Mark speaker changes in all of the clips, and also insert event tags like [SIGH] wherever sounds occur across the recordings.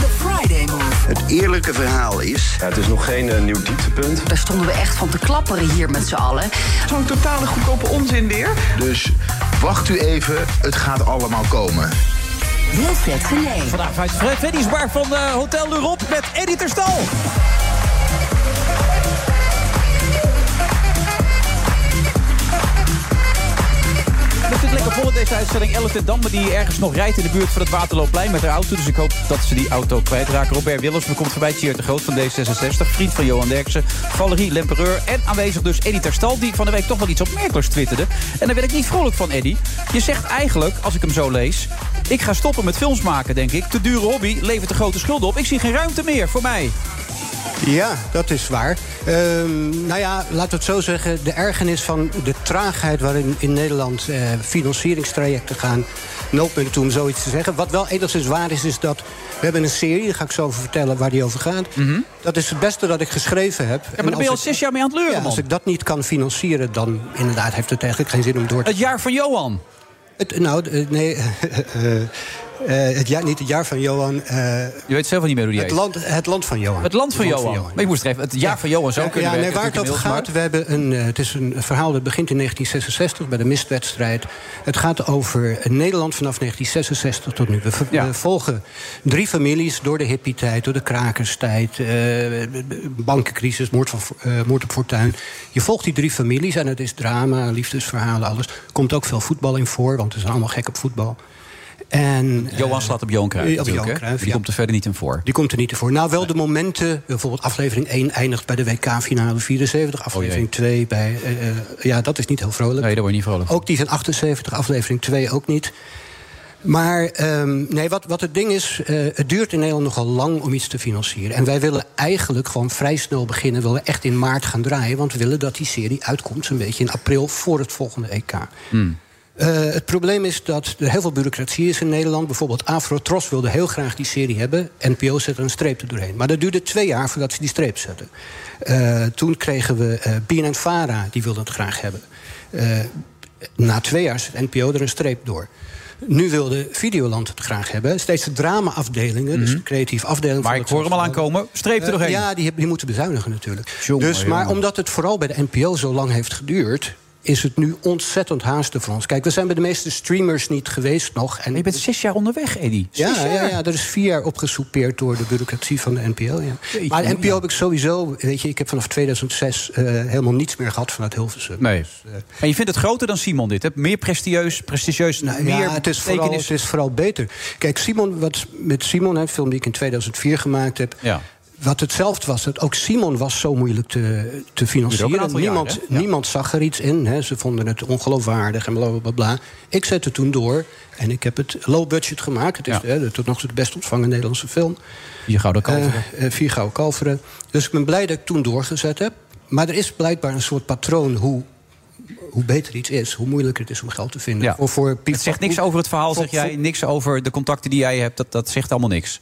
Speaker 1: The Friday Move.
Speaker 2: Het eerlijke verhaal is.
Speaker 3: Ja, het is nog geen eh, nieuw dieptepunt.
Speaker 1: Daar stonden we echt van te klapperen hier met z'n allen.
Speaker 4: Zo'n totale goedkope onzin weer.
Speaker 2: Dus wacht u even, het gaat allemaal komen.
Speaker 1: Wilfred Genee.
Speaker 5: Vandaag vanuit Fred Freddy's Bar van eh, Hotel L'Europe met Eddie Terstal. Het zit lekker vol in deze uitzending. Elke Damme die ergens nog rijdt in de buurt van het Waterloopplein met haar auto. Dus ik hoop dat ze die auto kwijtraken. Robert Willems komt voorbij. Tjeerd de Groot van D66. Vriend van Johan Derksen. Valerie Lempereur. En aanwezig dus Eddie Terstal. Die van de week toch wel iets opmerkelijks twitterde. En daar ben ik niet vrolijk van, Eddie. Je zegt eigenlijk, als ik hem zo lees... Ik ga stoppen met films maken, denk ik. Te dure hobby levert de grote schulden op. Ik zie geen ruimte meer voor mij.
Speaker 6: Ja, dat is waar. Ehm, nou ja, laten we het zo zeggen. De ergernis van de traagheid waarin in Nederland eh, financieringstrajecten gaan. Nulpunt om zoiets te zeggen. Wat wel enigszins waar is, is dat we hebben een serie. Daar ga ik zo over vertellen waar die over gaat. Dat is het beste dat ik geschreven heb.
Speaker 5: Mhm. Ja, maar daar ben je al zes jaar mee aan het leuren,
Speaker 6: ja,
Speaker 5: man.
Speaker 6: als ik dat niet kan financieren, dan inderdaad heeft het eigenlijk geen zin om door te
Speaker 5: Het jaar van Johan.
Speaker 6: het, nou, eh, nee. [LAUGHS] eh, eh, het jaar, niet het jaar van Johan. eh,
Speaker 5: Je weet zelf niet meer hoe die
Speaker 6: het,
Speaker 5: heet.
Speaker 6: land, het land van Johan.
Speaker 5: Het land van Johan. Maar ik moest er even... Het jaar van Johan, zo
Speaker 6: Ja,
Speaker 5: kunnen
Speaker 6: ja,
Speaker 5: we...
Speaker 6: nee, waar het over
Speaker 5: inmiddels, maar-
Speaker 6: gaat, we hebben een, eh, het is een verhaal dat begint in 1966 bij de mistwedstrijd. Het gaat over Nederland vanaf 1966 tot nu. We ver-
Speaker 5: Ja.
Speaker 6: eh, volgen drie families door de hippie-tijd, door de krakerstijd, eh, b- b- bankencrisis, moord, van, eh, moord op fortuin. Je volgt die drie families en het is drama, liefdesverhalen, alles. Er komt ook veel voetbal in voor, want ze zijn allemaal gek op voetbal. En, eh,
Speaker 5: Johan slaat op Johan Cruijff
Speaker 6: eh, op
Speaker 5: natuurlijk,
Speaker 6: Johan
Speaker 5: hè?
Speaker 6: Cruijff,
Speaker 5: Die
Speaker 6: ja.
Speaker 5: komt er verder niet in voor. Oh
Speaker 6: Die komt er niet voor. Nou, wel de momenten. Bijvoorbeeld aflevering 1 eindigt bij de WK-finale
Speaker 5: Oh
Speaker 6: 74. Aflevering 2 bij... eh, eh, ja, dat is niet heel vrolijk. Oh,
Speaker 5: Nee, daar word je niet vrolijk van.
Speaker 6: Ook die van 78, aflevering 2 ook niet. Maar ehm, nee, wat, wat het ding is, eh, het duurt in Nederland nogal lang om iets te financieren. En wij willen eigenlijk gewoon vrij snel beginnen. willen echt in maart gaan draaien. Want we willen dat die serie uitkomt zo'n beetje in april voor het volgende E EK. Eh, het probleem is dat er heel veel bureaucratie is in Nederland. Bijvoorbeeld Afrotros wilde heel graag die serie hebben. NPO zette een streep er doorheen. Maar dat duurde twee jaar voordat ze die streep zetten. Eh, toen kregen we eh BNN-Vara, die wilde het graag hebben. Eh, na twee jaar zet NPO er een streep door. Nu wilde Videoland het graag hebben. Steeds de drama-afdelingen, dus de creatieve afdeling.
Speaker 5: Mhm. Maar
Speaker 6: van
Speaker 5: ik
Speaker 6: het
Speaker 5: hoor hem al aankomen. Streep er nog
Speaker 6: eh,
Speaker 5: heen.
Speaker 6: Ja, die, heb- die moeten bezuinigen natuurlijk.
Speaker 5: Jongen,
Speaker 6: dus, maar
Speaker 5: jongen.
Speaker 6: omdat het vooral bij de NPO zo lang heeft geduurd... is het nu ontzettend haasten voor ons. Kijk, we zijn bij de meeste streamers niet geweest nog. En
Speaker 5: Je bent zes jaar onderweg, Eddy. Zes
Speaker 6: ja, ja,
Speaker 5: jaar.
Speaker 6: ja, er is vier jaar opgesoupeerd door de bureaucratie van de NPO. Ja.
Speaker 5: Jeetje,
Speaker 6: maar de NPO
Speaker 5: ja.
Speaker 6: heb ik sowieso... Weet je, ik heb vanaf 2006 eh, helemaal niets meer gehad vanuit Hilversum.
Speaker 5: Nee. En je vindt het groter dan Simon dit, hè? Meer prestigieus, prestigieus,
Speaker 6: eh. Nou,
Speaker 5: meer
Speaker 6: ja, het is, vooral,
Speaker 5: betekenis.
Speaker 6: het is vooral beter. Kijk, Simon, wat met Simon, hè, een film die ik in 2004 gemaakt heb.
Speaker 5: Ja.
Speaker 6: Wat hetzelfde was, dat ook Simon was zo moeilijk te, te financieren.
Speaker 5: Duurde ook een aantal
Speaker 6: niemand,
Speaker 5: jaar, hè? Ja.
Speaker 6: niemand zag er iets in. Hè. Ze vonden het ongeloofwaardig en bla bla, bla bla. Ik zette toen door en ik heb het low budget gemaakt. Het is
Speaker 5: Ja.
Speaker 6: hè, de- tot nog toe de best ontvangen Nederlandse film.
Speaker 5: Je gouden kalveren.
Speaker 6: Eh, eh, vier gouden kalveren. Dus ik ben blij dat ik toen doorgezet heb. Maar er is blijkbaar een soort patroon hoe, hoe beter iets is, hoe moeilijker het is om geld te vinden.
Speaker 5: Ja.
Speaker 6: Voor, voor Piet
Speaker 5: het zegt
Speaker 6: van
Speaker 5: niks
Speaker 6: Koek-
Speaker 5: over het verhaal,
Speaker 6: voor-
Speaker 5: zeg jij. Niks over de contacten die jij hebt. Dat, dat zegt allemaal niks.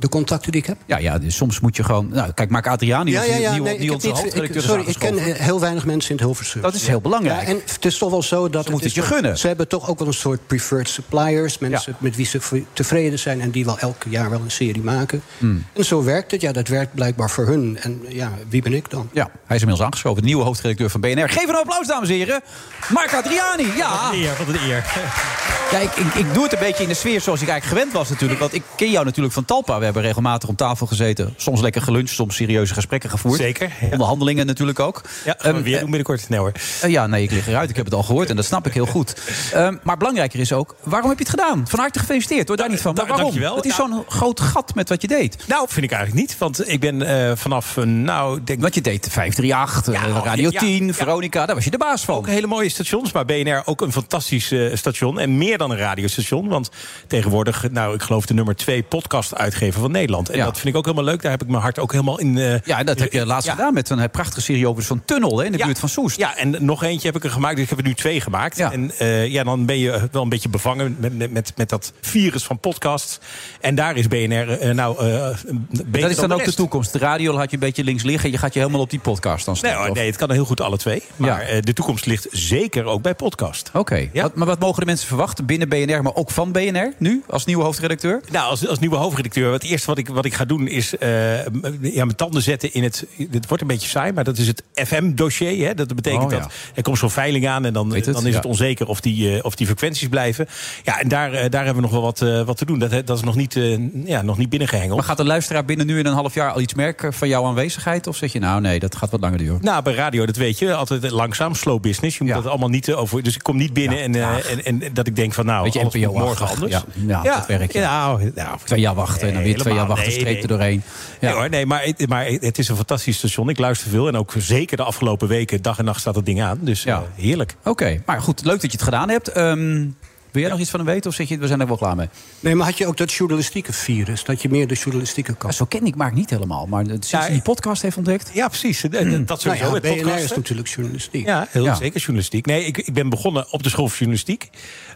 Speaker 6: De contacten die ik heb?
Speaker 5: Ja, ja dus soms moet je gewoon... Nou, kijk, Mark Adriani, ja, die,
Speaker 6: nee,
Speaker 5: die
Speaker 6: ik heb
Speaker 5: onze
Speaker 6: niet-
Speaker 5: hoofdredacteur
Speaker 6: ik-
Speaker 5: is
Speaker 6: Sorry, ik ken
Speaker 5: aangeschoven.
Speaker 6: eh, heel weinig mensen in het Hilversum.
Speaker 5: Dat is heel belangrijk.
Speaker 6: Ja, en het is toch wel zo dat...
Speaker 5: moet
Speaker 6: is
Speaker 5: het je
Speaker 6: toch-
Speaker 5: gunnen.
Speaker 6: Ze hebben toch ook wel een soort preferred suppliers. Mensen
Speaker 5: Ja.
Speaker 6: met wie ze v- tevreden zijn en die wel elk jaar wel een serie maken.
Speaker 5: Hmm.
Speaker 6: En zo werkt het. Ja, dat werkt blijkbaar voor hun. En ja, wie ben ik dan?
Speaker 5: Ja, hij is inmiddels aangeschoven. De nieuwe hoofdredacteur van BNR. Geef een applaus, dames en heren. Mark Adriani, ja.
Speaker 7: Eer, wat een eer.
Speaker 5: Ja, ik, ik, ik doe het een beetje in de sfeer zoals ik eigenlijk gewend was natuurlijk. Want ik ken jou natuurlijk van Talpa. We hebben regelmatig om tafel gezeten. Soms lekker geluncht, soms serieuze gesprekken gevoerd.
Speaker 7: Zeker, ja.
Speaker 5: Onderhandelingen natuurlijk ook.
Speaker 7: Ja, gaan we
Speaker 5: Ehm,
Speaker 7: weer doen binnenkort. Nee hoor.
Speaker 5: eh, ja, nee, ik lig eruit. Ik heb het al gehoord en dat snap ik heel goed. Ehm, maar belangrijker is ook, waarom heb je het gedaan? Van harte gefeliciteerd, hoor daar niet van. Maar
Speaker 7: da-
Speaker 5: waarom?
Speaker 7: dankjewel.
Speaker 5: Het is
Speaker 7: Nou-
Speaker 5: zo'n groot gat met wat je deed.
Speaker 7: Nou, vind ik eigenlijk niet. Want ik ben eh, vanaf, eh, nou, denk ik...
Speaker 5: Want je deed 538, eh,
Speaker 7: Ja,
Speaker 5: Radio
Speaker 7: ja,
Speaker 5: 10,
Speaker 7: ja.
Speaker 5: Veronica. Daar was je de baas van.
Speaker 7: Ook hele mooie stations, maar BNR ook een fantastisch eh, station. En meer dan een radiostation. Want tegenwoordig, nou, ik geloof de nummer twee podcast-uitgever geven van Nederland. En
Speaker 5: Ja.
Speaker 7: dat vind ik ook helemaal leuk. Daar heb ik mijn hart ook helemaal in. eh,
Speaker 5: Ja, en dat heb je laatst
Speaker 7: Ja.
Speaker 5: gedaan met een prachtige serie over zo'n tunnel hè, in de
Speaker 7: Ja.
Speaker 5: buurt van Soest.
Speaker 7: Ja, en nog eentje heb ik er gemaakt. Dus ik heb er nu twee gemaakt.
Speaker 5: Ja.
Speaker 7: En eh, ja, dan ben je wel een beetje bevangen met, met, met, met dat virus van podcasts. En daar is BNR eh, nou eh beter
Speaker 5: Dat is dan
Speaker 7: de
Speaker 5: ook de
Speaker 7: rest.
Speaker 5: toekomst. De radio had je een beetje links liggen. Je gaat je helemaal op die podcast dan
Speaker 7: Nee,
Speaker 5: staan.
Speaker 7: hoor,
Speaker 5: of-
Speaker 7: nee, het kan heel goed alle twee. Maar
Speaker 5: Ja.
Speaker 7: eh, de toekomst ligt zeker ook bij podcast.
Speaker 5: Oké,
Speaker 7: Ja.
Speaker 5: Wat- maar wat mogen de mensen verwachten binnen BNR, maar ook van BNR nu als nieuwe hoofdredacteur?
Speaker 7: Nou, als, als nieuwe hoofdredacteur, het eerste wat ik, wat ik ga doen is eh, m- ja, mijn tanden zetten in het. Dit wordt een beetje saai, maar dat is het FM-dossier. hè. Dat betekent
Speaker 5: Oh, ja.
Speaker 7: dat er komt zo'n veiling aan en dan,
Speaker 5: Weet het,
Speaker 7: dan is
Speaker 5: ja.
Speaker 7: het onzeker of die, eh, of die frequenties blijven. Ja, en daar, eh, daar hebben we nog wel wat, eh, wat te doen. Dat, dat is nog niet, eh, ja, nog niet binnengehengeld.
Speaker 5: Maar gaat de luisteraar binnen nu in een half jaar al iets merken van jouw aanwezigheid? Of zeg je nou nee, dat gaat wat langer duren?
Speaker 7: Nou, bij radio, dat weet je, altijd langzaam, slow business. Je moet
Speaker 5: Ja.
Speaker 7: dat allemaal niet eh, over. Dus ik kom niet binnen
Speaker 5: Ja,
Speaker 7: en, eh,
Speaker 5: traag.
Speaker 7: en, en, dat ik denk van nou,
Speaker 5: Weet je,
Speaker 7: alles moet
Speaker 5: NPO-achtig.
Speaker 7: morgen anders.
Speaker 5: Ja, ja, dat werkt, ja.
Speaker 7: Nou, nou,
Speaker 5: Twee jaar wachten en dan weer twee jaar
Speaker 7: helemaal.
Speaker 5: wachten,
Speaker 7: Nee,
Speaker 5: streep
Speaker 7: nee.
Speaker 5: er doorheen. Ja.
Speaker 7: Nee, hoor, nee maar, het- maar het is een fantastisch station. Ik luister veel en ook zeker de afgelopen weken, dag en nacht staat dat ding aan. Dus
Speaker 5: Ja.
Speaker 7: eh, heerlijk.
Speaker 5: Oké, maar goed, leuk dat je het gedaan hebt. Ehm, wil jij nog iets van hem weten of zeg je, we zijn er wel klaar mee?
Speaker 6: Nee, maar had je ook dat journalistieke virus? Dat je meer de journalistieke
Speaker 5: Nou,
Speaker 6: kant...
Speaker 5: zo ken ik Mark niet helemaal, maar sinds
Speaker 7: Ja,
Speaker 5: hij die podcast heeft ontdekt...
Speaker 7: Ja, precies. Eh, eh, Dat
Speaker 6: Nou
Speaker 7: sowieso.
Speaker 6: ja,
Speaker 7: het
Speaker 6: BNR is
Speaker 7: podcasten.
Speaker 6: natuurlijk journalistiek.
Speaker 7: Ja, heel
Speaker 5: Hmm. Ja.
Speaker 7: zeker journalistiek. Nee, ik, ik ben begonnen op de school van journalistiek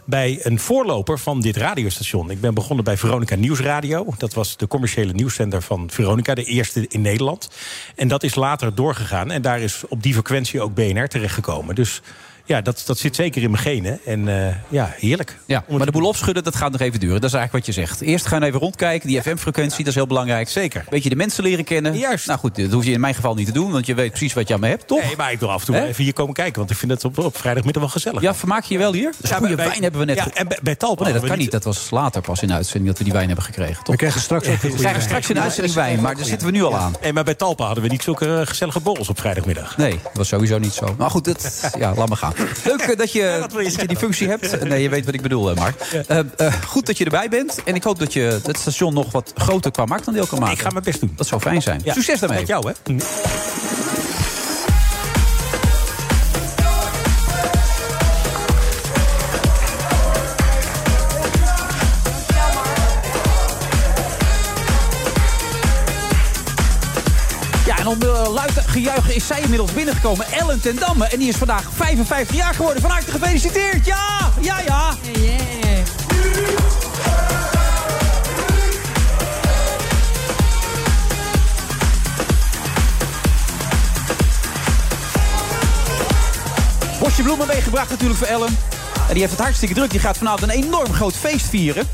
Speaker 7: bij een voorloper van dit radiostation. Ik ben begonnen bij Veronica Nieuwsradio. Dat was de commerciële nieuwszender van Veronica, de eerste in Nederland. En dat is later doorgegaan en daar is op die frequentie ook BNR terechtgekomen. Dus ja, dat, dat zit zeker in mijn genen. En eh, ja, heerlijk.
Speaker 5: Ja,
Speaker 7: Om het
Speaker 5: maar
Speaker 7: te
Speaker 5: de boel opschudden, dat gaat nog even duren. Dat is eigenlijk wat je zegt. Eerst gaan we even rondkijken, die FM-frequentie, dat is heel belangrijk.
Speaker 7: Zeker.
Speaker 5: Beetje de mensen leren kennen.
Speaker 7: Juist.
Speaker 5: Nou goed, dat hoef je in mijn geval niet te doen, want je weet precies wat je aan me hebt, toch?
Speaker 7: Nee, maar ik wil af en toe
Speaker 5: Hè?
Speaker 7: wel even hier komen kijken. Want ik vind het op, op vrijdagmiddag wel gezellig.
Speaker 5: Ja, vermaak je je wel hier? Dat is
Speaker 7: Ja,
Speaker 5: goede
Speaker 7: bij-
Speaker 5: wijn hebben we net...
Speaker 7: Ja,
Speaker 5: ge-
Speaker 7: en bij, bij Talpa
Speaker 5: Oh, nee,
Speaker 7: hadden
Speaker 5: dat
Speaker 7: we
Speaker 5: kan niet. Dat was later pas in de uitzending dat we die wijn hebben gekregen, toch?
Speaker 6: We krijgen
Speaker 7: [LAUGHS]
Speaker 6: straks ook een
Speaker 5: We
Speaker 6: goede
Speaker 5: krijgen
Speaker 6: wijn.
Speaker 5: straks in de uitzending wijn, maar daar zitten we nu al aan.
Speaker 7: Nee, maar bij Talpa hadden we niet zulke eh, gezellige borrels op vrijdagmiddag.
Speaker 5: Nee, dat was sowieso niet zo. Maar goed, dat,
Speaker 7: [LAUGHS]
Speaker 5: ja, laat maar gaan. Leuk eh, dat je,
Speaker 7: wat wil je
Speaker 5: dat je
Speaker 7: zeggen
Speaker 5: die
Speaker 7: dan?
Speaker 5: functie
Speaker 7: [LAUGHS]
Speaker 5: hebt. Nee, je weet wat ik bedoel, eh, Mark. Eh, eh, goed dat je erbij bent. En ik hoop dat je het station nog wat groter qua marktaandeel kan maken.
Speaker 7: Ik ga mijn best doen.
Speaker 5: Dat zou fijn zijn.
Speaker 7: Ja.
Speaker 5: Succes daarmee. Mm.
Speaker 7: Met jou, hè?
Speaker 5: Ja, en onder eh, luid gejuich is zij inmiddels binnengekomen. Ellen ten Damme. En die is vandaag 55 jaar geworden. Van harte gefeliciteerd. Ja, ja, ja. Bosje bloemen meegebracht natuurlijk voor Ellen. En die heeft het hartstikke druk. Die gaat vanavond een enorm groot feest vieren.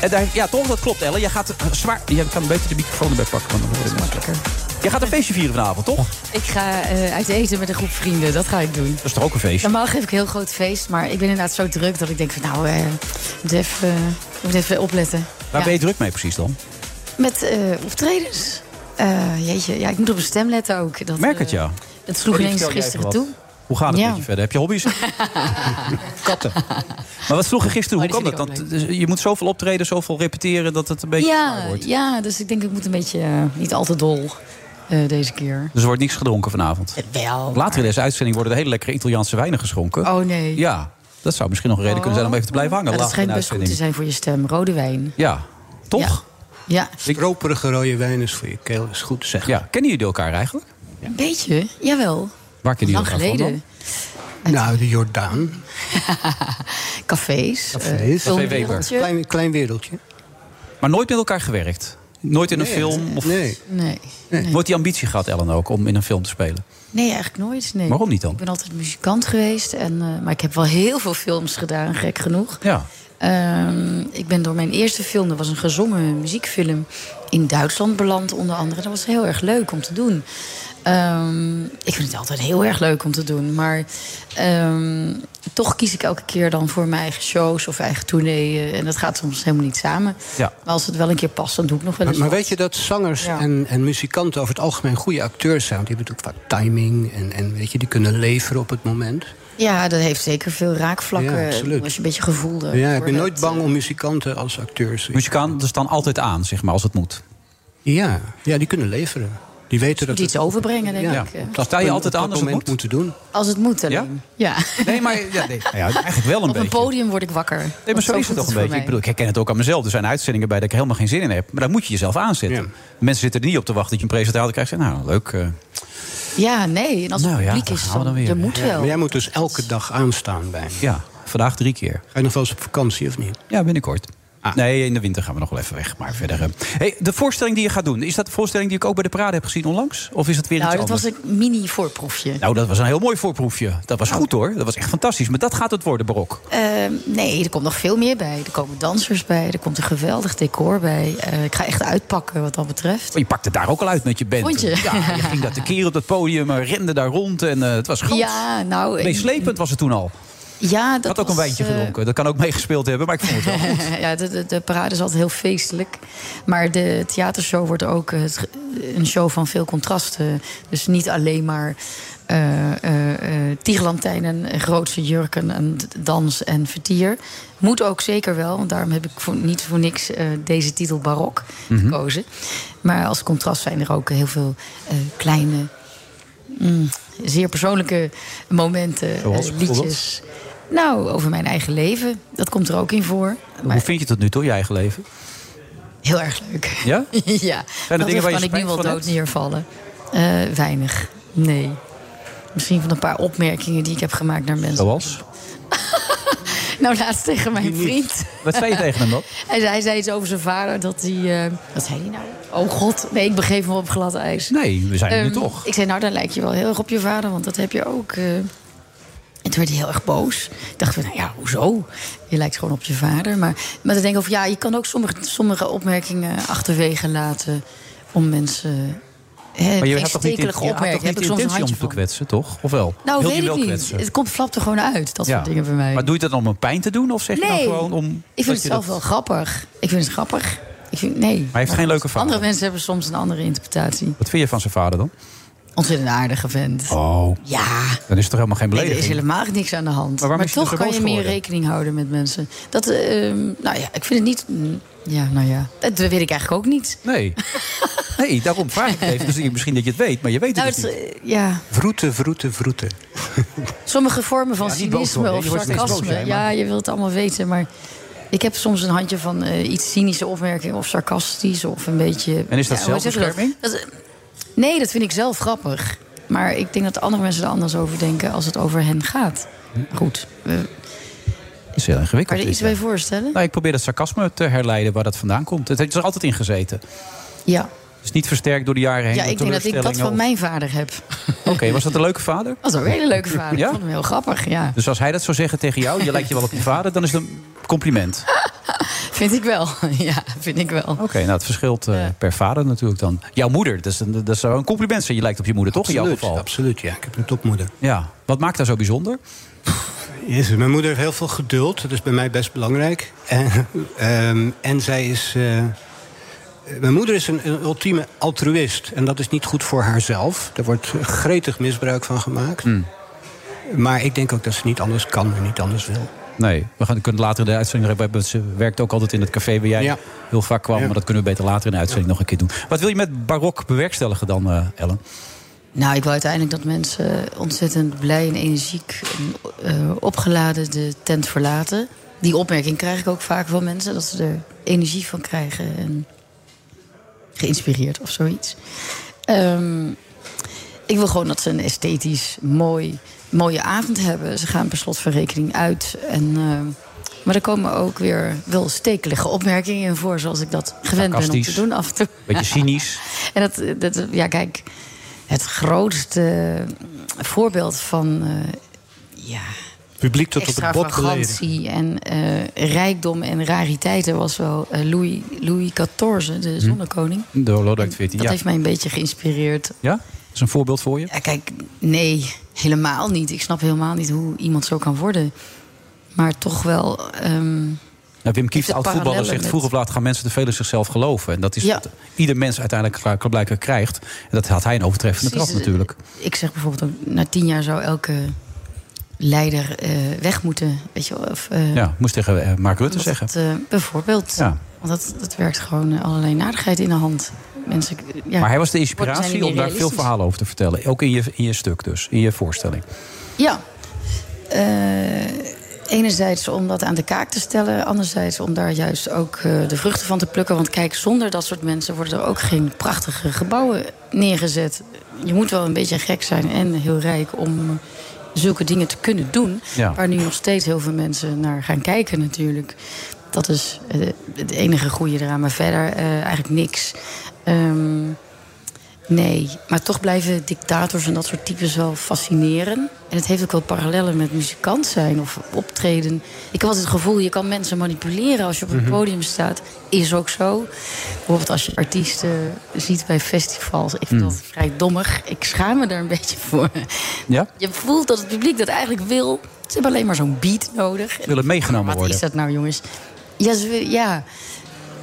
Speaker 5: En daar, ja, toch, dat klopt, Ellen. Jij gaat eh, zwaar... Je kan beter de microfoon erbij pakken. Want dan wordt het makkelijker. Jij gaat een feestje vieren vanavond, toch?
Speaker 8: Ik ga eh, uit eten met een groep vrienden, dat ga ik doen.
Speaker 5: Dat is toch ook een feestje?
Speaker 8: Normaal geef ik een heel groot feest, maar ik ben inderdaad zo druk dat ik denk van nou, eh, moet even, eh, moet even opletten.
Speaker 5: Waar
Speaker 8: Ja.
Speaker 5: ben je druk mee precies dan?
Speaker 8: Met eh, optredens. Eh, jeetje, ja, ik moet op mijn stem letten ook. Dat,
Speaker 5: Merk het,
Speaker 8: eh,
Speaker 5: ja.
Speaker 8: Dat sloeg
Speaker 5: Corrie,
Speaker 8: ineens
Speaker 5: Oh, vertel jij
Speaker 8: gisteren
Speaker 5: even
Speaker 8: toe.
Speaker 5: wat. Hoe gaat het
Speaker 8: Ja.
Speaker 5: met je verder? Heb je
Speaker 8: [LAUGHS]
Speaker 5: hobby's? Katten. Maar wat sloeg er gisteren? Hoe
Speaker 8: Oh,
Speaker 5: kan
Speaker 8: die
Speaker 5: dat?
Speaker 8: vind ik
Speaker 5: Want, eh, je moet zoveel optreden, zoveel repeteren... dat het een beetje zwaar
Speaker 8: Ja,
Speaker 5: wordt.
Speaker 8: ja, dus ik denk ik moet een beetje eh, niet al te dol eh, deze keer.
Speaker 5: Dus er wordt niks gedronken vanavond.
Speaker 8: Wel.
Speaker 5: Later in deze uitzending worden er hele lekkere Italiaanse wijnen geschonken.
Speaker 8: Oh nee. Oh.
Speaker 5: Ja, dat zou misschien nog een reden kunnen zijn om even te blijven hangen.
Speaker 8: Ja, dat
Speaker 5: later in
Speaker 8: schijnt
Speaker 5: de
Speaker 8: best goed
Speaker 5: uitzending.
Speaker 8: te zijn voor je stem. Rode wijn.
Speaker 5: Ja, toch?
Speaker 8: Ja,
Speaker 6: Stroperige rode wijn is voor je keel, is goed te zeggen.
Speaker 5: Ja. Kennen jullie elkaar eigenlijk?
Speaker 8: een beetje. Jawel.
Speaker 5: Waar kennen
Speaker 8: Lang
Speaker 5: jullie elkaar
Speaker 8: geleden.
Speaker 5: van
Speaker 6: Nou, de Jordaan.
Speaker 8: Cafés. eh,
Speaker 6: Cafés.
Speaker 8: filmwereldje.
Speaker 6: Klein, klein wereldje.
Speaker 5: dan? Maar nooit met elkaar gewerkt? Nooit in een film? Of...
Speaker 6: Nee.
Speaker 8: Nee.
Speaker 5: Nooit die ambitie gehad, Ellen, ook, om in een film te spelen?
Speaker 8: Nee, eigenlijk nooit. Nee.
Speaker 5: Waarom niet dan?
Speaker 8: Ik ben altijd muzikant geweest. En, eh, maar ik heb wel heel veel films gedaan, gek genoeg.
Speaker 5: Ja.
Speaker 8: Ehm, ik ben door mijn eerste film, dat was een gezongen muziekfilm... in Duitsland beland onder andere. Dat was heel erg leuk om te doen. Ehm, ik vind het altijd heel erg leuk om te doen. Maar ehm, toch kies ik elke keer dan voor mijn eigen shows of eigen tournee. eh, En dat gaat soms helemaal niet samen.
Speaker 5: Ja.
Speaker 8: Maar als het wel een keer past, dan doe ik nog wel
Speaker 6: Maar,
Speaker 8: eens
Speaker 6: maar
Speaker 8: wat.
Speaker 6: weet je dat zangers
Speaker 8: Ja.
Speaker 6: en, en muzikanten over het algemeen goede acteurs zijn? Want Die hebben natuurlijk vaak timing en, en weet je, die kunnen leveren op het moment.
Speaker 8: Ja, dat heeft zeker veel raakvlakken.
Speaker 6: Ja, absoluut.
Speaker 8: Als je een beetje gevoel eh,
Speaker 6: Ja, ik
Speaker 8: voor
Speaker 6: ben nooit
Speaker 8: hebt.
Speaker 6: bang om muzikanten als acteurs.
Speaker 5: Muzikant, dus dan altijd aan, zeg maar, als het moet.
Speaker 6: Ja, ja, die kunnen leveren. Die weten dat
Speaker 8: moet iets overbrengen, denk
Speaker 5: Ja.
Speaker 8: ik. eh.
Speaker 5: Dan sta je altijd aan als het moet.
Speaker 6: moeten doen.
Speaker 8: Als het moet
Speaker 5: Ja?
Speaker 8: alleen. Ja?
Speaker 5: Nee, maar ja,
Speaker 8: [LAUGHS]
Speaker 5: nee. Nou ja, eigenlijk wel een
Speaker 8: Op een
Speaker 5: beetje.
Speaker 8: podium word ik wakker.
Speaker 5: Nee,
Speaker 8: Want
Speaker 5: maar zo is het
Speaker 8: voelt
Speaker 5: toch een
Speaker 8: voor
Speaker 5: beetje.
Speaker 8: mij.
Speaker 5: Ik bedoel, ik herken het ook aan mezelf. Er zijn uitzendingen bij dat ik er helemaal geen zin in heb. Maar dan moet je jezelf aanzetten.
Speaker 6: Ja.
Speaker 5: Mensen zitten er niet op te wachten dat je een presentator krijgt. Zeg, nou, leuk. eh,
Speaker 8: Ja, nee. En als het
Speaker 5: Nou ja,
Speaker 8: publiek
Speaker 5: daar
Speaker 8: is,
Speaker 5: gaan we
Speaker 8: dan,
Speaker 5: dan weer.
Speaker 8: dat moet
Speaker 6: Ja,
Speaker 8: wel.
Speaker 6: maar jij moet dus elke dag aanstaan bij me.
Speaker 5: ja, vandaag drie keer.
Speaker 6: Ga je nog wel eens op vakantie of niet?
Speaker 5: Ja, binnenkort.
Speaker 6: Ah.
Speaker 5: Nee, in de winter gaan we nog wel even weg. Maar verder. eh. Hey, de voorstelling die je gaat doen, is dat de voorstelling die ik ook bij de parade heb gezien onlangs? Of is dat weer
Speaker 8: Nou,
Speaker 5: iets
Speaker 8: dat
Speaker 5: anders?
Speaker 8: was een mini-voorproefje.
Speaker 5: Nou, dat was een heel mooi voorproefje. Dat
Speaker 8: Oh.
Speaker 5: was goed hoor. Dat was echt fantastisch. Maar dat gaat het worden, Barok.
Speaker 8: Ehm, nee, er komt nog veel meer bij. Er komen dansers bij, er komt een geweldig decor bij. Eh, ik ga echt uitpakken wat dat betreft.
Speaker 5: Maar Oh, je pakte het daar ook al uit met je band.
Speaker 8: Vond je? [LAUGHS]
Speaker 5: Ja, je ging dat keer op dat podium, eh, rende daar rond en eh, het was goed.
Speaker 8: Ja, nou... ik-
Speaker 5: Meeslepend was het toen al.
Speaker 8: Ja, dat
Speaker 5: Ik had ook een
Speaker 8: was,
Speaker 5: wijntje
Speaker 8: eh,
Speaker 5: gedronken. Dat kan ook meegespeeld hebben, maar ik vond het wel goed.
Speaker 8: ja, de, de, de parade is altijd heel feestelijk. Maar de theatershow wordt ook eh, het- een show van veel contrasten. Dus niet alleen maar eh eh, eh, tierenlantijnen, en grootse jurken en d- dans en vertier. Moet ook zeker wel, want daarom heb ik voor, niet voor niks eh, deze titel barok
Speaker 5: Mhm.
Speaker 8: gekozen. Maar als contrast zijn er ook heel veel eh, kleine, mm, zeer persoonlijke momenten,
Speaker 5: Zoals
Speaker 8: eh,
Speaker 5: bijvoorbeeld?
Speaker 8: liedjes. Nou, over mijn eigen leven. Dat komt er ook in voor. [LAUGHS] Maar
Speaker 5: Hoe vind je het tot nu toe, je eigen leven?
Speaker 8: heel erg leuk.
Speaker 5: [LAUGHS]
Speaker 8: [LAUGHS]
Speaker 5: Ja?
Speaker 8: ja.
Speaker 5: er
Speaker 8: dat
Speaker 5: dingen waar je
Speaker 8: kan ik
Speaker 5: spijt
Speaker 8: nu wel
Speaker 5: van
Speaker 8: dood
Speaker 5: hebt?
Speaker 8: neervallen. Eh, weinig. Nee. Misschien van een paar opmerkingen die ik heb gemaakt naar mensen.
Speaker 5: Zoals?
Speaker 8: [LAUGHS] Nou, laatst tegen mijn vriend.
Speaker 5: Wat zei je tegen hem dan?
Speaker 8: [LAUGHS] Hij zei, hij zei iets over zijn vader. Dat hij. eh, wat zei hij nou? Oh god. Nee, ik begeef me op glad ijs.
Speaker 5: Nee, we zijn er nu
Speaker 8: Ehm,
Speaker 5: toch.
Speaker 8: Ik zei, nou, dan lijk je wel heel erg op je vader, want dat heb je ook. eh. En toen werd hij heel erg boos. Ik dacht, nou ja, hoezo? Je lijkt gewoon op je vader. Maar, maar dan denk ik over, ja, je kan ook sommige, sommige opmerkingen achterwege laten om mensen... Hè,
Speaker 5: Maar je
Speaker 8: geen
Speaker 5: had toch niet, in- je
Speaker 8: stekelige
Speaker 5: had toch
Speaker 8: opmerkingen,
Speaker 5: niet
Speaker 8: heb
Speaker 5: de
Speaker 8: ik soms een
Speaker 5: intentie om
Speaker 8: handje
Speaker 5: te
Speaker 8: van.
Speaker 5: kwetsen, toch? Of wel?
Speaker 8: Nou,
Speaker 5: Heel die
Speaker 8: weet ik
Speaker 5: wil
Speaker 8: niet.
Speaker 5: kwetsen.
Speaker 8: Het komt, flapt er gewoon uit, dat
Speaker 5: Ja.
Speaker 8: soort dingen bij mij.
Speaker 5: Maar doe je dat dan om pijn te doen? Of zeg je
Speaker 8: Nee.
Speaker 5: nou gewoon om...
Speaker 8: Ik
Speaker 5: dat
Speaker 8: vind het
Speaker 5: je
Speaker 8: zelf
Speaker 5: dat-
Speaker 8: wel grappig. Ik vind het grappig. Ik vind, nee.
Speaker 5: Hij heeft geen leuke vader.
Speaker 8: Andere mensen hebben soms een andere interpretatie.
Speaker 5: Wat vind je van zijn vader dan?
Speaker 8: Ontzettend aardige vent.
Speaker 5: Oh,
Speaker 8: Ja,
Speaker 5: dan is er toch helemaal geen
Speaker 8: Nee, er
Speaker 5: belediging?
Speaker 8: is helemaal niks aan de hand.
Speaker 5: Maar waarom
Speaker 8: Maar,
Speaker 5: is je
Speaker 8: toch
Speaker 5: dus
Speaker 8: kan je
Speaker 5: boos
Speaker 8: meer
Speaker 5: geworden?
Speaker 8: rekening houden met mensen. Dat, eh, ehm, nou ja, ik vind het niet... mm, Ja, nou ja, dat weet ik eigenlijk ook niet. [LAUGHS]
Speaker 5: Nee. Nee, daarom vraag ik het even. Dus misschien dat je het weet, maar je weet het
Speaker 8: Nou,
Speaker 5: dus
Speaker 8: het,
Speaker 5: niet.
Speaker 8: eh, ja,
Speaker 6: Vroeten, vroeten, vroeten.
Speaker 8: sommige vormen van
Speaker 5: Ja, niet boos
Speaker 8: cynisme
Speaker 5: worden,
Speaker 8: of
Speaker 5: je wordt steeds boos,
Speaker 8: sarcasme.
Speaker 5: hè, maar-
Speaker 8: ja, je wilt het allemaal weten, maar... Ik heb soms een handje van eh, iets cynische opmerkingen of sarcastisch of een beetje...
Speaker 5: En is dat
Speaker 8: ja, hoe zeg je dat?
Speaker 5: zelfbescherming?
Speaker 8: Dat is- nee, dat vind ik zelf grappig. Maar ik denk dat andere mensen er anders over denken als het over hen gaat. Goed, eh,
Speaker 5: Dat is heel
Speaker 8: kan
Speaker 5: ingewikkeld.
Speaker 8: je er
Speaker 5: dit,
Speaker 8: iets
Speaker 5: ja.
Speaker 8: bij voorstellen?
Speaker 5: Nou, ik probeer dat sarcasme te herleiden waar dat vandaan komt. Het heeft er altijd in gezeten.
Speaker 8: Ja.
Speaker 5: Dus niet versterkt door de jaren heen.
Speaker 8: Ja,
Speaker 5: door
Speaker 8: ik denk dat ik dat
Speaker 5: teleurstellingen
Speaker 8: van
Speaker 5: of-
Speaker 8: mijn vader heb. [LAUGHS]
Speaker 5: Oké, was dat een leuke vader?
Speaker 8: Dat was een hele
Speaker 5: [LAUGHS]
Speaker 8: leuke vader.
Speaker 5: Ja?
Speaker 8: Ik vond hem heel grappig, ja.
Speaker 5: Dus als hij dat zou zeggen tegen jou, je lijkt je wel op je vader, dan is het een compliment. Oké,
Speaker 8: Vind ik wel. [LAUGHS] Ja, vind ik wel.
Speaker 5: nou het verschilt eh, per vader natuurlijk dan. Jouw moeder, dat, is een, dat zou een compliment zijn. Je lijkt op je moeder, toch in
Speaker 6: absoluut,
Speaker 5: jouw geval?
Speaker 6: absoluut, ja. Ik heb een topmoeder.
Speaker 5: Ja. Wat maakt haar zo bijzonder?
Speaker 6: Jezus, mijn moeder heeft heel veel geduld. Dat is bij mij best belangrijk. En, [LAUGHS] ehm, en zij is... eh, mijn moeder is een, een ultieme altruïst. En dat is niet goed voor haarzelf. Daar wordt gretig misbruik van gemaakt. Maar ik denk ook dat ze niet anders kan en niet anders wil.
Speaker 5: Nee, we gaan, kunnen later in de uitzending nog hebben. Ze werkt ook altijd in het café waar jij
Speaker 6: Ja.
Speaker 5: heel vaak kwam.
Speaker 6: Ja.
Speaker 5: Maar dat kunnen we beter later in de uitzending nog een keer doen. Wat wil je met barok bewerkstelligen dan, eh, Ellen?
Speaker 8: Nou, ik wil uiteindelijk dat mensen ontzettend blij en energiek... en eh, opgeladen de tent verlaten. Die opmerking krijg ik ook vaak van mensen. Dat ze er energie van krijgen. En geïnspireerd of zoiets. Ehm, ik wil gewoon dat ze een esthetisch mooi, mooie avond hebben. Ze gaan per slot van rekening uit. En, ehm, maar er komen ook weer wel stekelige opmerkingen in voor... zoals ik dat gewend ben om te
Speaker 5: Sarcastisch.
Speaker 8: doen af en toe. [LAUGHS]
Speaker 5: Beetje cynisch.
Speaker 8: En dat, dat, ja, kijk, het grootste voorbeeld van eh, ja,
Speaker 6: Publiek tot op het bot beleden.
Speaker 8: extravagantie en eh, rijkdom en rariteiten was wel eh, Louis, Louis XIV, de zonnekoning.
Speaker 5: Door Lodewijk XIV,
Speaker 8: Dat
Speaker 5: ja.
Speaker 8: heeft mij een beetje geïnspireerd.
Speaker 5: Ja? Dat is een voorbeeld voor je.
Speaker 8: Ja, kijk, nee, helemaal niet. Ik snap helemaal niet hoe iemand zo kan worden. Maar toch wel. ehm,
Speaker 5: Nou, Wim Kieft,
Speaker 8: Heeft het
Speaker 5: oud-voetballer,
Speaker 8: parallellen
Speaker 5: zegt...
Speaker 8: met-
Speaker 5: vroeg of laat gaan mensen te veel in zichzelf geloven. En dat is
Speaker 8: Ja.
Speaker 5: wat ieder mens uiteindelijk klaar- blijkbaar krijgt. En dat had hij een overtreffende trap
Speaker 8: Precies, eh,
Speaker 5: natuurlijk.
Speaker 8: ik zeg bijvoorbeeld ook, na tien jaar zou elke leider eh, weg moeten. Weet je wel, of, eh,
Speaker 5: Ja, moest tegen eh, Mark Rutte
Speaker 8: omdat
Speaker 5: zeggen.
Speaker 8: het, eh, bijvoorbeeld.
Speaker 5: Ja,
Speaker 8: Want dat, dat werkt gewoon eh, allerlei nadigheid in de hand. Mensen, ja,
Speaker 5: maar hij was de
Speaker 8: worden zijn
Speaker 5: inspiratie
Speaker 8: niet
Speaker 5: om daar veel
Speaker 8: realistisch.
Speaker 5: verhalen over te vertellen. Ook in je, in je stuk dus, in je voorstelling.
Speaker 8: Ja. Eh, enerzijds om dat aan de kaak te stellen. Anderzijds om daar juist ook eh, de vruchten van te plukken. Want kijk, zonder dat soort mensen worden er ook geen prachtige gebouwen neergezet. Je moet wel een beetje gek zijn en heel rijk om eh, zulke dingen te kunnen doen.
Speaker 9: Ja.
Speaker 8: Waar nu nog steeds heel veel mensen naar gaan kijken natuurlijk. Dat is eh, het enige goede eraan. Maar verder eh, eigenlijk niks. Ehm, Nee, maar toch blijven dictators en dat soort types wel fascineren. En het heeft ook wel parallellen met muzikant zijn of optreden. Ik heb altijd het gevoel, je kan mensen manipuleren als je op een
Speaker 10: Mhm.
Speaker 8: podium staat. Is ook zo. Bijvoorbeeld als je artiesten ziet bij festivals. Ik vind
Speaker 5: Mhm.
Speaker 10: Mm.
Speaker 8: dat vrij dommig. Ik schaam me daar een beetje voor.
Speaker 5: Ja?
Speaker 8: Je voelt dat het publiek dat eigenlijk wil. Ze hebben alleen maar zo'n beat nodig.
Speaker 5: Willen meegenomen
Speaker 8: Wat
Speaker 5: worden.
Speaker 8: is dat nou, jongens? Ja, ze wil- ja.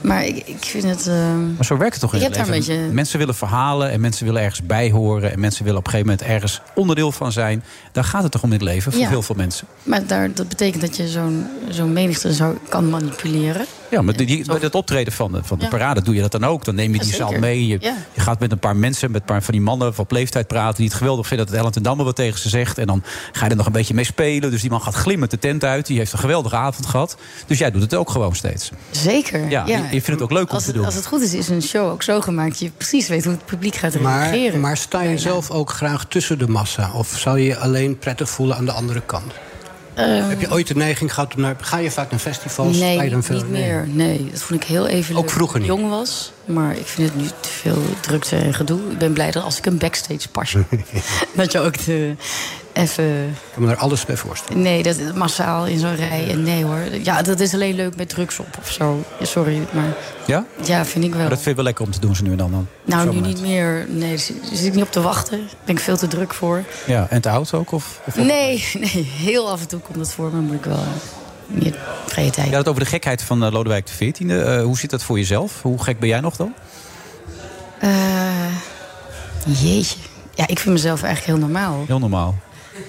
Speaker 8: maar ik, ik vind het... ehm,
Speaker 5: Maar zo werkt het toch in
Speaker 8: Ik
Speaker 5: het
Speaker 8: heb daar
Speaker 5: leven?
Speaker 8: een beetje-
Speaker 5: Mensen willen verhalen en mensen willen ergens bij horen. En mensen willen op een gegeven moment ergens onderdeel van zijn. Daar gaat het toch om in het leven voor
Speaker 8: Ja.
Speaker 5: heel veel mensen.
Speaker 8: Maar daar, dat betekent dat je zo'n zo'n menigte zou, kan manipuleren.
Speaker 5: Ja, maar die- die, bij het optreden van de, van de
Speaker 8: Ja.
Speaker 5: parade doe je dat dan ook. Dan neem je die zaal
Speaker 8: zeker.
Speaker 5: mee. Je,
Speaker 8: Ja.
Speaker 5: je gaat met een paar mensen, met een paar van die mannen van op leeftijd praten... die het geweldig vinden dat Ellen ten Damme wat tegen ze zegt. En dan ga je er nog een beetje mee spelen. Dus die man gaat glimmend de tent uit. Die heeft een geweldige avond gehad. Dus jij doet het ook gewoon steeds.
Speaker 8: Zeker.
Speaker 5: Ja, je- je vindt het ook leuk om
Speaker 8: als
Speaker 5: te
Speaker 8: het,
Speaker 5: doen.
Speaker 8: Als het goed is, is een show ook zo gemaakt... dat je precies weet hoe het publiek gaat
Speaker 6: Maar,
Speaker 8: reageren.
Speaker 6: maar sta je zelf ook graag tussen de massa? Of zou je je alleen prettig voelen aan de andere kant?
Speaker 8: Ehm,
Speaker 6: Heb je ooit de neiging gehad om naar... Ga je vaak naar festivals?
Speaker 8: nee,
Speaker 6: Ga je dan veel-
Speaker 8: niet
Speaker 6: nee.
Speaker 8: meer. Nee, dat vond ik heel even leuk
Speaker 6: Ook vroeger
Speaker 8: toen ik
Speaker 6: niet.
Speaker 8: jong was. Maar ik vind het nu te veel drukte en gedoe. Ik ben blij dat als ik een backstage pas... [LAUGHS] dat je ook de, even...
Speaker 6: [LAUGHS] Ik kan me daar alles bij voorstellen.
Speaker 8: Nee, dat massaal in zo'n rij. En nee hoor. Ja, dat is alleen leuk met drugs op of zo. Ja, sorry, maar
Speaker 5: Ja?
Speaker 8: ja, vind ik wel.
Speaker 5: Maar dat vind je wel lekker om te doen ze nu en dan. dan. Op
Speaker 8: Nou,
Speaker 5: zo'n
Speaker 8: nu
Speaker 5: moment.
Speaker 8: niet meer. Nee, daar zit daar zit ik niet op te wachten. Daar ben ik veel te druk voor.
Speaker 5: Ja, en te oud ook? Of, of
Speaker 8: Nee, [LAUGHS] nee, heel af en toe komt dat voor me. Moet ik wel eh, meer vrije tijd.
Speaker 5: Ja, dat over de gekheid van eh, Lodewijk XIV. Eh hoe zit dat voor jezelf? Hoe gek ben jij nog dan?
Speaker 8: Eh, jeetje. Ja, ik vind mezelf eigenlijk heel normaal.
Speaker 5: Heel normaal.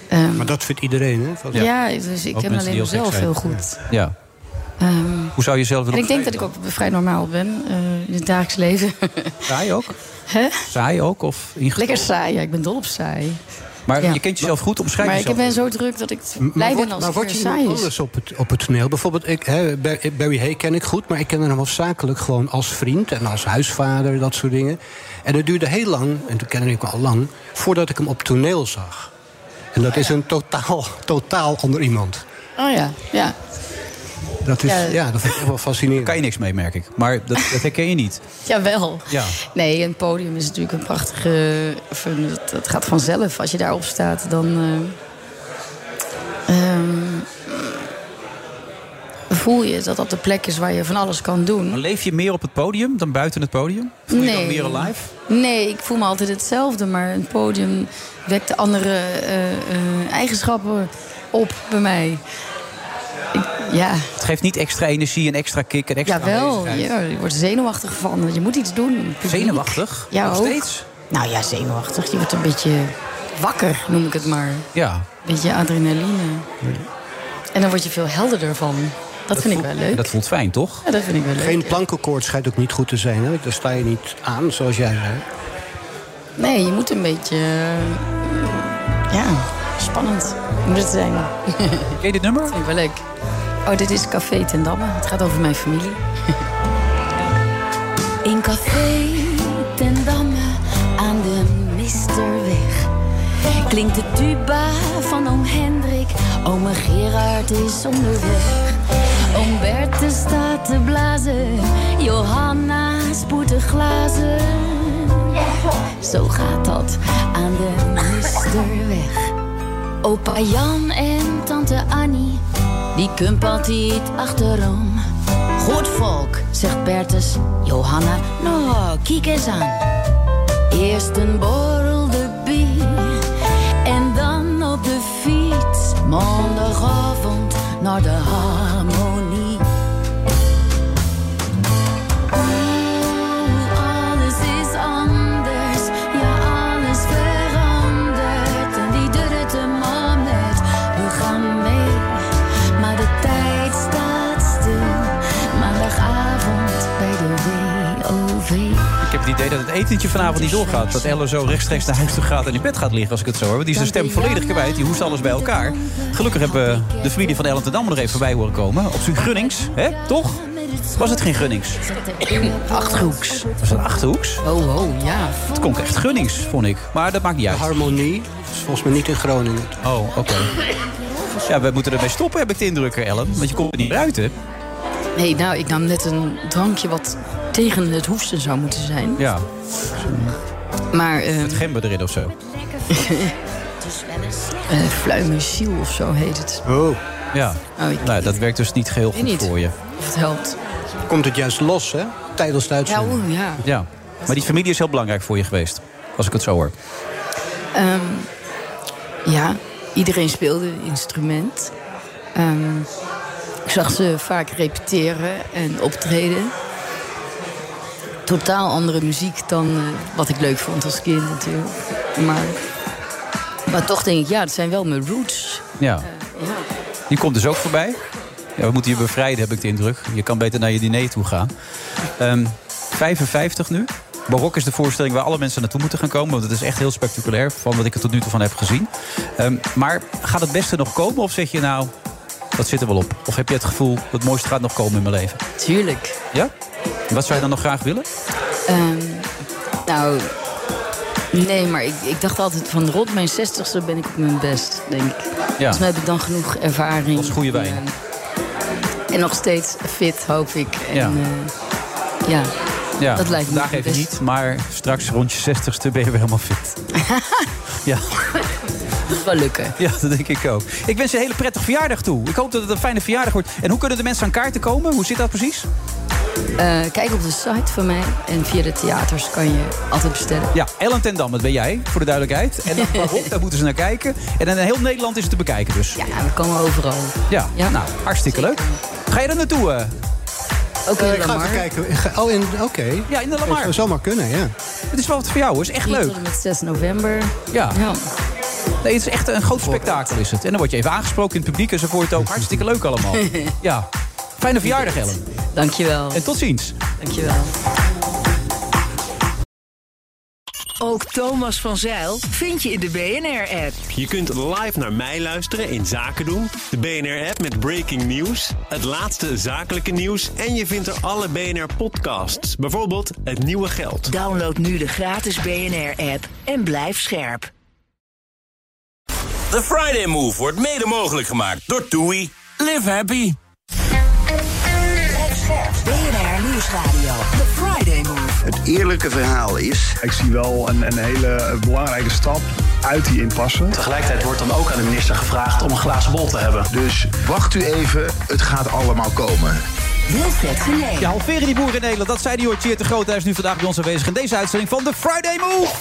Speaker 8: Ehm,
Speaker 6: Maar dat vindt iedereen, hè? Volgens-
Speaker 8: Ja, dus ik
Speaker 5: Ook mensen
Speaker 8: ken alleen
Speaker 5: die heel gek
Speaker 8: mezelf
Speaker 5: zijn.
Speaker 8: heel goed.
Speaker 5: Ja.
Speaker 8: Ehm,
Speaker 5: Hoe zou je jezelf
Speaker 8: en
Speaker 5: willen
Speaker 8: ik denk dat ik ook vrij normaal ben eh, in het dagelijks leven. [LAUGHS]
Speaker 5: Saai ook?
Speaker 8: Hè?
Speaker 5: Saai ook? Of inge-
Speaker 8: Lekker saai, ja, ik ben dol op saai.
Speaker 5: Maar je kent jezelf goed, omschrijf
Speaker 8: Maar ik
Speaker 5: jezelf.
Speaker 8: ben zo druk dat ik blij ben als
Speaker 6: maar
Speaker 8: het
Speaker 6: word
Speaker 8: weer
Speaker 6: je
Speaker 8: saai
Speaker 6: iemand
Speaker 8: is.
Speaker 6: anders op het, op het toneel? Bijvoorbeeld, ik, hè, Bar- Barry Hay ken ik goed, maar ik kende hem afzakelijk gewoon als vriend en als huisvader, dat soort dingen. En het duurde heel lang, en toen kende ik hem al lang, voordat ik hem op toneel zag. En
Speaker 8: Ah,
Speaker 6: dat is een totaal, totaal ander iemand.
Speaker 8: Oh ja, ja.
Speaker 6: Dat is,
Speaker 8: Ja.
Speaker 6: ja, dat vind ik echt wel fascinerend.
Speaker 5: Daar kan je niks mee, merk ik. Maar dat, dat herken je niet.
Speaker 8: Jawel.
Speaker 5: Ja.
Speaker 8: Nee, een podium is natuurlijk een prachtige. of een- Het het gaat vanzelf. Als je daarop staat, dan. eh, ehm, voel je dat dat de plek is waar je van alles kan doen.
Speaker 5: Maar leef je meer op het podium dan buiten het podium? Voel je dan meer alive?
Speaker 8: Nee, ik voel me altijd hetzelfde. Maar een podium wekt andere eh, eh, eigenschappen op bij mij. Ik- ja.
Speaker 5: Het geeft niet extra energie en extra kick en extra
Speaker 8: Jawel,
Speaker 5: aanwezigheid.
Speaker 8: ja, je wordt zenuwachtig van. Je moet iets doen. Publiek.
Speaker 5: Zenuwachtig?
Speaker 8: Ja,
Speaker 5: Nog
Speaker 8: ook.
Speaker 5: steeds?
Speaker 8: Nou ja, zenuwachtig. Je wordt een beetje wakker, noem ik het maar. Een
Speaker 5: Ja.
Speaker 8: beetje adrenaline. En dan word je veel helderder van. Dat, vind ik wel leuk.
Speaker 5: Dat voelt fijn, toch?
Speaker 8: Ja, dat vind ik wel leuk.
Speaker 6: Geen plankenkoord schijnt ook niet goed te zijn, hè? Daar sta je niet aan, zoals jij zei.
Speaker 8: Nee, je moet een beetje... eh, Ja, spannend moet het zijn.
Speaker 5: [LAUGHS]
Speaker 8: Ken
Speaker 5: je dit nummer?
Speaker 8: Dat vind ik wel leuk. Oh, dit is Café ten Damme. Het gaat over mijn familie.
Speaker 11: In café ten Damme aan de Misterweg klinkt de tuba van oom Hendrik. Oom Gerard is onderweg. Oom Berthe staat te blazen. Johanna spoedt de glazen. Zo gaat dat aan de Misterweg. Opa Jan en tante Annie, die kump altijd achterom. Goed volk, zegt Bertus. Johanna, nou, kijk eens aan. Eerst een borrel de bier en dan op de fiets. Maandagavond naar de harmonie. Oeh, alles is anders, ja alles verandert. En die durft hem om net, we gaan mee. Maar de tijd staat stil, maandagavond
Speaker 5: idee dat het etentje vanavond niet doorgaat. Dat Elle zo rechtstreeks naar huis toe gaat en in bed gaat liggen, als ik het zo hoor. Want die is de stem volledig kwijt, die hoest alles bij elkaar. Gelukkig hebben de vrienden van Elle ten Damme nog even voorbij horen komen. Op zijn Gunnings, hè? Toch? Was het geen Gunnings?
Speaker 8: Achthoeks.
Speaker 5: Was het Achthoeks?
Speaker 8: Oh, oh, ja.
Speaker 5: Het klonk echt Gunnings, vond ik. Maar dat maakt niet uit.
Speaker 6: harmonie is volgens mij niet in Groningen.
Speaker 5: Oh, oké. Ja, we moeten ermee stoppen, heb ik de indruk, Ellen. Want je komt er niet meer uit, hè?
Speaker 8: Nee, nou, ik nam net een drankje wat tegen het hoesten zou moeten zijn.
Speaker 5: Ja.
Speaker 8: Maar
Speaker 6: ehm,
Speaker 8: eh,
Speaker 5: Met gember erin of zo.
Speaker 11: Dus
Speaker 8: [LAUGHS] eh, fluimesiel of zo heet het.
Speaker 6: Oh.
Speaker 5: Ja.
Speaker 8: Oh, ik-
Speaker 5: Nou, dat werkt dus niet geheel
Speaker 8: Weet
Speaker 5: goed
Speaker 8: niet.
Speaker 5: voor je.
Speaker 8: Of het helpt.
Speaker 6: Komt het juist los, hè? Tijdens de
Speaker 8: Ja,
Speaker 6: uitzending.
Speaker 8: oeh, ja.
Speaker 5: Ja. Maar die familie is heel belangrijk voor je geweest. Als ik het zo hoor.
Speaker 8: Ehm, ja, iedereen speelde een instrument. Ehm, ik zag ze vaak repeteren en optreden. Totaal andere muziek dan eh, wat ik leuk vond als kind natuurlijk. Maar, maar toch denk ik, ja, dat zijn wel mijn roots.
Speaker 5: Ja.
Speaker 8: Eh, Ja.
Speaker 5: Die komt dus ook voorbij. Ja, we moeten je bevrijden, heb ik de indruk. Je kan beter naar je diner toe gaan. Ehm, 55 nu. Barok is de voorstelling waar alle mensen naartoe moeten gaan komen. Want het is echt heel spectaculair van wat ik er tot nu toe van heb gezien. Ehm, maar gaat het beste nog komen? Of zeg je nou, dat zit er wel op? Of heb je het gevoel, het mooiste gaat nog komen in mijn leven?
Speaker 8: Tuurlijk.
Speaker 5: Ja? Wat zou je dan nog graag willen?
Speaker 8: Ehm, nou, nee, maar ik, ik dacht altijd van rond mijn zestigste ben ik op mijn best, denk ik. Volgens mij heb ik dan genoeg ervaring.
Speaker 5: Dat is goede wijn.
Speaker 8: En, eh, en nog steeds fit, hoop ik. En,
Speaker 5: Ja.
Speaker 8: ja. ja.
Speaker 5: Ja,
Speaker 8: Dat lijkt me
Speaker 5: vandaag
Speaker 8: het
Speaker 5: even
Speaker 8: best.
Speaker 5: niet, maar straks rond je 60ste ben je weer helemaal fit.
Speaker 8: [LAUGHS]
Speaker 5: ja,
Speaker 8: Dat moet wel lukken.
Speaker 5: ja, dat denk ik ook. Ik wens je een hele prettige verjaardag toe. Ik hoop dat het een fijne verjaardag wordt. En hoe kunnen de mensen aan kaarten komen? Hoe zit dat precies?
Speaker 8: [LAUGHS] Eh, kijk op de site van mij en via de theaters kan je altijd bestellen.
Speaker 5: Ja, Ellen ten Dam, dat ben jij, voor de duidelijkheid.
Speaker 8: [LAUGHS]
Speaker 5: En dan waarop, daar moeten ze naar kijken. En in heel Nederland is het te bekijken dus.
Speaker 8: Ja, we komen overal.
Speaker 5: Ja,
Speaker 8: Ja.
Speaker 5: nou, hartstikke leuk. Ga je er naartoe? eh?
Speaker 8: Ook
Speaker 6: Eh,
Speaker 8: in
Speaker 6: ik ga
Speaker 8: Lamar.
Speaker 6: even kijken. Ik ga- Oh, in- oké.
Speaker 5: Ja, in de
Speaker 6: Dat zou
Speaker 5: Lamar.
Speaker 6: zomaar kunnen, ja.
Speaker 5: Het is wel wat voor jou, hoor. Het Nou, is echt
Speaker 8: 3
Speaker 5: leuk.
Speaker 8: tot en met 6 november.
Speaker 5: Ja.
Speaker 8: ja.
Speaker 5: Nee, het is echt een groot spektakel is het. En dan word je even aangesproken in het publiek enzovoort ook. Hartstikke leuk
Speaker 8: [LAUGHS]
Speaker 5: allemaal. Ja, fijne verjaardag Ellen.
Speaker 8: Dankjewel.
Speaker 5: En tot ziens.
Speaker 8: Dankjewel.
Speaker 1: Ook Thomas van Zeil vind je in de BNR-app.
Speaker 12: Je kunt live naar mij luisteren in Zaken doen. De BNR-app met breaking news, het laatste zakelijke nieuws. En je vindt er alle BNR-podcasts. Bijvoorbeeld Het Nieuwe Geld.
Speaker 1: Download nu de gratis BNR-app en blijf scherp.
Speaker 13: The Friday Move wordt mede mogelijk gemaakt door TUI. Live happy.
Speaker 1: BNR Nieuwsradio. The Friday Move.
Speaker 2: Het eerlijke verhaal is,
Speaker 14: Ik zie wel een, een hele belangrijke stap uit die impasse.
Speaker 15: Tegelijkertijd wordt dan ook aan de minister gevraagd om een glazen bol te hebben.
Speaker 2: dus wacht u even, het gaat allemaal komen.
Speaker 1: Wilfred Genee.
Speaker 5: Ja, halveren die boeren in Nederland. Dat zei die hoort Tjeerd de Groot. Hij is nu vandaag bij ons aanwezig in deze uitzending van The Friday Move.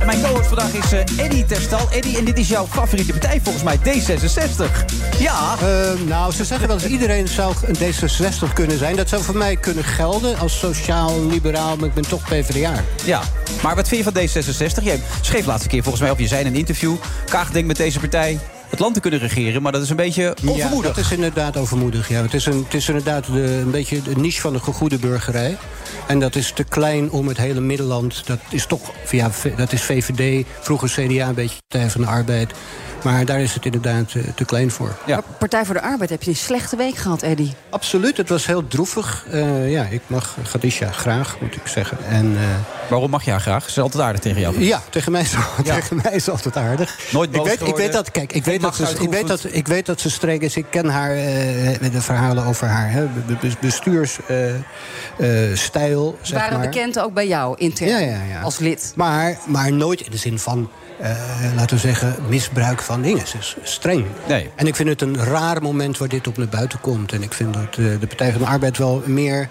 Speaker 5: En Mijn co-host vandaag is eh Eddy Terstal. Eddy, en dit is jouw favoriete partij volgens mij, D66. Ja,
Speaker 6: Ehm, nou, ze zeggen wel eens iedereen zou een D66 kunnen zijn. Dat zou voor mij kunnen gelden als sociaal-liberaal, maar ik ben toch PvdA.
Speaker 5: Ja, maar wat vind je van D66? Jij schreef laatste keer volgens mij op je zijn een interview. Kaag denkt met deze partij het land te kunnen regeren, maar dat is een beetje
Speaker 6: Ja,
Speaker 5: onvermoedig.
Speaker 6: dat is inderdaad overmoedig. Ja. Het, is een, het is inderdaad de, een beetje de niche van de gegoede burgerij. En dat is te klein om het hele middenland. Dat is toch, ja, v- dat is VVD, vroeger CDA, een beetje Partij van de Arbeid. Maar daar is het inderdaad eh, te klein voor.
Speaker 5: Ja.
Speaker 16: Partij voor de Arbeid heb je een slechte week gehad, Eddy.
Speaker 6: Absoluut, het was heel droevig. Eh, ja, ik mag Gadisha graag, moet ik zeggen. En, eh,
Speaker 5: Waarom mag jij haar graag? Ze is altijd aardig tegen jou.
Speaker 6: ja, tegen mij, is,
Speaker 5: Ja.
Speaker 6: tegen mij is altijd aardig.
Speaker 5: Nooit boos
Speaker 6: ik weet, ik
Speaker 5: geworden.
Speaker 6: weet dat, kijk, ik
Speaker 5: Geen
Speaker 6: weet dat,
Speaker 5: macht
Speaker 6: ze, ik, weet dat, ik weet dat ze streng is. Ik ken haar, eh, met de verhalen over haar hè, bestuursstijl.
Speaker 16: Ze waren
Speaker 6: eh, maar.
Speaker 16: bekend ook bij jou intern
Speaker 6: Ja, ja, ja.
Speaker 16: als lid.
Speaker 6: Maar, maar nooit in de zin van, eh, laten we zeggen, misbruik van dingen. Ze is streng.
Speaker 5: Nee.
Speaker 6: En ik vind het een raar moment waar dit op naar buiten komt. En ik vind dat eh, de Partij van de Arbeid wel meer,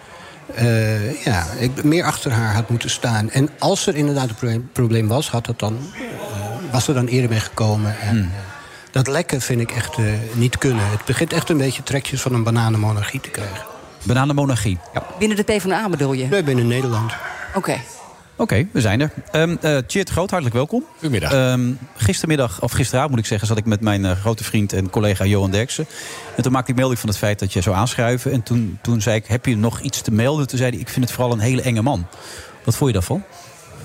Speaker 6: eh, ja, ik, meer achter haar had moeten staan. En als er inderdaad een proble- probleem was, had dat dan, eh, was er dan eerder mee gekomen. En,
Speaker 5: Hmm.
Speaker 6: eh, dat lekken vind ik echt eh, niet kunnen. Het begint echt een beetje trekjes van een bananenmonarchie te krijgen.
Speaker 5: Bananenmonarchie. Ja.
Speaker 16: Binnen de PvdA bedoel je?
Speaker 6: Wij binnen Nederland.
Speaker 16: Oké.
Speaker 5: Oké, we zijn er. Ehm eh, Tjeerd Groot, hartelijk welkom. Goedemiddag. gistermiddag, of gisteravond moet ik zeggen, zat ik met mijn eh, grote vriend en collega Johan Derksen. En toen maakte ik melding van het feit dat jij zou aanschuiven. En toen, toen zei ik, heb je nog iets te melden? Toen zei hij, ik vind het vooral een hele enge man. Wat vond je daarvan?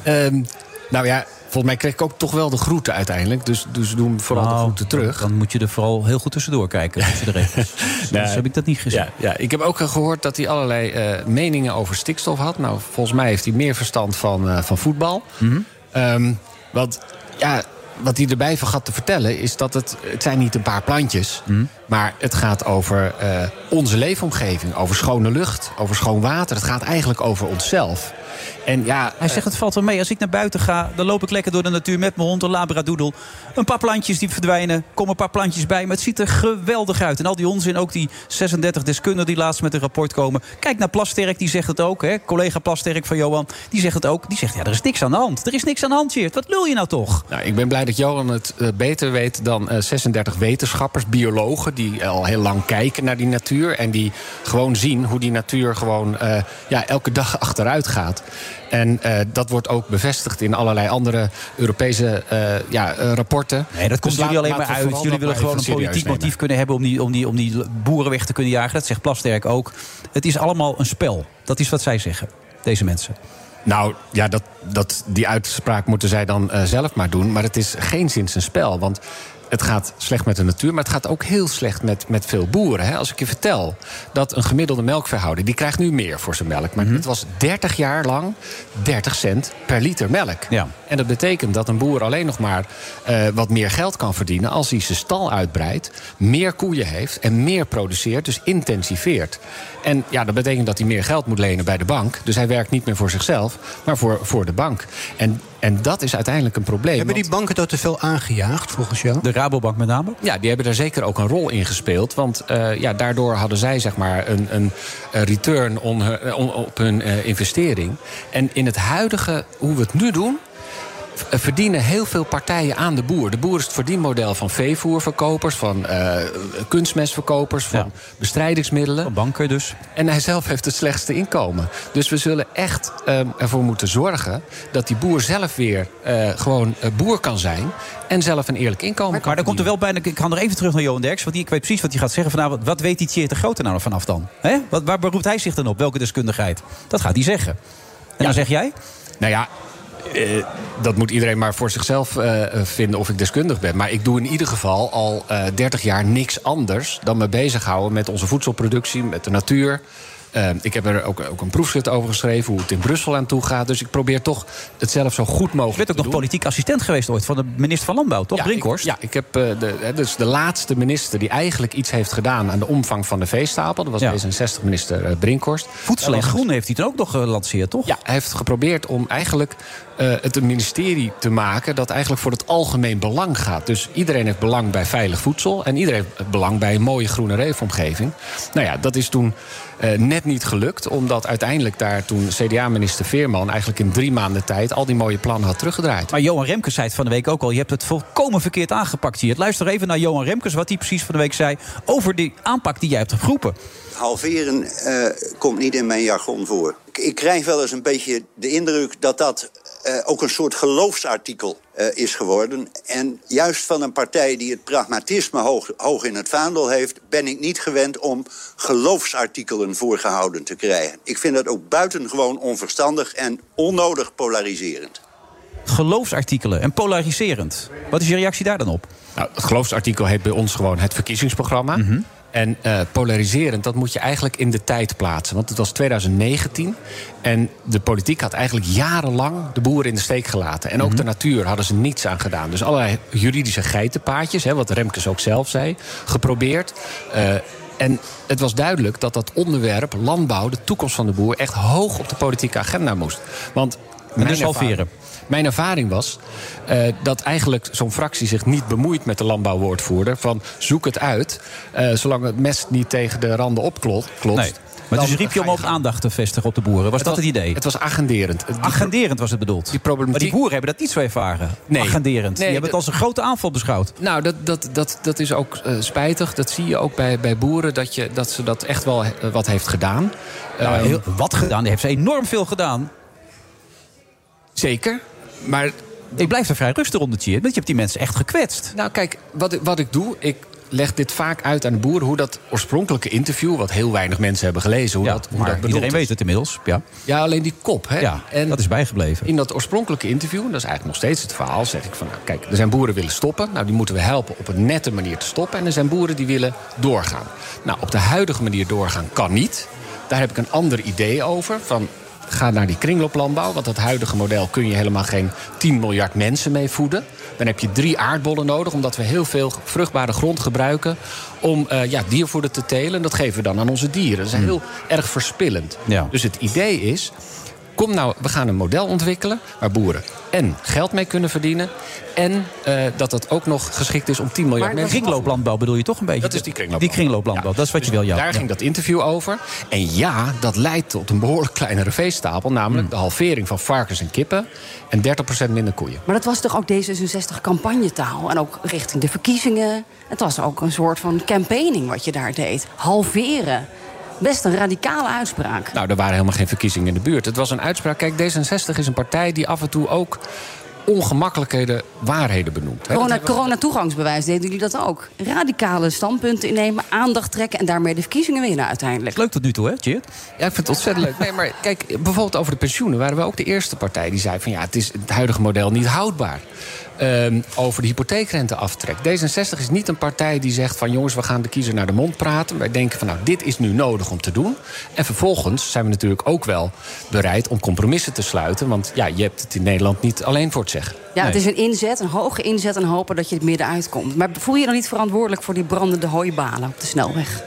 Speaker 17: Ehm, nou ja, volgens mij kreeg ik ook toch wel de groeten uiteindelijk. Dus, dus doe hem vooral de
Speaker 5: Nou,
Speaker 17: groeten terug.
Speaker 5: Dan moet je er vooral heel goed tussendoor kijken. Tussen de
Speaker 17: [LAUGHS]
Speaker 5: regels. Anders heb ik dat niet gezien.
Speaker 17: Ja, ja, ik heb ook eh, gehoord dat hij allerlei eh, meningen over stikstof had. Nou, volgens mij heeft hij meer verstand van, eh, van voetbal.
Speaker 5: Mhm.
Speaker 17: Ehm, want ja, wat hij erbij vergat te vertellen is dat het, het zijn niet een paar plantjes.
Speaker 5: Mhm.
Speaker 17: Maar het gaat over eh, onze leefomgeving. Over schone lucht, over schoon water. Het gaat eigenlijk over onszelf. En ja,
Speaker 5: Hij zegt, het valt wel mee. Als ik naar buiten ga, dan loop ik lekker door de natuur met mijn hond, een labradoodle. Een paar plantjes die verdwijnen, komen een paar plantjes bij. Maar het ziet er geweldig uit. En al die onzin, ook die 36 deskundigen die laatst met een rapport komen. Kijk naar Plasterk, die zegt het ook. Hè? Collega Plasterk van Johan, die zegt het ook. Die zegt, ja, er is niks aan de hand. Er is niks aan de hand, Geert. Wat lul je nou toch?
Speaker 17: Nou, ik ben blij dat Johan het eh, beter weet dan eh, 36 wetenschappers, biologen... die al heel lang kijken naar die natuur... en die gewoon zien hoe die natuur gewoon eh, ja, elke dag [LAUGHS] achteruit gaat. En eh, dat wordt ook bevestigd in allerlei andere Europese eh, ja, eh, rapporten.
Speaker 5: Nee, dat komt
Speaker 17: Dus
Speaker 5: jullie
Speaker 17: laat-
Speaker 5: alleen maar
Speaker 17: laten we
Speaker 5: uit.
Speaker 17: vooral
Speaker 5: Jullie
Speaker 17: dat
Speaker 5: willen
Speaker 17: maar
Speaker 5: gewoon een
Speaker 17: even serieus
Speaker 5: politiek
Speaker 17: nemen.
Speaker 5: motief kunnen hebben om die, om, die, om die boeren weg te kunnen jagen. Dat zegt Plasterk ook. Het is allemaal een spel. Dat is wat zij zeggen, deze mensen.
Speaker 17: Nou ja, dat, dat, die uitspraak moeten zij dan eh, zelf maar doen. Maar het is geen zins een spel. Want het gaat slecht met de natuur, maar het gaat ook heel slecht met, met veel boeren. Hè. Als ik je vertel dat een gemiddelde melkverhouder... die krijgt nu meer voor zijn melk.
Speaker 5: Mhm.
Speaker 17: Maar het was 30 jaar lang 30 cent per liter melk. En dat betekent dat een boer alleen nog maar eh, wat meer geld kan verdienen... als hij zijn stal uitbreidt, meer koeien heeft en meer produceert. Dus intensiveert. En ja, dat betekent dat hij meer geld moet lenen bij de bank. Dus hij werkt niet meer voor zichzelf, maar voor, voor de bank. En, en dat is uiteindelijk een probleem.
Speaker 6: Hebben die banken dat te veel aangejaagd, volgens jou?
Speaker 5: De Rabobank met name?
Speaker 17: Ja, die hebben daar zeker ook een rol in gespeeld. Want eh, ja, daardoor hadden zij zeg maar, een, een eh, return on hun- eh, on- op hun eh, investering. En in het huidige, hoe we het nu doen... v- eh, verdienen heel veel partijen aan de boer. De boer is het verdienmodel van veevoerverkopers... van eh, kunstmestverkopers, van bestrijdingsmiddelen. Van
Speaker 5: banken dus.
Speaker 17: En hij zelf heeft het slechtste inkomen. Dus we zullen echt eh, ervoor moeten zorgen... dat die boer zelf weer eh, gewoon eh, boer kan zijn... en zelf een eerlijk inkomen kan
Speaker 5: Maar dan komt er wel bijna. Ik ga nog even terug naar Johan Derks. Want die, ik weet precies wat hij gaat zeggen vanavond. Wat weet die Tjeerd de Grote nou vanaf dan? Hè? Wat, waar beroept hij zich dan op? Welke deskundigheid? Dat gaat hij zeggen. En dan zeg jij?
Speaker 17: Nou ja, eh, dat moet iedereen maar voor zichzelf eh, vinden of ik deskundig ben. Maar ik doe in ieder geval al eh 30 jaar niks anders dan me bezighouden met onze voedselproductie, met de natuur. Eh, ik heb er ook, ook een proefschrift over geschreven hoe het in Brussel aan toe gaat. Dus ik probeer toch het zelf zo goed mogelijk. Je bent ook nog
Speaker 5: politiek assistent geweest ooit van de minister van Landbouw, toch?
Speaker 17: Ja, Brinkhorst? ja, ik heb eh, de, hè, dus de laatste minister die eigenlijk iets heeft gedaan aan de omvang van de veestapel. Dat was D66-minister Brinkhorst.
Speaker 5: Voedsel en Groen heeft hij toen ook nog gelanceerd, toch?
Speaker 17: Ja, hij heeft geprobeerd om eigenlijk eh, het een ministerie te maken dat eigenlijk voor het algemeen belang gaat. Dus iedereen heeft belang bij veilig voedsel en iedereen heeft belang bij een mooie groene reefomgeving. Nou ja, dat is toen eh, net niet gelukt, omdat uiteindelijk daar toen CDA-minister Veerman eigenlijk in drie maanden tijd al die mooie plannen had teruggedraaid.
Speaker 5: Maar Johan Remkes zei het van de week ook al. Je hebt het volkomen verkeerd aangepakt hier. Luister even naar Johan Remkes, wat hij precies van de week zei. Over die aanpak die jij hebt geroepen.
Speaker 18: Halveren eh, komt niet in mijn jargon voor. Ik, ik krijg wel eens een beetje de indruk dat dat eh, ook een soort geloofsartikel eh, is geworden. En juist van een partij die het pragmatisme hoog, hoog in het vaandel heeft, ben ik niet gewend om geloofsartikelen voorgehouden te krijgen. Ik vind dat ook buitengewoon onverstandig en onnodig polariserend.
Speaker 5: Geloofsartikelen en polariserend. Wat is je reactie daar dan op? Mhm.
Speaker 17: Nou, het geloofsartikel heet bij ons gewoon het verkiezingsprogramma. En eh, polariserend, dat moet je eigenlijk in de tijd plaatsen. Want het was 2019 en de politiek had eigenlijk jarenlang de boeren in de steek gelaten.
Speaker 5: Mhm.
Speaker 17: En ook de natuur hadden ze niets aan gedaan. Dus allerlei juridische geitenpaadjes, hè, wat Remkes ook zelf zei, geprobeerd. Eh, en het was duidelijk dat dat onderwerp, landbouw, de toekomst van de boer... echt hoog op de politieke agenda moest. Want mijn
Speaker 5: dus
Speaker 17: ervaring-
Speaker 5: halveren.
Speaker 17: mijn ervaring was eh, dat eigenlijk zo'n fractie zich niet bemoeit met de landbouwwoordvoerder. Van zoek het uit, eh, zolang het mest niet tegen de randen opklotst.
Speaker 5: Nee. Maar dus riep je om ook aandacht te vestigen op de boeren. Was dat het idee?
Speaker 17: Het was agenderend.
Speaker 5: Agenderend was het bedoeld. Maar die boeren hebben dat niet zo ervaren.
Speaker 17: Nee.
Speaker 5: Agenderend.
Speaker 17: Nee,
Speaker 5: die hebben het
Speaker 17: dat-
Speaker 5: als een grote aanval beschouwd.
Speaker 17: Nou, dat, dat, dat, dat is ook eh, spijtig. Dat zie je ook bij, bij boeren, dat, je, dat ze dat echt wel eh, wat heeft gedaan. Ehm,
Speaker 5: Nou, heel- wat gedaan? Die heeft ze enorm veel gedaan.
Speaker 17: Zeker. Maar
Speaker 5: ik blijf er vrij rustig onder, Tjeerd. Want je hebt die mensen echt gekwetst.
Speaker 17: Nou, kijk, wat, ik- wat ik doe, ik leg dit vaak uit aan de boer... hoe dat oorspronkelijke interview, wat heel weinig mensen hebben gelezen... hoe dat, hoe
Speaker 5: Maar
Speaker 17: dat bedoeld
Speaker 5: iedereen
Speaker 17: is.
Speaker 5: weet het inmiddels. Ja.
Speaker 17: Ja, alleen die kop. Hè?
Speaker 5: Ja, dat is bijgebleven.
Speaker 17: In dat oorspronkelijke interview, en dat is eigenlijk nog steeds het verhaal, zeg ik van: nou, kijk, er zijn boeren willen stoppen. Nou, die moeten we helpen op een nette manier te stoppen. En er zijn boeren die willen doorgaan. Nou, op de huidige manier doorgaan kan niet. Daar heb ik een ander idee over. Van, ga naar die kringlooplandbouw. Want dat huidige model kun je helemaal geen 10 miljard mensen mee voeden. Dan heb je drie aardbollen nodig, omdat we heel veel vruchtbare grond gebruiken om eh, ja, diervoeder te telen. Dat geven we dan aan onze dieren. Dat is heel erg verspillend.
Speaker 5: Ja.
Speaker 17: Dus het idee is, kom nou, we gaan een model ontwikkelen waar boeren en geld mee kunnen verdienen. En eh, dat dat ook nog geschikt is om 10 miljard
Speaker 5: Maar
Speaker 17: mensen.
Speaker 5: kringlooplandbouw bedoel je toch een beetje?
Speaker 17: Dat is die kringlooplandbouw.
Speaker 5: Die kringlooplandbouw, dat is wat je wil, ja.
Speaker 17: Daar
Speaker 5: Ja.
Speaker 17: ging dat interview over. En ja, dat leidt tot een behoorlijk kleinere veestapel.
Speaker 5: Mm.
Speaker 17: Namelijk de halvering van varkens en kippen. En 30% minder koeien.
Speaker 19: Maar dat was toch ook D66-campagnetaal? En ook richting de verkiezingen. Het was ook een soort van campaigning wat je daar deed. Halveren. Best een radicale uitspraak.
Speaker 17: Nou, er waren helemaal geen verkiezingen in de buurt. Het was een uitspraak. Kijk, D66 is een partij die af en toe ook ongemakkelijkheden waarheden benoemt. hè.
Speaker 19: Corona,
Speaker 17: Dat hebben we-
Speaker 19: corona-toegangsbewijs deden jullie dat ook. Radicale standpunten innemen, aandacht trekken... en daarmee de verkiezingen winnen uiteindelijk.
Speaker 5: Leuk tot nu toe, hè, Tjeerd?
Speaker 17: Ja, ik vind het ontzettend leuk. Nee, maar kijk, bijvoorbeeld over de pensioenen waren we ook de eerste partij die zei van ja, het is het huidige model niet houdbaar. Ehm, over de hypotheekrenteaftrek. D66 is niet een partij die zegt van jongens, we gaan de kiezer naar de mond praten. Wij denken van nou, dit is nu nodig om te doen. En vervolgens zijn we natuurlijk ook wel bereid om compromissen te sluiten. Want ja, je hebt het in Nederland niet alleen voor het zeggen.
Speaker 19: Ja, het is een inzet, een hoge inzet... en hopen dat je het midden uitkomt. Maar voel je je dan niet verantwoordelijk voor die brandende hooibalen op de snelweg?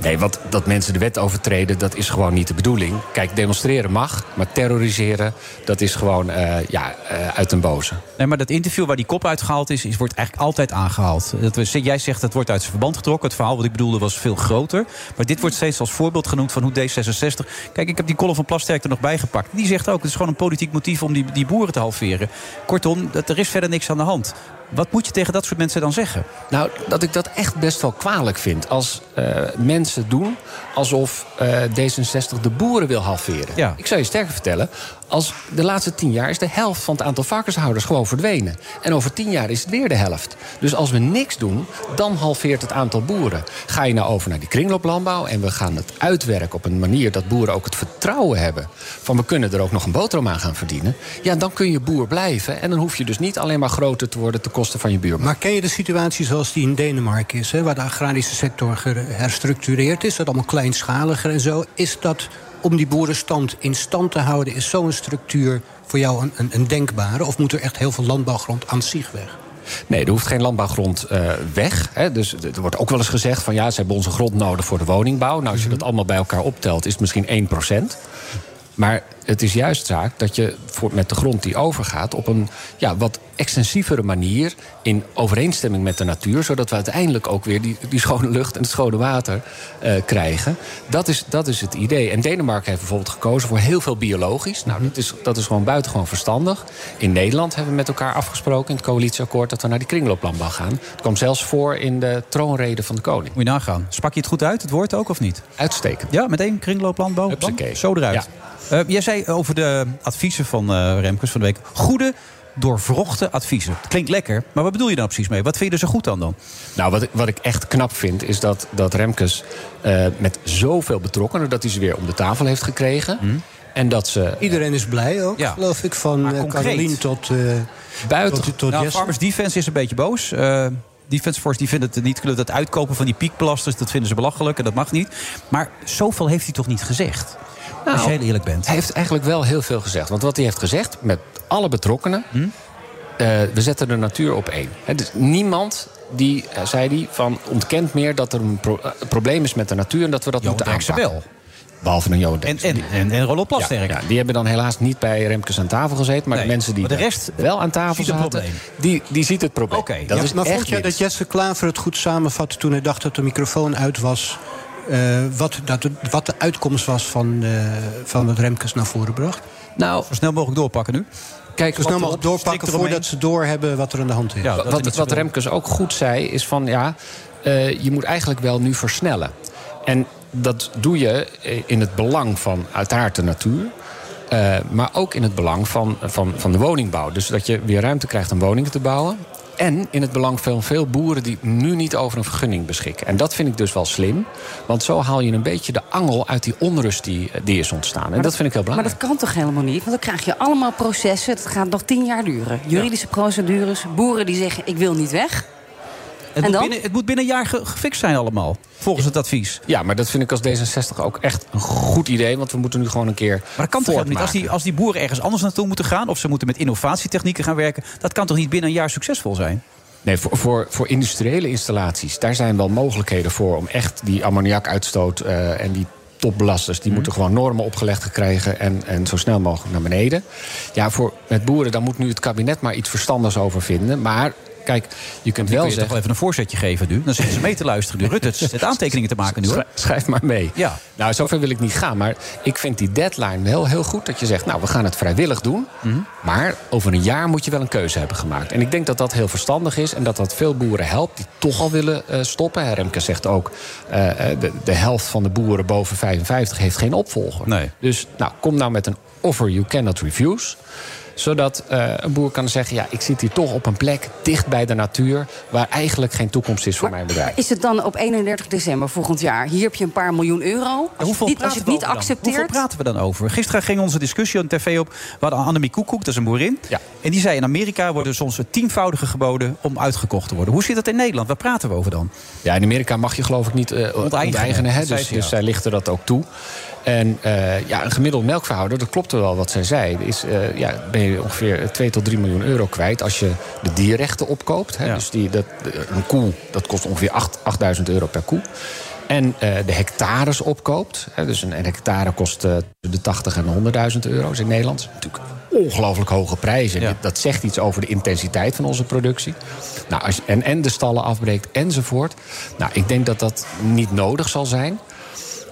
Speaker 17: Nee, want dat mensen de wet overtreden, dat is gewoon niet de bedoeling. Kijk, demonstreren mag, maar terroriseren, dat is gewoon eh, ja, eh, uit een boze.
Speaker 5: Nee, maar dat interview waar die kop uitgehaald is, is wordt eigenlijk altijd aangehaald. Dat we, jij zegt dat wordt uit zijn verband getrokken. Het verhaal wat ik bedoelde was veel groter. Maar dit wordt steeds als voorbeeld genoemd van hoe D66. Kijk, ik heb die column van Plasterk er nog bij gepakt. Die zegt ook: het is gewoon een politiek motief om die, die boeren te halveren. Kortom, dat, er is verder niks aan de hand. Wat moet je tegen dat soort mensen dan zeggen?
Speaker 17: Nou, dat ik dat echt best wel kwalijk vind. Als eh, mensen doen alsof eh, D66 de boeren wil halveren. Ik zou je sterker vertellen. Als de laatste tien jaar is de helft van het aantal varkenshouders gewoon verdwenen. En over tien jaar is het weer de helft. Dus als we niks doen, dan halveert het aantal boeren. Ga je nou over naar die kringlooplandbouw en we gaan het uitwerken op een manier dat boeren ook het vertrouwen hebben. van we kunnen er ook nog een boterham aan gaan verdienen. Ja, dan kun je boer blijven. En dan hoef je dus niet alleen maar groter te worden ten koste van je buurman.
Speaker 6: Maar ken je de situatie zoals die in Denemarken is, hè, waar de agrarische sector herstructureerd is, dat allemaal kleinschaliger en zo? Is dat om die boerenstand in stand te houden, is zo'n structuur voor jou een, een, een denkbare? Of moet er echt heel veel landbouwgrond aan zich weg?
Speaker 17: Nee, er hoeft geen landbouwgrond eh, weg. Hè. Dus d- er wordt ook wel eens gezegd van ja, ze hebben onze grond nodig voor de woningbouw. Nou, als je dat allemaal bij elkaar optelt, is het misschien 1%. Maar het is juist zaak dat je voor, met de grond die overgaat op een ja, wat extensievere manier in overeenstemming met de natuur, zodat we uiteindelijk ook weer die, die schone lucht en het schone water eh, krijgen. Dat is, dat is het idee. En Denemarken heeft bijvoorbeeld gekozen voor heel veel biologisch. Nou, dat is, dat is gewoon buitengewoon verstandig. In Nederland hebben we met elkaar afgesproken in het coalitieakkoord dat we naar die kringlooplandbouw gaan. Het kwam zelfs voor in de troonrede van de koning.
Speaker 5: Moet je nagaan. Sprak je het goed uit, het woord ook, of niet?
Speaker 17: Uitstekend.
Speaker 5: Ja, meteen kringlooplandbouw. Hupsakee. Zo eruit. Eh, jij zei over de adviezen van eh, Remkes van de week... goede, doorvrochte adviezen. Klinkt lekker, maar wat bedoel je dan precies mee? Wat vind je er zo goed aan dan?
Speaker 17: Nou, wat ik, wat ik echt knap vind, is dat, dat Remkes eh, met zoveel betrokkenen... dat hij ze weer om de tafel heeft gekregen.
Speaker 5: Hmm.
Speaker 17: En dat ze...
Speaker 6: Iedereen is blij ook,
Speaker 17: Ja.
Speaker 6: geloof ik, van eh,
Speaker 17: concreet?
Speaker 6: Carolien tot, eh
Speaker 17: Buiten.
Speaker 6: tot, tot
Speaker 5: nou,
Speaker 6: Jesse.
Speaker 5: Farmers Defense is een beetje boos. Eh, Defense Force die vindt het niet kunnen dat uitkopen van die piekplasters... dat vinden ze belachelijk en dat mag niet. Maar zoveel heeft hij toch niet gezegd? als
Speaker 6: Nou.
Speaker 5: je heel eerlijk bent.
Speaker 17: Hij heeft eigenlijk wel heel veel gezegd. Want wat hij heeft gezegd, met alle betrokkenen... eh, we zetten de natuur op één. Hè, dus niemand die, eh, zei hij, van ontkent meer dat er een pro- eh, probleem is met de natuur... en dat we dat moeten
Speaker 5: Dijkse
Speaker 17: aanpakken. Behalve een Johan en,
Speaker 5: en, en, en Rollo Plasterk.
Speaker 17: Ja, ja, die hebben dan helaas niet bij Remkes aan tafel gezeten. Maar de mensen die
Speaker 5: maar de rest
Speaker 17: wel aan tafel
Speaker 5: ziet het
Speaker 17: zaten,
Speaker 5: probleem.
Speaker 17: die, die ziet het probleem. Oké, dat
Speaker 6: Ja,
Speaker 17: is
Speaker 6: maar
Speaker 17: echt
Speaker 6: vond jij
Speaker 17: niks.
Speaker 6: dat Jesse Klaver het goed samenvatte toen hij dacht dat de microfoon uit was? eh, wat, dat, wat de uitkomst was van, eh, van wat Remkes naar voren bracht?
Speaker 17: Nou,
Speaker 5: Zo snel mogelijk doorpakken nu.
Speaker 17: Kijk,
Speaker 6: Zo snel mogelijk doorpakken voordat ze doorhebben wat er aan de hand is.
Speaker 17: Wa- wat, wat Remkes ook goed zei, is van ja, eh, je moet eigenlijk wel nu versnellen. En dat doe je eh, in het belang van uiteraard de natuur. Eh, maar ook in het belang van, van, van de woningbouw. Dus dat je weer ruimte krijgt om woningen te bouwen. En in het belang van veel boeren die nu niet over een vergunning beschikken. En dat vind ik dus wel slim. Want zo haal je een beetje de angel uit die onrust die, eh, die is ontstaan. En dat vind ik heel
Speaker 19: Maar
Speaker 17: belangrijk.
Speaker 19: dat kan toch helemaal niet? Want dan krijg je allemaal processen. Het gaat nog tien jaar duren. Juridische procedures. Boeren die zeggen, ik wil niet weg.
Speaker 5: Het,
Speaker 19: en
Speaker 5: moet
Speaker 19: dan?
Speaker 5: binnen, het moet binnen een jaar ge- gefixt zijn allemaal. Volgens het advies.
Speaker 17: Ja, maar dat vind ik als D66 ook echt een goed idee. Want we moeten nu gewoon een keer.
Speaker 5: Maar dat kan toch helemaal niet? Als
Speaker 17: voortmaken.
Speaker 5: die, als die boeren ergens anders naartoe moeten gaan... of ze moeten met innovatietechnieken gaan werken... dat kan toch niet binnen een jaar succesvol zijn?
Speaker 17: Nee, voor, voor, voor industriële installaties, daar zijn wel mogelijkheden voor om echt die ammoniakuitstoot eh, en die topbelasters,
Speaker 5: Mhm.
Speaker 17: die moeten gewoon normen opgelegd gekregen en, en zo snel mogelijk naar beneden. Ja, voor met boeren, daar moet nu het kabinet maar iets verstandigs over vinden. Maar kijk, je kunt wel
Speaker 5: Die kun je toch
Speaker 17: zeggen.
Speaker 5: wel even een voorzetje geven nu. Dan zitten ze mee te luisteren nu. Rutte, het aantekeningen te maken nu hoor.
Speaker 17: Schrij- Schrijf maar mee. Ja. Nou, zover wil ik niet gaan. Maar ik vind die deadline wel heel goed. Dat je zegt, nou, we gaan het vrijwillig doen.
Speaker 5: Mhm.
Speaker 17: Maar over een jaar moet je wel een keuze hebben gemaakt. En ik denk dat dat heel verstandig is. En dat dat veel boeren helpt die toch al willen eh, stoppen. Remke zegt ook, eh, eh, de, de helft van de boeren boven 55 heeft geen opvolger. Dus nou, kom nou met een offer you cannot refuse zodat eh, een boer kan zeggen: Ja, ik zit hier toch op een plek dicht bij de natuur. waar eigenlijk geen toekomst is voor mijn bedrijf.
Speaker 19: Is het dan op 31 december volgend jaar? Hier heb je een paar miljoen euro. Als je het niet, als je het niet
Speaker 5: Hoeveel
Speaker 19: accepteert...
Speaker 5: praten we dan over? Gisteren ging onze discussie op tv op. We hadden Annemie Koekoek, dat is een boerin. En die zei in Amerika worden soms tienvoudige geboden om uitgekocht te worden. Hoe zit dat in Nederland? Waar praten we over dan?
Speaker 17: Ja, in Amerika mag je geloof ik niet eh
Speaker 5: Onteigenen.
Speaker 17: onteigenen. Hè?
Speaker 5: Dat zei
Speaker 17: Dus,
Speaker 5: ze,
Speaker 17: dus
Speaker 5: ja.
Speaker 17: zij lichten dat ook toe. En eh, ja, een gemiddeld melkverhouder, dat klopte wel wat zij zei. Is, eh, ja, ben je ongeveer 2 tot 3 miljoen euro kwijt als je de dierrechten opkoopt. Hè? Dus die, dat, een koe, dat kost ongeveer 8, 8000 euro per koe. En eh, de hectares opkoopt. Hè? Dus een, een hectare kost eh, tussen de 80 en 100.000 euro's in Nederland. Dat is natuurlijk ongelooflijk hoge prijzen. Dit- Dat zegt iets over de intensiteit van onze productie. Nou, als je, en, en de stallen afbreekt enzovoort. Nou, ik denk dat dat niet nodig zal zijn.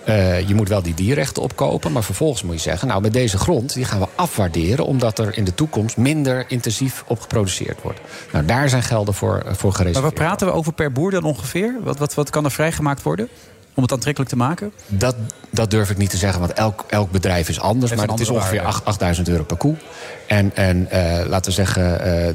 Speaker 17: Eh, je moet wel die dierrechten opkopen, maar vervolgens moet je zeggen... nou, met deze grond die gaan we afwaarderen... omdat er in de toekomst minder intensief op geproduceerd wordt. Nou, daar zijn gelden voor, eh, voor
Speaker 5: Maar
Speaker 17: gereserveerd.
Speaker 5: waar praten we over per boer dan ongeveer? Wat, wat, wat kan er vrijgemaakt worden om het aantrekkelijk te maken?
Speaker 17: Dat, dat durf ik niet te zeggen, want elk, elk bedrijf is anders.
Speaker 5: Heeft
Speaker 17: maar
Speaker 5: een
Speaker 17: het is
Speaker 5: andere
Speaker 17: ongeveer
Speaker 5: waarde.
Speaker 17: 8 8000 euro per koe. En, en eh, laten we zeggen, eh, eh,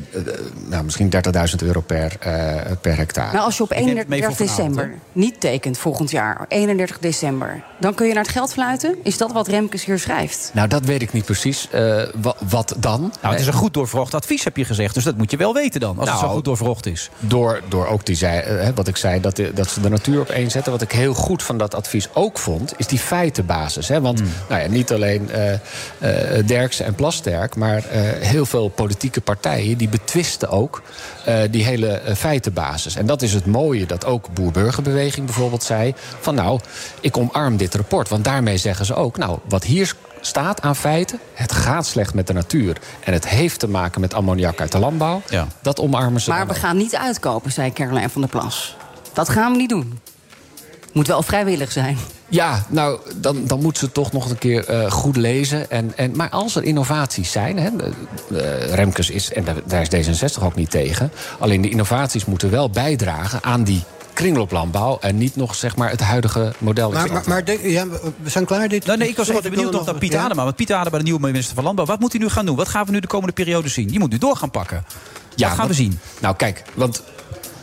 Speaker 17: nou, misschien 30.000 euro per, eh, per hectare.
Speaker 19: Nou, als je op 31 december niet tekent volgend jaar, 31 december... dan kun je naar het geld fluiten? Is dat wat Remkes hier schrijft?
Speaker 17: Nou, dat weet ik niet precies. Eh, wa- wat dan?
Speaker 5: Nou, het is een goed doorverhocht advies, heb je gezegd. Dus dat moet je wel weten dan, als het zo
Speaker 17: Nou,
Speaker 5: goed doorverhocht is.
Speaker 17: Door, door ook die zei, eh, hè, wat ik zei, dat, de- dat ze de natuur op één zetten. Wat ik heel goed van dat advies ook vond, is die feitenbasis. Hè? Want
Speaker 5: Hmm.
Speaker 17: nou ja, niet alleen eh eh, Derksen en Plasterk, maar eh, heel veel politieke partijen die betwisten ook eh, die hele eh, feitenbasis. En dat is het mooie dat ook Boer-Burgerbeweging bijvoorbeeld zei: van nou, ik omarm dit rapport. Want daarmee zeggen ze ook, nou, wat hier staat aan feiten. Het gaat slecht met de natuur. En het heeft te maken met ammoniak uit de landbouw. Dat omarmen ze.
Speaker 19: Maar
Speaker 17: dan
Speaker 19: we
Speaker 17: ook.
Speaker 19: gaan niet uitkopen, zei Caroline van der Plas. Dat gaan we niet doen. Moet wel vrijwillig zijn.
Speaker 17: Ja, nou, dan, dan moet ze toch nog een keer eh, goed lezen. En, en, maar als er innovaties zijn, hè, de- eh, Remkes is, en daar, daar is D66 ook niet tegen. Alleen de innovaties moeten wel bijdragen aan die kringlooplandbouw. En niet nog zeg maar het huidige model.
Speaker 6: Maar, maar, maar denk- ja, we zijn klaar dit.
Speaker 5: Nou, nee, ik was
Speaker 6: Zeg,
Speaker 5: even benieuwd
Speaker 6: wil
Speaker 5: nog naar Piet
Speaker 6: ja?
Speaker 5: Adema. Want Piet Adema, de nieuwe minister van Landbouw. Wat moet hij nu gaan doen? Wat gaan we nu de komende periode zien? Die moet nu door gaan pakken. Ja, gaan we
Speaker 17: want-
Speaker 5: zien?
Speaker 17: Nou, kijk, want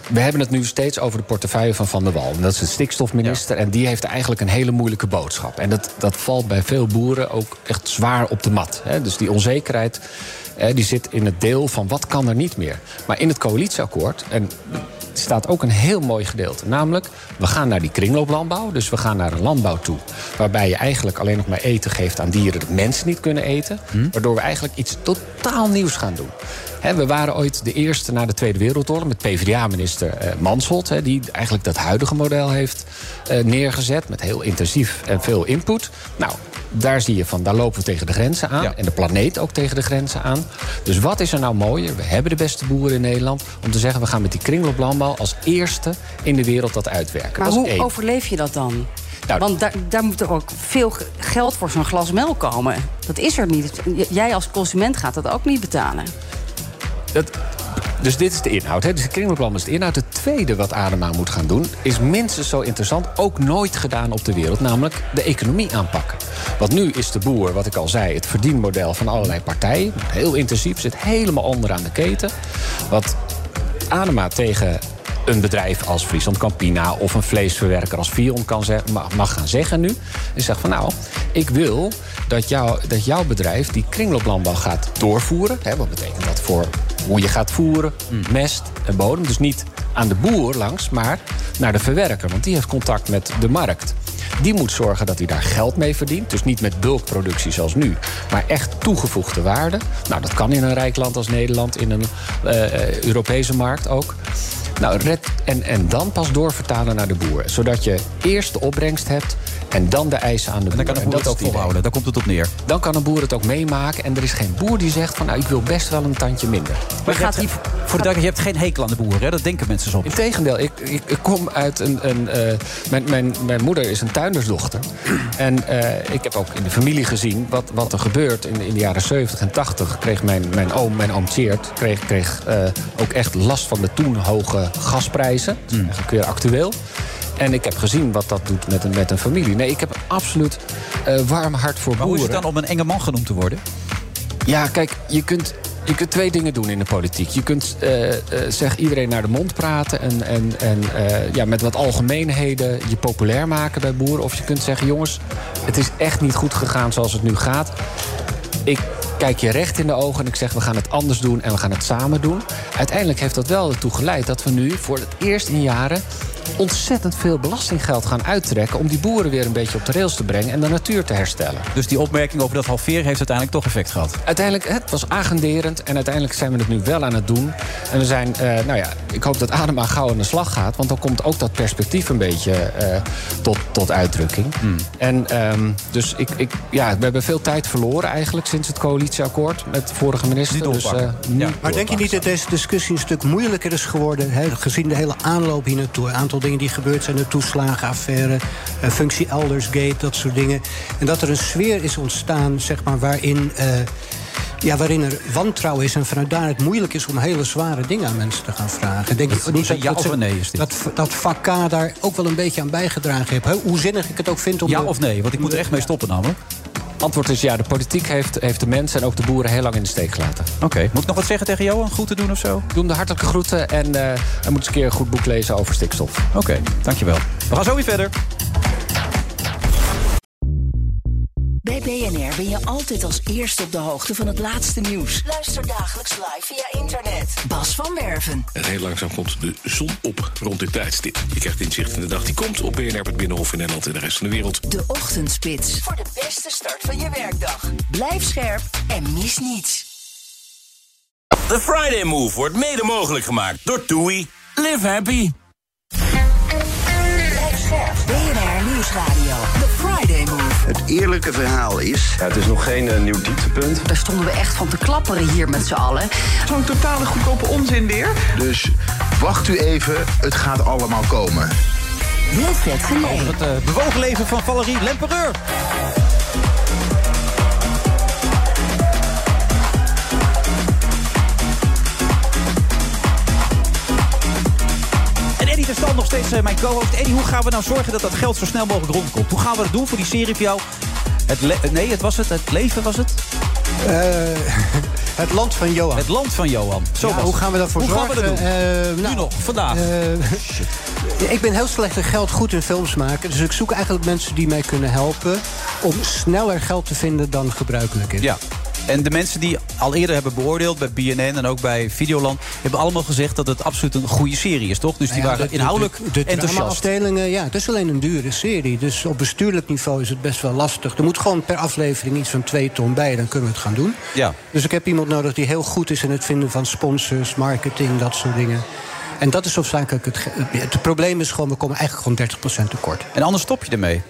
Speaker 17: we hebben het nu steeds over de portefeuille van Van der Wal. En dat is de stikstofminister. En die heeft eigenlijk een hele moeilijke boodschap. En dat, dat valt bij veel boeren ook echt zwaar op de mat. Hè. Dus die onzekerheid hè, die zit in het deel van wat kan er niet meer. Maar in het coalitieakkoord. En staat ook een heel mooi gedeelte. Namelijk, we gaan naar die kringlooplandbouw. Dus we gaan naar een landbouw toe. Waarbij je eigenlijk alleen nog maar eten geeft aan dieren dat mensen niet kunnen eten. Waardoor we eigenlijk iets totaal nieuws gaan doen. Hè, we waren ooit de eerste na de Tweede Wereldoorlog met PvdA-minister eh, Mansholt. hè, die eigenlijk dat huidige model heeft eh, neergezet. Met heel intensief en veel input. Nou, daar zie je van, daar lopen we tegen de grenzen aan. En de planeet ook tegen de grenzen aan. Dus wat is er nou mooier? We hebben de beste boeren in Nederland. Om te zeggen, we gaan met die kringlooplandbouw als eerste in de wereld dat uitwerken.
Speaker 19: Maar
Speaker 17: dat
Speaker 19: hoe
Speaker 17: is één.
Speaker 19: overleef je dat dan?
Speaker 17: Nou,
Speaker 19: Want daar, daar moet er ook veel g- geld voor zo'n glas melk komen. Dat is er niet. J- Jij als consument gaat dat ook niet betalen.
Speaker 17: Dat, Dus dit is de inhoud. Hè? Dus het kringloopland is de inhoud. Het tweede wat Adema moet gaan doen... is minstens zo interessant, ook nooit gedaan op de wereld... namelijk de economie aanpakken. Want nu is de boer, wat ik al zei, het verdienmodel van allerlei partijen. Heel intensief, zit helemaal onderaan de keten. Wat Adema tegen een bedrijf als Friesland Campina of een vleesverwerker als Vion kan ze- mag mag gaan zeggen nu. En zegt van nou, ik wil dat, jou, dat jouw bedrijf die kringlooplandbouw gaat doorvoeren. Hè, wat betekent dat voor hoe je gaat voeren, mest en bodem. Dus niet aan de boer langs, maar naar de verwerker. Want die heeft contact met de markt. Die moet zorgen dat hij daar geld mee verdient. Dus niet met bulkproductie zoals nu, maar echt toegevoegde waarde. Nou, dat kan in een rijk land als Nederland, in een eh, Europese markt ook. Nou, red, en, en dan pas doorvertalen naar de boer. Zodat je eerst de opbrengst hebt en dan de eisen aan de boer.
Speaker 5: Dan kan de boer
Speaker 17: dat
Speaker 5: het ook
Speaker 17: is het idee.
Speaker 5: volhouden. Daar komt het op neer.
Speaker 17: Dan kan een boer het ook meemaken. En er is geen boer die zegt van nou, ik wil best wel een tandje minder.
Speaker 5: Maar je hebt, voor de duidelijkheid, je hebt geen hekel aan de boer, hè? dat denken mensen soms.
Speaker 17: Integendeel, ik, ik, ik kom uit een. een eh, mijn, mijn, mijn moeder is een tuindersdochter. [CLEARS THROAT] En eh, ik heb ook in de familie gezien wat, wat er gebeurt. In, in de jaren 70 en 80 kreeg mijn, mijn oom, mijn oom Tjeerd, kreeg, kreeg eh, ook echt last van de toen hoge gasprijzen. Dat
Speaker 5: Hmm.
Speaker 17: is eigenlijk weer actueel. En ik heb gezien wat dat doet met een, met een familie. Nee, ik heb een absoluut eh, warm hart voor
Speaker 5: Maar hoe
Speaker 17: boeren.
Speaker 5: is het dan om een enge man genoemd te worden?
Speaker 17: Ja, kijk, je kunt, je kunt twee dingen doen in de politiek. Je kunt eh, eh, zeg iedereen naar de mond praten en, en, en eh, ja, met wat algemeenheden je populair maken bij boeren. Of je kunt zeggen, jongens, het is echt niet goed gegaan zoals het nu gaat. Ik kijk je recht in de ogen en ik zeg, we gaan het anders doen en we gaan het samen doen. Uiteindelijk heeft dat wel ertoe geleid dat we nu voor het eerst in jaren ontzettend veel belastinggeld gaan uittrekken om die boeren weer een beetje op de rails te brengen en de natuur te herstellen.
Speaker 5: Dus die opmerking over dat halveren heeft uiteindelijk toch effect gehad.
Speaker 17: Uiteindelijk, het was agenderend en uiteindelijk zijn we het nu wel aan het doen. En we zijn, eh, nou ja, ik hoop dat Adema gauw aan de slag gaat... want dan komt ook dat perspectief een beetje eh, tot, tot uitdrukking.
Speaker 5: Hmm.
Speaker 17: En ehm, dus ik, ik, ja, we hebben veel tijd verloren eigenlijk sinds het coalitieakkoord... met de vorige minister. Dus, eh, niet
Speaker 6: Maar denk je niet dat deze discussie een stuk moeilijker is geworden... hè, gezien de hele aanloop hier naartoe? Een aantal dingen die gebeurd zijn, de toeslagenaffaire... eh, functie Eldersgate, dat soort dingen. En dat er een sfeer is ontstaan zeg maar, waarin, eh, ja, waarin er wantrouwen is... en vanuit daar het moeilijk is om hele zware dingen aan mensen te gaan vragen. Denk
Speaker 5: Dat
Speaker 6: je
Speaker 5: is een ja of
Speaker 6: ze-
Speaker 5: een nee is dit?
Speaker 6: Dat, dat vak K daar ook wel een beetje aan bijgedragen heeft. hè? Hoe zinnig ik het ook vind om...
Speaker 5: Ja
Speaker 6: de-
Speaker 5: of nee? Want ik moet er echt mee stoppen namelijk.
Speaker 17: Antwoord is ja, de politiek heeft, heeft de mensen en ook de boeren heel lang in de steek gelaten.
Speaker 5: Oké, moet ik nog wat zeggen tegen Johan? Goed te doen of zo? Doe
Speaker 17: hem de hartelijke groeten en eh, hij moet eens een keer een goed boek lezen over stikstof.
Speaker 5: Oké, dankjewel. We gaan zo weer verder.
Speaker 1: Bij BNR ben je altijd als eerste op de hoogte van het laatste nieuws. Luister dagelijks live via internet. Bas van Werven.
Speaker 20: En heel langzaam komt de zon op rond dit tijdstip. Je krijgt inzicht in de dag die komt op BNR, het Binnenhof in Nederland en de rest van de wereld.
Speaker 1: De Ochtendspits. Voor de beste start van je werkdag. Blijf scherp en mis niets.
Speaker 13: De Friday Move wordt mede mogelijk gemaakt door TUI. Live happy.
Speaker 1: Blijf scherp. BNR Nieuwsradio. The Friday Move.
Speaker 2: Het eerlijke verhaal is...
Speaker 3: Ja, het is nog geen eh, nieuw dieptepunt.
Speaker 19: Daar stonden we echt van te klapperen hier met z'n allen.
Speaker 4: Zo'n totale goedkope onzin weer.
Speaker 2: Dus wacht u even, het gaat allemaal komen.
Speaker 1: Wilfred Genee.
Speaker 5: Het eh, bewogen leven van Valerie Lempereur. En Eddie de Stam nog steeds eh, mijn co-host. Eddie, hoe gaan we nou zorgen dat dat geld zo snel mogelijk rondkomt? Hoe gaan we dat doen voor die serie voor jou? Het le- eh, nee, het was het. Het leven was het.
Speaker 6: Eh, [LAUGHS] het land van Johan.
Speaker 5: Het land van Johan. Zo
Speaker 6: Ja,
Speaker 5: was
Speaker 6: hoe
Speaker 5: het.
Speaker 6: gaan we daarvoor
Speaker 5: Hoe
Speaker 6: zorgen?
Speaker 5: gaan we dat doen?
Speaker 6: Eh,
Speaker 5: nu
Speaker 6: nou,
Speaker 5: nog, vandaag.
Speaker 6: Ja, [LAUGHS] Ik ben heel slecht in geld goed in films maken. Dus ik zoek eigenlijk mensen die mij kunnen helpen om sneller geld te vinden dan gebruikelijk is.
Speaker 5: Ja. En de mensen die al eerder hebben beoordeeld bij BNN en ook bij Videoland... hebben allemaal gezegd dat het absoluut een goede serie is, toch? Dus die
Speaker 6: Nou ja,
Speaker 5: waren
Speaker 6: de- de-
Speaker 5: inhoudelijk
Speaker 6: de, de
Speaker 5: enthousiast.
Speaker 6: dramaafdelingen, ja, het is alleen een dure serie. Dus op bestuurlijk niveau is het best wel lastig. Er moet gewoon per aflevering iets van twee ton bij, dan kunnen we het gaan doen.
Speaker 5: Ja.
Speaker 6: Dus ik heb iemand nodig die heel goed is in het vinden van sponsors, marketing, dat soort dingen. En dat is hoofdzakelijk het. ge- Het probleem is gewoon, we komen eigenlijk gewoon 30% tekort.
Speaker 5: En anders stop je ermee.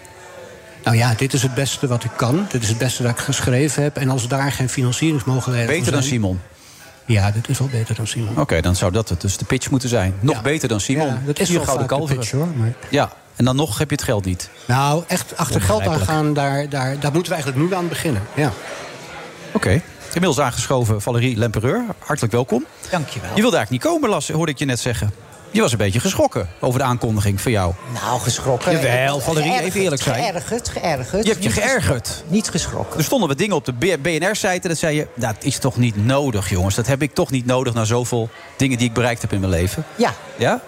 Speaker 6: Nou ja, dit is het beste wat ik kan. Dit is het beste dat ik geschreven heb. En als daar geen financieringsmogelijkheden
Speaker 5: Beter dan
Speaker 6: voor zijn-
Speaker 5: Simon.
Speaker 6: Ja, dit is wel beter dan Simon.
Speaker 5: Oké, dan zou dat het dus de pitch moeten zijn. Nog beter dan Simon.
Speaker 6: Ja, dat is
Speaker 5: Vier
Speaker 6: wel
Speaker 5: gouden
Speaker 6: vaak de
Speaker 5: kalveren.
Speaker 6: pitch, hoor, maar-
Speaker 5: Ja, en dan nog heb je het geld niet.
Speaker 6: Nou, echt achter geld aan
Speaker 5: Onbegrijpelijk.
Speaker 6: gaan, daar, daar, daar moeten we eigenlijk nu aan beginnen. Ja.
Speaker 5: Oké. Inmiddels aangeschoven Valerie Lempereur. Hartelijk welkom.
Speaker 21: Dankjewel.
Speaker 5: Je wilde eigenlijk niet komen, Las, hoorde ik je net zeggen. Je was een beetje geschrokken over de aankondiging van jou.
Speaker 21: Nou, geschrokken.
Speaker 5: Jawel, Valerie,
Speaker 21: Geërgerd,
Speaker 5: even eerlijk zijn.
Speaker 21: Geërgerd, geërgerd.
Speaker 5: Je hebt je
Speaker 21: Niet geschrokken.
Speaker 5: geërgerd.
Speaker 21: Niet geschrokken.
Speaker 5: Er stonden wat dingen op de B- BNR-site en dat zei je... "Nou, dat is toch niet nodig, jongens. Dat heb ik toch niet nodig na zoveel dingen die ik bereikt heb in mijn leven.
Speaker 21: Ja.
Speaker 5: Ja?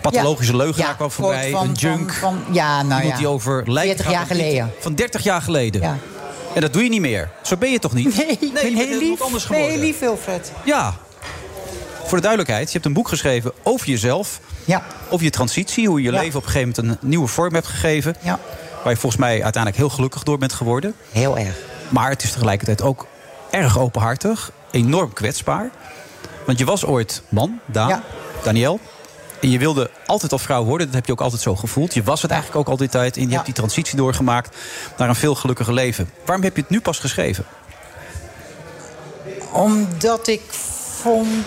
Speaker 5: Pathologische leugenaar kwam
Speaker 21: Een soort
Speaker 5: voorbij,
Speaker 21: van-
Speaker 5: een junk.
Speaker 21: Van, van- ja, nou
Speaker 5: iemand
Speaker 21: ja.
Speaker 5: die over lijken
Speaker 21: 40
Speaker 5: gaat,
Speaker 21: jaar
Speaker 5: maar niet-
Speaker 21: geleden.
Speaker 5: Van 30 jaar geleden. En dat doe je niet meer. Zo ben je toch
Speaker 21: [LAUGHS]
Speaker 5: niet?
Speaker 21: Nee, ik ben
Speaker 5: je bent
Speaker 21: heel lief.
Speaker 5: iemand anders
Speaker 21: Ben heel
Speaker 5: geworden.
Speaker 21: lief, Wilfred.
Speaker 5: Ja. Voor de duidelijkheid, je hebt een boek geschreven over jezelf.
Speaker 21: Ja.
Speaker 5: Over je transitie, hoe je je
Speaker 21: Ja.
Speaker 5: leven op een gegeven moment een nieuwe vorm hebt gegeven.
Speaker 21: Ja.
Speaker 5: Waar je volgens mij uiteindelijk heel gelukkig door bent geworden.
Speaker 21: Heel erg.
Speaker 5: Maar het is tegelijkertijd ook erg openhartig. Enorm kwetsbaar. Want je was ooit man, Daan, Daniel. En je wilde altijd al vrouw worden. Dat heb je ook altijd zo gevoeld. Je was het eigenlijk ook al die tijd. En je hebt die transitie doorgemaakt naar een veel gelukkiger leven. Waarom heb je het nu pas geschreven?
Speaker 21: Omdat ik vond.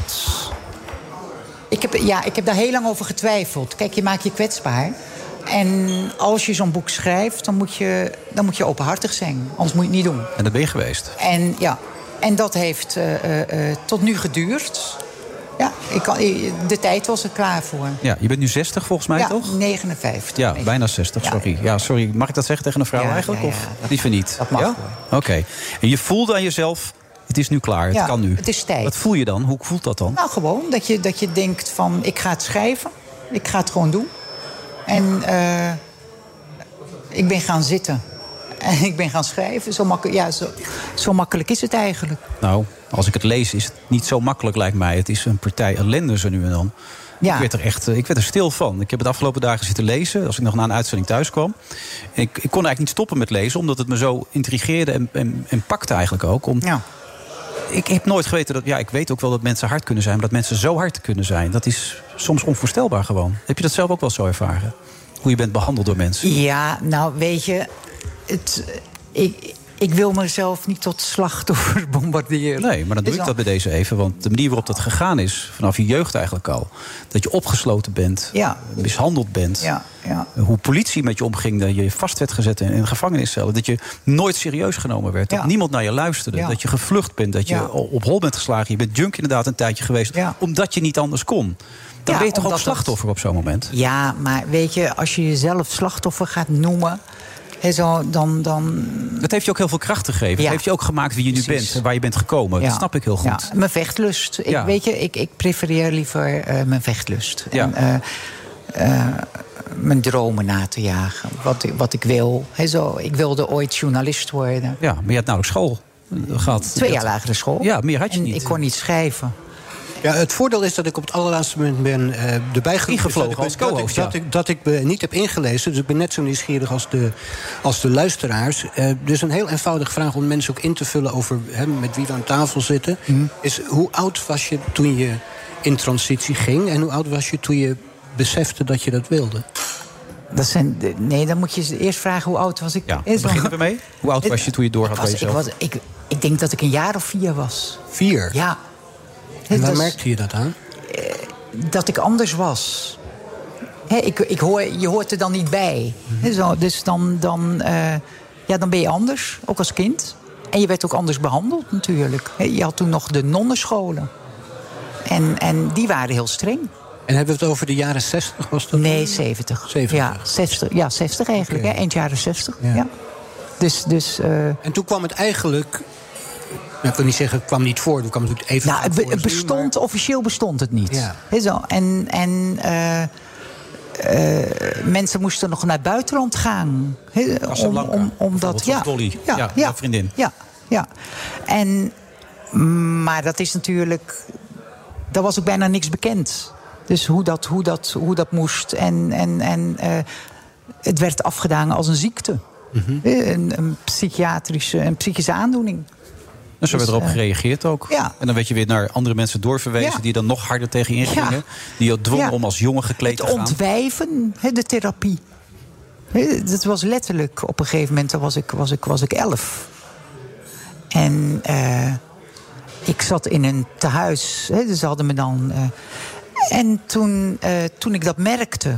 Speaker 21: Ik heb, ja, ik heb daar heel lang over getwijfeld. Kijk, je maakt je kwetsbaar. En als je zo'n boek schrijft, dan moet, je, dan moet je openhartig zijn. Anders moet je het niet doen.
Speaker 5: En dat ben je geweest.
Speaker 21: En, ja, en dat heeft eh, eh, eh, tot nu geduurd. Ja, ik kan, de tijd was er klaar voor.
Speaker 5: Ja, je bent nu 60 volgens mij,
Speaker 21: ja,
Speaker 5: toch?
Speaker 21: 59.
Speaker 5: Ja, bijna 60, sorry. Ja, sorry. Mag ik dat zeggen tegen een vrouw
Speaker 21: Ja,
Speaker 5: eigenlijk?
Speaker 21: ja,
Speaker 5: of
Speaker 21: ja,
Speaker 5: liever niet? Dat mag Oké. En je voelde aan jezelf, het is nu klaar, het
Speaker 21: Ja,
Speaker 5: kan nu.
Speaker 21: het is tijd.
Speaker 5: Wat voel je dan? Hoe voelt dat dan?
Speaker 21: Nou, gewoon dat je, dat je denkt van, ik ga het schrijven. Ik ga het gewoon doen. En eh, ik ben gaan zitten. [LAUGHS] En ik ben gaan schrijven. Zo, makkel- ja, zo, zo makkelijk is het eigenlijk.
Speaker 5: Nou, als ik het lees is het niet zo makkelijk, lijkt mij. Het is een partij ellende zo nu en dan.
Speaker 21: Ja.
Speaker 5: Ik werd er echt eh, ik werd er stil van. Ik heb het de afgelopen dagen zitten lezen, als ik nog na een uitzending thuis kwam. En ik, ik kon eigenlijk niet stoppen met lezen, omdat het me zo intrigeerde en, en, en pakte eigenlijk ook. Om, Ik heb nooit geweten dat. Ja, ik weet ook wel dat mensen hard kunnen zijn, maar dat mensen zo hard kunnen zijn, dat is soms onvoorstelbaar gewoon. Heb je dat zelf ook wel zo ervaren? Hoe je bent behandeld door mensen?
Speaker 21: Ja, nou weet je, het, ik, ik wil mezelf niet tot slachtoffer [LAUGHS] bombarderen.
Speaker 5: Nee, maar dan doe
Speaker 21: Is
Speaker 5: ik
Speaker 21: wel-
Speaker 5: dat bij deze even. Want de manier waarop dat gegaan is, vanaf je jeugd eigenlijk al. Dat je opgesloten bent,
Speaker 21: Ja.
Speaker 5: mishandeld bent.
Speaker 21: Ja, ja.
Speaker 5: Hoe politie met je omging, dat je vast werd gezet in, in gevangeniscellen. Dat je nooit serieus genomen werd. Dat
Speaker 21: Ja.
Speaker 5: niemand naar je luisterde.
Speaker 21: Ja.
Speaker 5: Dat je gevlucht bent, dat je
Speaker 21: Ja.
Speaker 5: o- op hol bent geslagen. Je bent junk inderdaad een tijdje geweest. Omdat je niet anders kon. Dan
Speaker 21: Ja,
Speaker 5: ben je toch ook
Speaker 21: omdat dat-
Speaker 5: slachtoffer op zo'n moment?
Speaker 21: Ja, maar weet je, als je jezelf slachtoffer gaat noemen... hè, zo, dan, dan...
Speaker 5: Dat heeft je ook heel veel kracht gegeven. Dat heeft je ook gemaakt wie je nu bent en waar je bent gekomen.
Speaker 21: Ja.
Speaker 5: Dat snap ik heel goed.
Speaker 21: Ja, mijn vechtlust. Ik,
Speaker 5: Ja.
Speaker 21: Weet je, ik, ik prefereer liever eh, mijn vechtlust.
Speaker 5: Ja.
Speaker 21: En, eh, eh, mijn dromen na te jagen. Wat, ik- wat ik wil. Hè, zo, ik wilde ooit journalist worden.
Speaker 5: Ja, maar je had nauwelijks school eh, gehad.
Speaker 21: Twee jaar
Speaker 5: Dat-
Speaker 21: lagere school.
Speaker 5: Ja, Ah, meer had je
Speaker 21: En
Speaker 5: niet. eh.
Speaker 21: Ik kon niet schrijven.
Speaker 6: Ja, het voordeel is dat ik op het allerlaatste moment ben eh erbij geroepen.
Speaker 5: Ingevlogen
Speaker 6: Dus dat ik-
Speaker 5: als
Speaker 6: dat ik-
Speaker 5: co-host,
Speaker 6: Dat,
Speaker 5: ja.
Speaker 6: ik, dat ik me niet heb ingelezen. Dus ik ben net zo nieuwsgierig als de, als de luisteraars. Eh, dus een heel eenvoudige vraag om mensen ook in te vullen over hè, met wie we aan tafel zitten.
Speaker 5: Mhm.
Speaker 6: Is hoe oud was je toen je in transitie ging? En hoe oud was je toen je besefte dat je dat wilde?
Speaker 21: Dat zijn, de- nee, dan moet je ze eerst vragen hoe oud was ik.
Speaker 5: Ja,
Speaker 21: Hè,
Speaker 5: daar
Speaker 21: zo.
Speaker 5: beginnen we Nou, mee. Hoe oud was je toen je door had bij
Speaker 21: Was- ik,
Speaker 5: jezelf?
Speaker 21: was, ik, ik denk dat ik een jaar of vier was.
Speaker 6: Vier?
Speaker 21: Ja.
Speaker 6: En waar
Speaker 21: Dat is-
Speaker 6: merkte je dat aan?
Speaker 21: dat ik anders was. Hè, ik, ik hoor, je hoort er dan niet bij.
Speaker 6: Mhm.
Speaker 21: Hè, zo, dus dan, dan, eh, ja, dan ben je anders, ook als kind. En je werd ook anders behandeld natuurlijk. Hè, Je had toen nog de nonnenscholen. En, en die waren heel streng.
Speaker 6: En hebben we het over de jaren 60 was dat?
Speaker 21: Nee, 70.
Speaker 6: 70.
Speaker 21: Ja, 60, ja, 60 eigenlijk,
Speaker 6: Oké.
Speaker 21: hè, eind jaren 60. Ja. Dus, dus,
Speaker 6: En toen kwam het eigenlijk... Nou, ik wil niet zeggen, het kwam niet voor. Het kwam natuurlijk even
Speaker 21: Nou, het, be- het bestond, officieel bestond het niet.
Speaker 6: Ja.
Speaker 21: Hè, zo. En, en eh, eh, mensen moesten nog naar het buitenland gaan. Hè, om,
Speaker 5: Casablanca,
Speaker 21: om, omdat,
Speaker 5: bijvoorbeeld,
Speaker 21: ja,
Speaker 5: of Dolly. Ja,
Speaker 21: Ja, ja,
Speaker 5: jouw vriendin.
Speaker 21: Ja, ja. En, mm, maar dat is natuurlijk... Daar was ook bijna niks bekend. Dus hoe dat, hoe dat, hoe dat moest. En, en, en eh, het werd afgedaan als een ziekte.
Speaker 5: Mhm.
Speaker 21: Hè, Een, een psychiatrische, een psychische aandoening.
Speaker 5: Dus er werd
Speaker 21: Dus,
Speaker 5: erop
Speaker 21: eh,
Speaker 5: gereageerd ook.
Speaker 21: ja.
Speaker 5: En dan werd je weer naar andere mensen doorverwezen...
Speaker 21: Ja.
Speaker 5: die dan nog harder tegen je ingingen.
Speaker 21: Ja.
Speaker 5: Die je dwongen
Speaker 21: Ja.
Speaker 5: om als jongen gekleed te gaan.
Speaker 21: ontwijven, hè, de therapie. Hè, Dat was letterlijk, op een gegeven moment dan was ik, was ik, was ik elf. En eh, ik zat in een tehuis, hè, dus ze hadden me dan... eh, en toen, eh, toen ik dat merkte,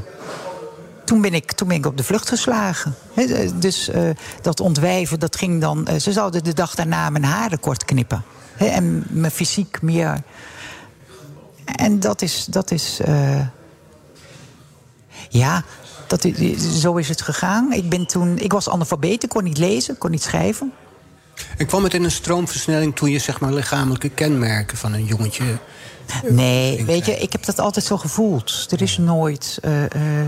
Speaker 21: toen ben ik, toen ben ik op de vlucht geslagen. Hè, eh, dus eh, dat ontwijven, dat ging dan... eh, ze zouden de dag daarna mijn haren kort knippen. Hè, en mijn fysiek meer... En dat is... Dat is eh, ja, dat, is- zo is het gegaan. Ik, ben toen, ik was analfabeet, ik kon niet lezen, ik kon niet schrijven.
Speaker 6: En kwam het in een stroomversnelling toen je zeg maar, lichamelijke kenmerken van een jongetje.
Speaker 21: Nee, weet je, ik heb dat altijd zo gevoeld. Er is nooit. eh,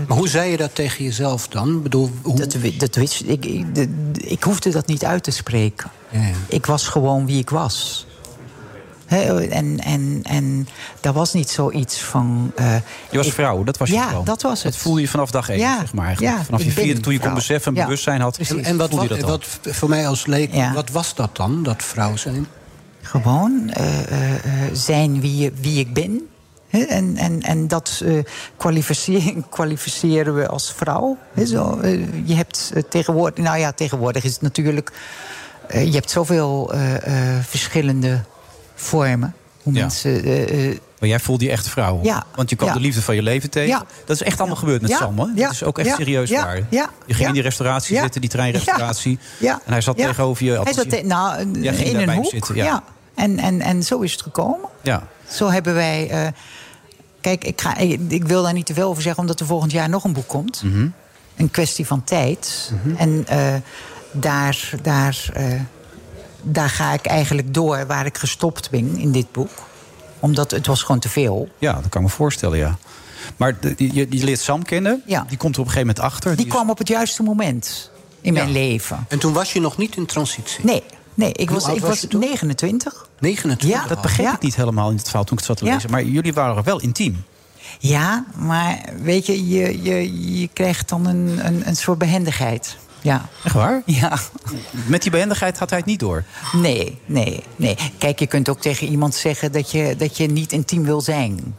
Speaker 6: maar hoe zei je dat tegen jezelf dan? Ik Bedoel, hoe...
Speaker 21: dat, wi- dat wist ik, ik. de- Ik hoefde dat niet uit te spreken.
Speaker 6: Ja, ja.
Speaker 21: Ik was gewoon wie ik was. Hè, en, en, en daar was niet zoiets van. eh,
Speaker 5: Je was
Speaker 21: ik-
Speaker 5: vrouw, dat was je
Speaker 21: Ja,
Speaker 5: gewoon.
Speaker 21: dat was het.
Speaker 5: Dat voelde je vanaf dag één,
Speaker 21: Ja,
Speaker 5: zeg maar. Eigenlijk.
Speaker 21: ja,
Speaker 5: vanaf je
Speaker 21: ik ben
Speaker 5: vierde, toen je kon
Speaker 21: vrouw.
Speaker 5: beseffen en
Speaker 21: Ja,
Speaker 5: bewustzijn had.
Speaker 6: En, en wat,
Speaker 5: voelde
Speaker 6: wat,
Speaker 5: je dat dan?
Speaker 6: wat voor mij als leek, wat was dat dan, dat vrouw zijn?
Speaker 21: Gewoon eh, eh, eh, zijn wie, je- wie ik ben. Hè, En, en, en dat eh, kwalificeren, [LAUGHS] kwalificeren we als vrouw. Hè, zo. Eh, Je hebt eh, tegenwoordig, nou ja, tegenwoordig is het natuurlijk. eh, je hebt zoveel eh, eh, verschillende vormen. Hoe
Speaker 5: Ja.
Speaker 21: mensen. eh, eh,
Speaker 5: Maar jij voelde je echt vrouw.
Speaker 21: Ja,
Speaker 5: Want je kwam
Speaker 21: ja.
Speaker 5: de liefde van je leven tegen.
Speaker 21: Ja.
Speaker 5: Dat is echt allemaal gebeurd met
Speaker 21: Ja,
Speaker 5: Sam, hè?
Speaker 21: ja,
Speaker 5: Dat is ook echt
Speaker 21: ja,
Speaker 5: serieus
Speaker 21: ja,
Speaker 5: waar.
Speaker 21: ja,
Speaker 5: Je ging
Speaker 21: ja.
Speaker 5: in die restauratie
Speaker 21: Ja.
Speaker 5: zitten, die treinrestauratie.
Speaker 21: Ja.
Speaker 5: En hij zat
Speaker 21: Ja.
Speaker 5: tegenover je.
Speaker 21: Hij
Speaker 5: althans,
Speaker 21: zat
Speaker 5: je-
Speaker 21: te- nou,
Speaker 5: Jij ging
Speaker 21: in
Speaker 5: daarbij
Speaker 21: een
Speaker 5: hem
Speaker 21: hoek.
Speaker 5: zitten, ja.
Speaker 21: ja. En, en, en zo is het gekomen.
Speaker 5: ja.
Speaker 21: Zo hebben wij. eh, kijk, ik, ga, ik, ik wil daar niet te veel over zeggen, omdat er volgend jaar nog een boek komt.
Speaker 5: Mhm.
Speaker 21: Een kwestie van tijd. En eh, daar, daar, eh, daar ga ik eigenlijk door waar ik gestopt ben in dit boek. Omdat het was gewoon te veel.
Speaker 5: Ja, dat kan ik me voorstellen, ja. Maar de- je, je, je leert Sam kennen. Die komt er op een gegeven moment achter.
Speaker 21: Die kwam op het juiste moment in mijn leven.
Speaker 6: En toen was je nog niet in transitie?
Speaker 21: Nee, nee ik
Speaker 6: Hoe
Speaker 21: was,
Speaker 6: oud
Speaker 21: ik
Speaker 6: was
Speaker 21: was
Speaker 6: je
Speaker 21: 29.
Speaker 6: 29
Speaker 21: Ja.
Speaker 5: Dat begreep
Speaker 21: Ja.
Speaker 5: ik niet helemaal in het verhaal toen ik het zat te
Speaker 21: Ja.
Speaker 5: lezen. Maar jullie waren wel intiem.
Speaker 21: Ja, maar weet je, je, je, je krijgt dan een, een, een soort behendigheid. Ja.
Speaker 5: Echt waar?
Speaker 21: Ja.
Speaker 5: Met die behendigheid had hij het niet door.
Speaker 21: Nee, nee, nee. Kijk, je kunt ook tegen iemand zeggen dat je, dat je niet intiem wil zijn.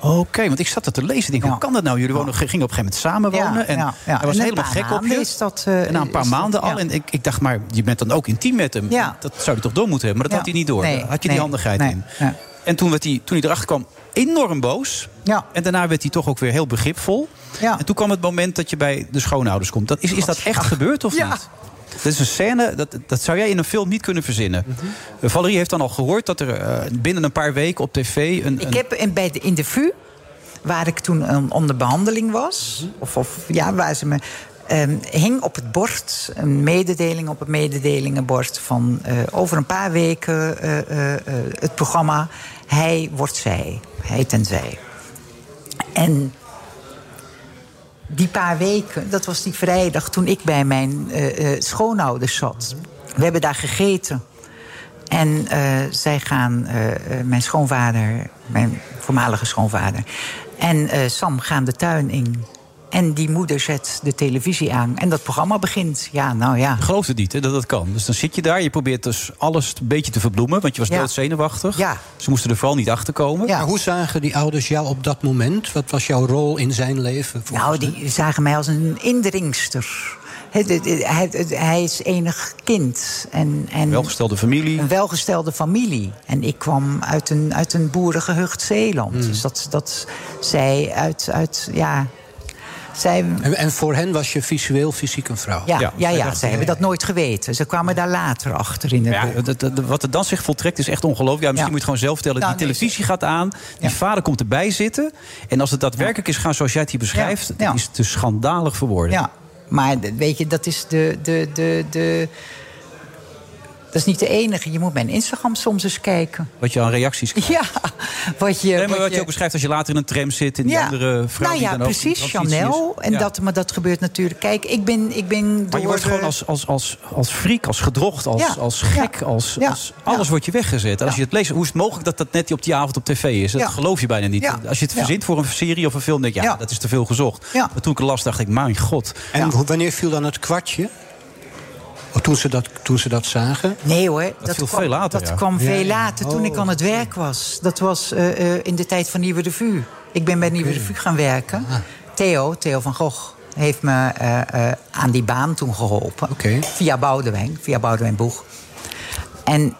Speaker 5: Oké, want ik zat dat te lezen. Ik denk, hoe kan dat nou? Jullie wonen, gingen op een gegeven moment samenwonen.
Speaker 21: Ja,
Speaker 5: en
Speaker 21: ja, ja.
Speaker 5: hij was
Speaker 21: En een
Speaker 5: helemaal
Speaker 21: paar
Speaker 5: gek op je.
Speaker 21: maanden is dat, eh,
Speaker 5: en na een paar
Speaker 21: is dat-
Speaker 5: maanden al.
Speaker 21: ja.
Speaker 5: En ik, ik dacht, maar je bent dan ook intiem met hem.
Speaker 21: Ja.
Speaker 5: Dat zou hij toch door moeten hebben? Maar dat
Speaker 21: Ja.
Speaker 5: had hij niet door.
Speaker 21: Nee,
Speaker 5: Daar had je
Speaker 21: nee,
Speaker 5: die handigheid
Speaker 21: nee,
Speaker 5: in.
Speaker 21: ja.
Speaker 5: En toen, werd hij, toen hij erachter kwam, enorm boos.
Speaker 21: Ja.
Speaker 5: En daarna werd hij toch ook weer heel begripvol.
Speaker 21: Ja.
Speaker 5: En toen kwam het moment dat je bij de schoonouders komt. Dat, is, is dat echt gebeurd of niet? Dat is een scène, dat, dat zou jij in een film niet kunnen verzinnen.
Speaker 21: Mhm.
Speaker 5: Eh, Valerie heeft dan al gehoord dat er eh, binnen een paar weken op tv... eh, Een,
Speaker 21: Ik heb in, bij de, in de VU, waar ik toen ehm, onder behandeling was, of, of ja, waar ze me. ehm, hing op het bord een mededeling op het mededelingenbord van eh, over een paar weken eh, eh, eh, het programma Hij wordt zij, hij en zij. En die paar weken, dat was die vrijdag toen ik bij mijn eh, eh, schoonouders zat. We hebben daar gegeten. En eh, zij gaan, eh, eh, mijn schoonvader, mijn voormalige schoonvader en eh, Sam gaan de tuin in. En die moeder zet de televisie aan en dat programma begint. Ja, nou ja.
Speaker 5: Ik geloof het niet, hè, dat dat kan. Dus dan zit je daar, je probeert dus alles een beetje te verbloemen... want je was
Speaker 21: Ja.
Speaker 5: doodzenuwachtig. Ze moesten er vooral niet achter komen.
Speaker 6: Maar hoe zagen die ouders jou op dat moment? Wat was jouw rol in zijn leven?
Speaker 21: Nou, die zagen mij als een indringster. Hij, hij, hij is enig kind. En, en
Speaker 5: Welgestelde familie.
Speaker 21: Een welgestelde familie. En ik kwam uit een, uit een boerengehucht Zeeland.
Speaker 6: Hmm.
Speaker 21: Dus dat, dat zij uit, uit ja... Zij,
Speaker 6: En, en voor hen was je visueel fysiek een vrouw?
Speaker 21: ja, ja, ja,
Speaker 6: Zij
Speaker 21: ze
Speaker 6: dachten, nee.
Speaker 21: hebben dat nooit geweten. Ze kwamen daar later achter in de
Speaker 5: Ja, dat- dat- wat er dan zich voltrekt is echt ongelooflijk. Ja, misschien
Speaker 21: Ja.
Speaker 5: moet je het gewoon zelf vertellen.
Speaker 21: Nou,
Speaker 5: die televisie gaat aan, die vader komt erbij zitten. En als het daadwerkelijk is gaan zoals jij het hier beschrijft...
Speaker 21: Ja.
Speaker 5: dan
Speaker 21: Ja.
Speaker 5: is het te schandalig voor woorden.
Speaker 21: Ja, maar d- weet je, dat is de, de, de, de... Dat is niet de enige. Je moet mijn Instagram soms eens kijken.
Speaker 5: Wat je aan reacties krijgt.
Speaker 21: Ja, wat je...
Speaker 5: Nee, maar
Speaker 21: wat
Speaker 5: wat je ook beschrijft als je later in een tram zit... en die andere vrouw
Speaker 21: nou
Speaker 5: die
Speaker 21: ja,
Speaker 5: dan ook in
Speaker 21: precies,
Speaker 5: transitie is.
Speaker 21: Chanel. En
Speaker 5: Ja.
Speaker 21: dat, maar dat gebeurt natuurlijk. Kijk, ik ben, ik ben
Speaker 5: Maar je wordt
Speaker 21: door,
Speaker 5: gewoon
Speaker 21: eh,
Speaker 5: als, als, als, als freak, als gedrocht, als,
Speaker 21: Ja.
Speaker 5: als gek,
Speaker 21: Ja.
Speaker 5: als,
Speaker 21: Ja.
Speaker 5: als alles wordt je weggezet. En Als je het leest, hoe is het mogelijk dat dat net die op die avond op tv is? Dat
Speaker 21: Ja.
Speaker 5: geloof je bijna niet.
Speaker 21: Ja.
Speaker 5: Als je het
Speaker 21: Ja.
Speaker 5: verzint voor een serie of een film, denk je, ja,
Speaker 21: Ja.
Speaker 5: dat is te veel gezocht.
Speaker 21: Ja.
Speaker 5: Maar toen ik het las, dacht ik, mijn god.
Speaker 6: En hoe- wanneer viel dan het kwartje? Oh, Toen ze dat, toen ze dat zagen?
Speaker 21: Nee hoor, dat,
Speaker 6: viel
Speaker 21: kwam,
Speaker 6: veel later,
Speaker 21: dat
Speaker 6: ja.
Speaker 21: kwam
Speaker 6: Ja, Oh.
Speaker 21: veel
Speaker 6: ja.
Speaker 21: later toen ik aan het werk was. Dat was eh, eh, in de tijd van Nieuwe Revue. Ik ben bij Nieuwe Revue gaan werken.
Speaker 6: Ah.
Speaker 21: Theo, Theo van Gogh, heeft me eh, eh, aan die baan toen geholpen. Via Boudewijn, via Boudewijn Boeg. En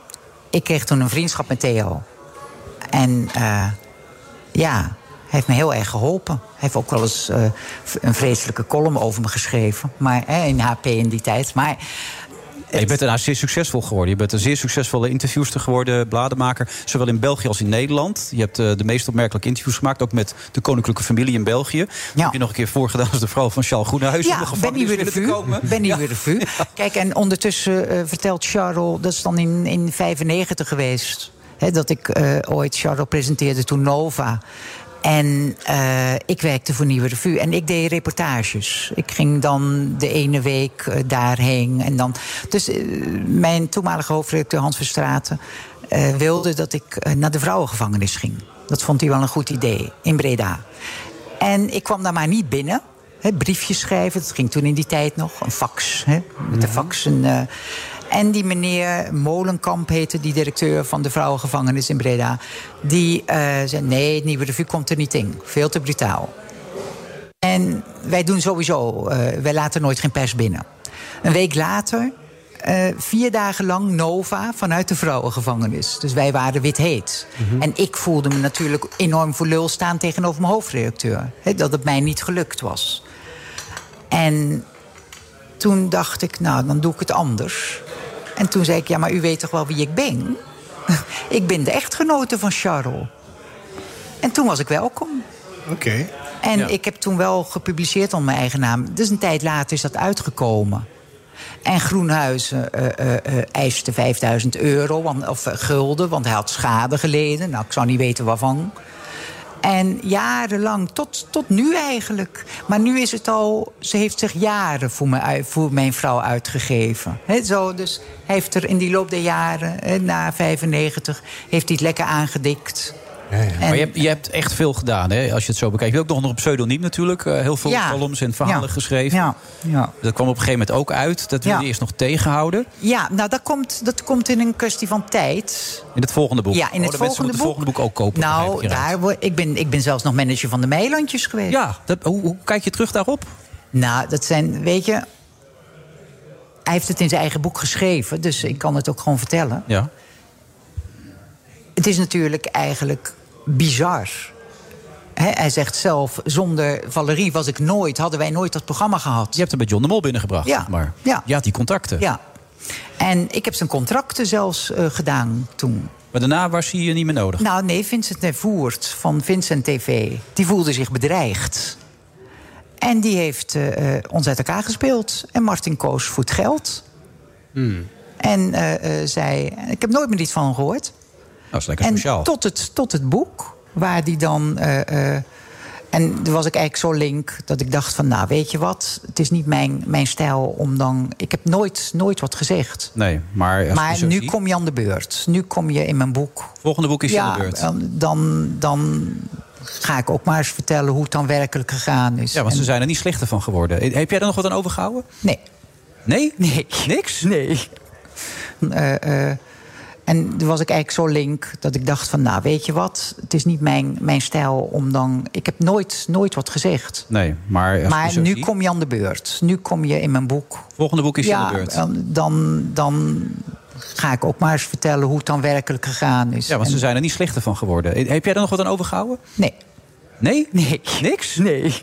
Speaker 21: ik kreeg toen een vriendschap met Theo. En eh, ja, heeft me heel erg geholpen. Hij heeft ook wel eens eh, een vreselijke column over me geschreven. Maar eh, in HP in die tijd. Maar
Speaker 5: Ja, je bent daarna zeer succesvol geworden. Je bent een zeer succesvolle interviewster geworden, blademaker. Zowel in België als in Nederland. Je hebt eh, de meest opmerkelijke interviews gemaakt. Ook met de koninklijke familie in België. Dat Heb je nog een keer voorgedaan als de vrouw van Charles Groenhuis.
Speaker 21: ja,
Speaker 5: om de
Speaker 21: ben
Speaker 5: gevangenis
Speaker 21: niet weer de
Speaker 5: binnen te
Speaker 21: vuur.
Speaker 5: komen.
Speaker 21: Ben niet weer de
Speaker 5: [LAUGHS]
Speaker 21: vuur. Kijk, en ondertussen eh, vertelt Charles, dat is dan in, in 95 geweest, hè, dat ik eh, ooit Charles presenteerde toen Nova. En eh, ik werkte voor Nieuwe Revue. En ik deed reportages. Ik ging dan de ene week eh, daarheen. En dan... Dus eh, mijn toenmalige hoofdredacteur Hans Verstraten... eh, wilde dat ik eh, naar de vrouwengevangenis ging. Dat vond hij wel een goed idee, in Breda. En ik kwam daar maar niet binnen. Hè, briefjes schrijven, dat ging toen in die tijd nog. Een fax, hè, met de fax. En, eh, en die meneer Molenkamp heette, die directeur van de vrouwengevangenis in Breda. Die eh, zei, nee, het Nieuwe Revue komt er niet in. Veel te brutaal. En wij doen sowieso, eh, wij laten nooit geen pers binnen. Een week later, eh, vier dagen lang Nova vanuit de vrouwengevangenis. Dus wij waren wit heet. En ik voelde me natuurlijk enorm voor lul staan tegenover mijn hoofdredacteur. Hè, dat het mij niet gelukt was. En toen dacht ik, nou, dan doe ik het anders. En toen zei ik, ja, maar u weet toch wel wie ik ben? [LAUGHS] ik ben de echtgenote van Charles. En toen was ik welkom.
Speaker 22: Oké.
Speaker 21: En
Speaker 22: Ja.
Speaker 21: ik heb toen wel gepubliceerd onder mijn eigen naam. Dus een tijd later is dat uitgekomen. En Groenhuizen eh, eh, eh, eiste 5000 euro, want, of eh, gulden, want hij had schade geleden. Nou, ik zou niet weten waarvan. En jarenlang, tot, tot nu eigenlijk. Maar nu is het al, ze heeft zich jaren voor, me, uit- voor mijn vrouw uitgegeven. Hè, zo, dus hij heeft er in die loop der jaren, hè, na 95, heeft hij het lekker aangedikt.
Speaker 5: Maar je hebt, je hebt echt veel gedaan, hè, als je het zo bekijkt. Je hebt ook nog een pseudoniem natuurlijk. eh, heel veel
Speaker 21: Ja.
Speaker 5: columns en verhalen
Speaker 21: Ja.
Speaker 5: geschreven.
Speaker 21: Ja.
Speaker 5: Dat kwam op een gegeven moment ook uit. Dat wilde
Speaker 21: Ja.
Speaker 5: je eerst nog tegenhouden.
Speaker 21: Ja, nou dat komt, dat komt in een kwestie van tijd.
Speaker 5: In het volgende boek.
Speaker 21: Ja, in
Speaker 5: Oh,
Speaker 21: het
Speaker 5: de mensen
Speaker 21: volgende
Speaker 5: moeten
Speaker 21: boek.
Speaker 5: het volgende boek ook kopen. begrijp
Speaker 21: Nou,
Speaker 5: ik hieruit.
Speaker 21: daar, wo- ik, ben, ik ben zelfs nog manager van de Meilandjes geweest.
Speaker 5: Ja, dat, hoe, hoe kijk je terug daarop?
Speaker 21: Nou, dat zijn, weet je... Hij heeft het in zijn eigen boek geschreven, dus ik kan het ook gewoon vertellen.
Speaker 5: Ja.
Speaker 21: Het is natuurlijk eigenlijk bizar. Hè, hij zegt zelf, zonder Valerie was ik nooit, hadden wij nooit dat programma gehad.
Speaker 5: Je hebt hem bij John de Mol binnengebracht.
Speaker 21: Ja.
Speaker 5: zeg Maar
Speaker 21: Ja.
Speaker 5: ja, die contacten.
Speaker 21: Ja. En ik heb zijn contracten zelfs eh, gedaan toen.
Speaker 5: Maar daarna was hij eh, niet meer nodig.
Speaker 21: Nou, nee, Vincent Nevoert van Vincent TV. Die voelde zich bedreigd. En die heeft eh, eh, ons uit elkaar gespeeld. En Martin Koos voet geld.
Speaker 5: Hmm.
Speaker 21: En eh, eh, zei... Ik heb nooit meer iets van hem gehoord.
Speaker 5: Dat is lekker
Speaker 21: en
Speaker 5: sociaal.
Speaker 21: Tot het, tot het boek, waar die dan... eh, eh, en toen was ik eigenlijk zo link dat ik dacht van... nou, weet je wat, het is niet mijn, mijn stijl om dan... Ik heb nooit, nooit wat gezegd.
Speaker 5: Nee, maar, als je
Speaker 21: Maar
Speaker 5: zo
Speaker 21: nu
Speaker 5: ziet-
Speaker 21: kom je aan de beurt. Nu kom je in mijn boek.
Speaker 5: Volgende boek is je
Speaker 21: ja,
Speaker 5: aan de beurt.
Speaker 21: en Dan, dan ga ik ook maar eens vertellen hoe het dan werkelijk gegaan is.
Speaker 5: Ja, want ze
Speaker 21: dus. En-
Speaker 5: zijn er niet slechter van geworden. Eh, Heb jij er nog wat aan overgehouden?
Speaker 21: Nee.
Speaker 5: Nee?
Speaker 21: Nee.
Speaker 5: Niks?
Speaker 21: Nee. Eh, eh, en toen was ik eigenlijk zo link dat ik dacht van... nou, weet je wat, het is niet mijn, mijn stijl om dan... Ik heb nooit, nooit wat gezegd.
Speaker 5: Nee, maar... als je
Speaker 21: maar
Speaker 5: zo
Speaker 21: nu
Speaker 5: ziet-
Speaker 21: kom je aan de beurt. Nu kom je in mijn boek.
Speaker 5: Volgende boek is je
Speaker 21: ja,
Speaker 5: aan de beurt.
Speaker 21: en Dan, dan ga ik ook maar eens vertellen hoe het dan werkelijk gegaan is.
Speaker 5: Ja, want ze
Speaker 21: dus. En-
Speaker 5: zijn er niet slechter van geworden. Eh, Heb jij er nog wat aan overgehouden?
Speaker 21: Nee.
Speaker 5: Nee?
Speaker 21: Nee.
Speaker 5: Niks?
Speaker 21: Nee.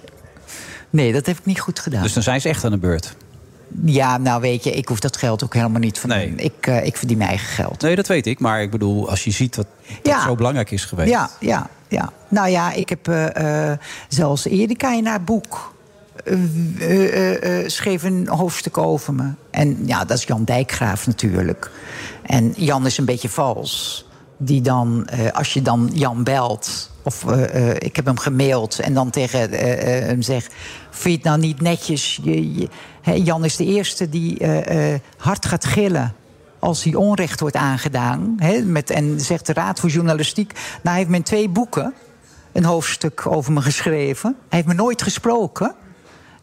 Speaker 21: Nee, dat heb ik niet goed gedaan.
Speaker 5: Dus dan zijn ze echt aan de beurt.
Speaker 21: Ja, nou weet je, ik hoef dat geld ook helemaal niet van. Ik, eh, ik verdien mijn eigen geld.
Speaker 5: Nee, dat weet ik. Maar ik bedoel, als je ziet dat dat
Speaker 21: Ja.
Speaker 5: zo belangrijk is geweest.
Speaker 21: Ja, ja, ja. Nou ja, ik heb eh, eh, zelfs Erika in haar boek. eh, eh, eh, eh, schreef een hoofdstuk over me. En ja, dat is Jan Dijkgraaf natuurlijk. En Jan is een beetje vals. Die dan, eh, als je dan Jan belt. Of eh, eh, ik heb hem gemaild en dan tegen eh, eh, hem zeg... vind je het nou niet netjes? Je, je- hè, Jan is de eerste die eh, eh, hard gaat gillen als hij onrecht wordt aangedaan. Hè, met, en zegt de Raad voor Journalistiek. Nou, hij heeft me in twee boeken een hoofdstuk over me geschreven. Hij heeft me nooit gesproken.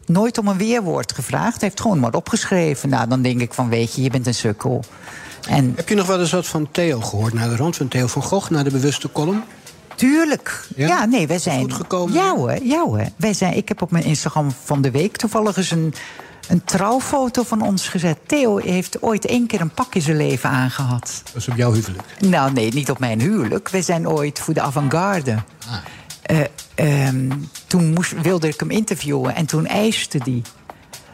Speaker 21: Nooit om een weerwoord gevraagd. Hij heeft gewoon maar opgeschreven. Nou, dan denk ik van, weet je, je bent een sukkel. En
Speaker 6: Heb je nog wel eens wat van Theo gehoord naar de rand van Theo van Gogh, naar de bewuste column?
Speaker 21: Tuurlijk. Ja, nee, wij zijn. Goed gekomen. Ja hoor, ja hoor. Wij zijn, ik heb op mijn Instagram van de week toevallig eens een, een trouwfoto van ons gezet. Theo heeft ooit één keer een pak in zijn leven aangehad.
Speaker 6: Dat is op jouw huwelijk.
Speaker 21: Nou nee, niet op mijn huwelijk. Wij zijn ooit voor de avant-garde. eh, ehm, toen moest, wilde ik hem interviewen en toen eiste hij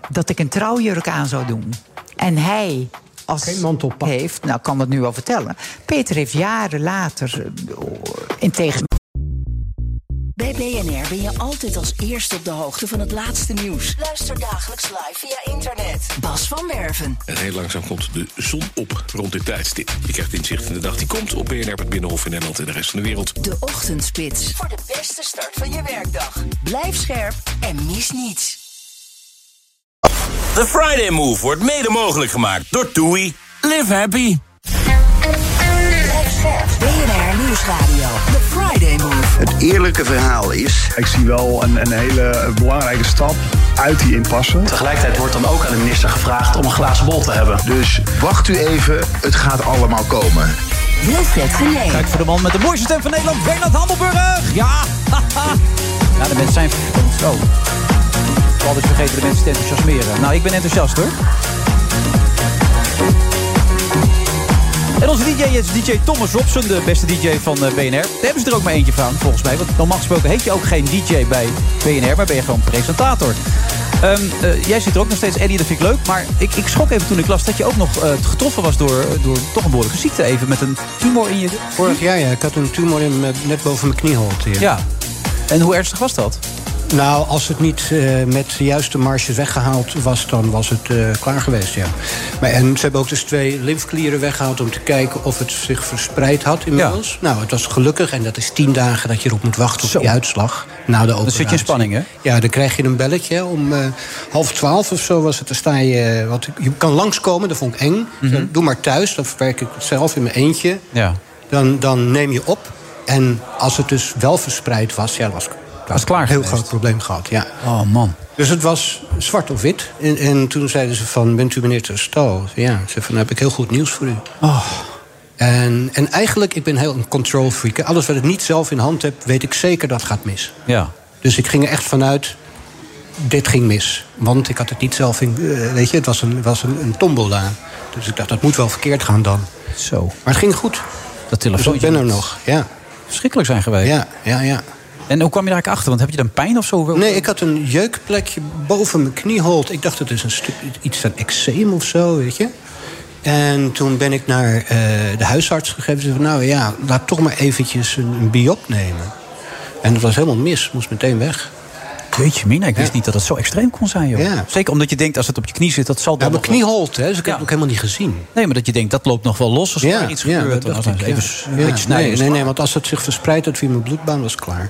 Speaker 21: dat ik een trouwjurk aan zou doen. En hij. Als heeft, nou ik kan dat nu wel vertellen. Peter heeft jaren later, eh, in tegen
Speaker 1: Bij BNR ben je altijd als eerste op de hoogte van het laatste nieuws. Luister dagelijks live via internet. Bas van Werven.
Speaker 20: En heel langzaam komt de zon op rond dit tijdstip. Je krijgt inzicht in de dag die komt op BNR, het Binnenhof in Nederland en de rest van de wereld.
Speaker 1: De Ochtendspits. Voor de beste start van je werkdag. Blijf scherp en mis niets.
Speaker 13: De Friday Move wordt mede mogelijk gemaakt door TUI. Live happy.
Speaker 1: Blijf scherp. BNR Nieuwsradio. The Friday Move.
Speaker 2: Het eerlijke verhaal is...
Speaker 14: Ik zie wel een, een hele belangrijke stap uit die impasse.
Speaker 15: Tegelijkertijd wordt dan ook aan de minister gevraagd om een glazen bol te hebben.
Speaker 2: Dus wacht u even, het gaat allemaal komen.
Speaker 1: Wilfred Genee.
Speaker 5: Kijk voor de man met de mooiste stem van Nederland, Bernard Handelburg. Ja, [LAUGHS] haha. Ja, de mensen zijn... Zo. Ik heb altijd vergeten de mensen te enthousiasmeren. Nou, ik ben enthousiast hoor. En onze DJ is DJ Thomas Robson, de beste DJ van eh, BNR. Daar hebben ze er ook maar eentje van, volgens mij. Want normaal gesproken heet je ook geen DJ bij BNR, maar ben je gewoon presentator. Ehm, eh, jij zit er ook nog steeds, Eddie, dat vind ik leuk. Maar ik, ik schrok even toen ik las dat je ook nog eh, getroffen was door, eh, door toch een behoorlijke ziekte. Even met een tumor in je...
Speaker 6: Vorig jaar, ja. Ik had een tumor in mijn- net boven mijn knieholte. Ja.
Speaker 5: En hoe ernstig was dat?
Speaker 6: Nou, als het niet eh, met de juiste marge weggehaald was, dan was het eh, klaar geweest, ja. Maar, en ze hebben ook dus twee lymfeklieren weggehaald om te kijken of het zich verspreid had inmiddels. Nou, het was gelukkig en dat is tien dagen dat je erop moet wachten op die uitslag na de operatie.
Speaker 5: zit je in spanning, hè?
Speaker 6: Ja, dan krijg je een belletje hè, om eh, half twaalf of zo was het. Dan sta je, eh, want je kan langskomen, dat vond ik eng.
Speaker 5: Mhm.
Speaker 6: Dan Doe maar thuis, dan verwerk ik het zelf in mijn eentje.
Speaker 5: Ja.
Speaker 6: Dan, dan neem je op. En als het dus wel verspreid was, ja, dan was was klaar. Een heel groot probleem gehad, ja.
Speaker 5: Oh man.
Speaker 6: Dus het was zwart of wit. En, en toen zeiden ze van, bent u meneer Terstal? Ja, ik zei van, nou heb ik heel goed nieuws voor u.
Speaker 5: Oh.
Speaker 6: En, en eigenlijk, ik ben heel een control freak. hè. Alles wat ik niet zelf in hand heb, weet ik zeker dat gaat mis.
Speaker 5: Ja.
Speaker 6: Dus ik ging er echt vanuit, dit ging mis. Want ik had het niet zelf in... eh, Weet je, het was een, was een, een tombola. Dus ik dacht, dat moet wel verkeerd gaan dan.
Speaker 5: Zo. Maar
Speaker 6: het ging goed.
Speaker 5: Dat
Speaker 6: Dus ik
Speaker 5: telefoontje
Speaker 6: ben er
Speaker 5: moet
Speaker 6: nog, ja.
Speaker 5: Verschrikkelijk zijn geweest.
Speaker 6: Ja, ja, ja.
Speaker 5: En hoe kwam je daar eigenlijk achter? Want heb je dan pijn of zo?
Speaker 6: Nee, ik had een jeukplekje boven mijn knieholt. Ik dacht, het is een stuk, iets van eczeem of zo, weet je. En toen ben ik naar eh, de huisarts gegeven. Ze zei van, nou ja, laat toch maar eventjes een, een biop nemen. En dat was helemaal mis, moest meteen weg.
Speaker 5: Jeetje mina, ik wist niet dat het zo extreem kon zijn, joh. Zeker omdat je denkt, als het op je knie zit, dat zal dan
Speaker 6: mijn
Speaker 5: nog wel-
Speaker 6: knieholte, hè, dus ik heb het ook helemaal niet gezien.
Speaker 5: Nee, maar dat je denkt, dat loopt nog wel los als er iets gebeurt.
Speaker 6: dat
Speaker 5: Dan
Speaker 6: dacht
Speaker 5: als
Speaker 6: ik,
Speaker 5: even
Speaker 6: ja.
Speaker 5: een
Speaker 6: Ja,
Speaker 5: beetje snijden.
Speaker 6: Nee,
Speaker 5: is
Speaker 6: nee,
Speaker 5: klaar.
Speaker 6: nee, want als het zich verspreidt had via mijn bloedbaan, was het klaar.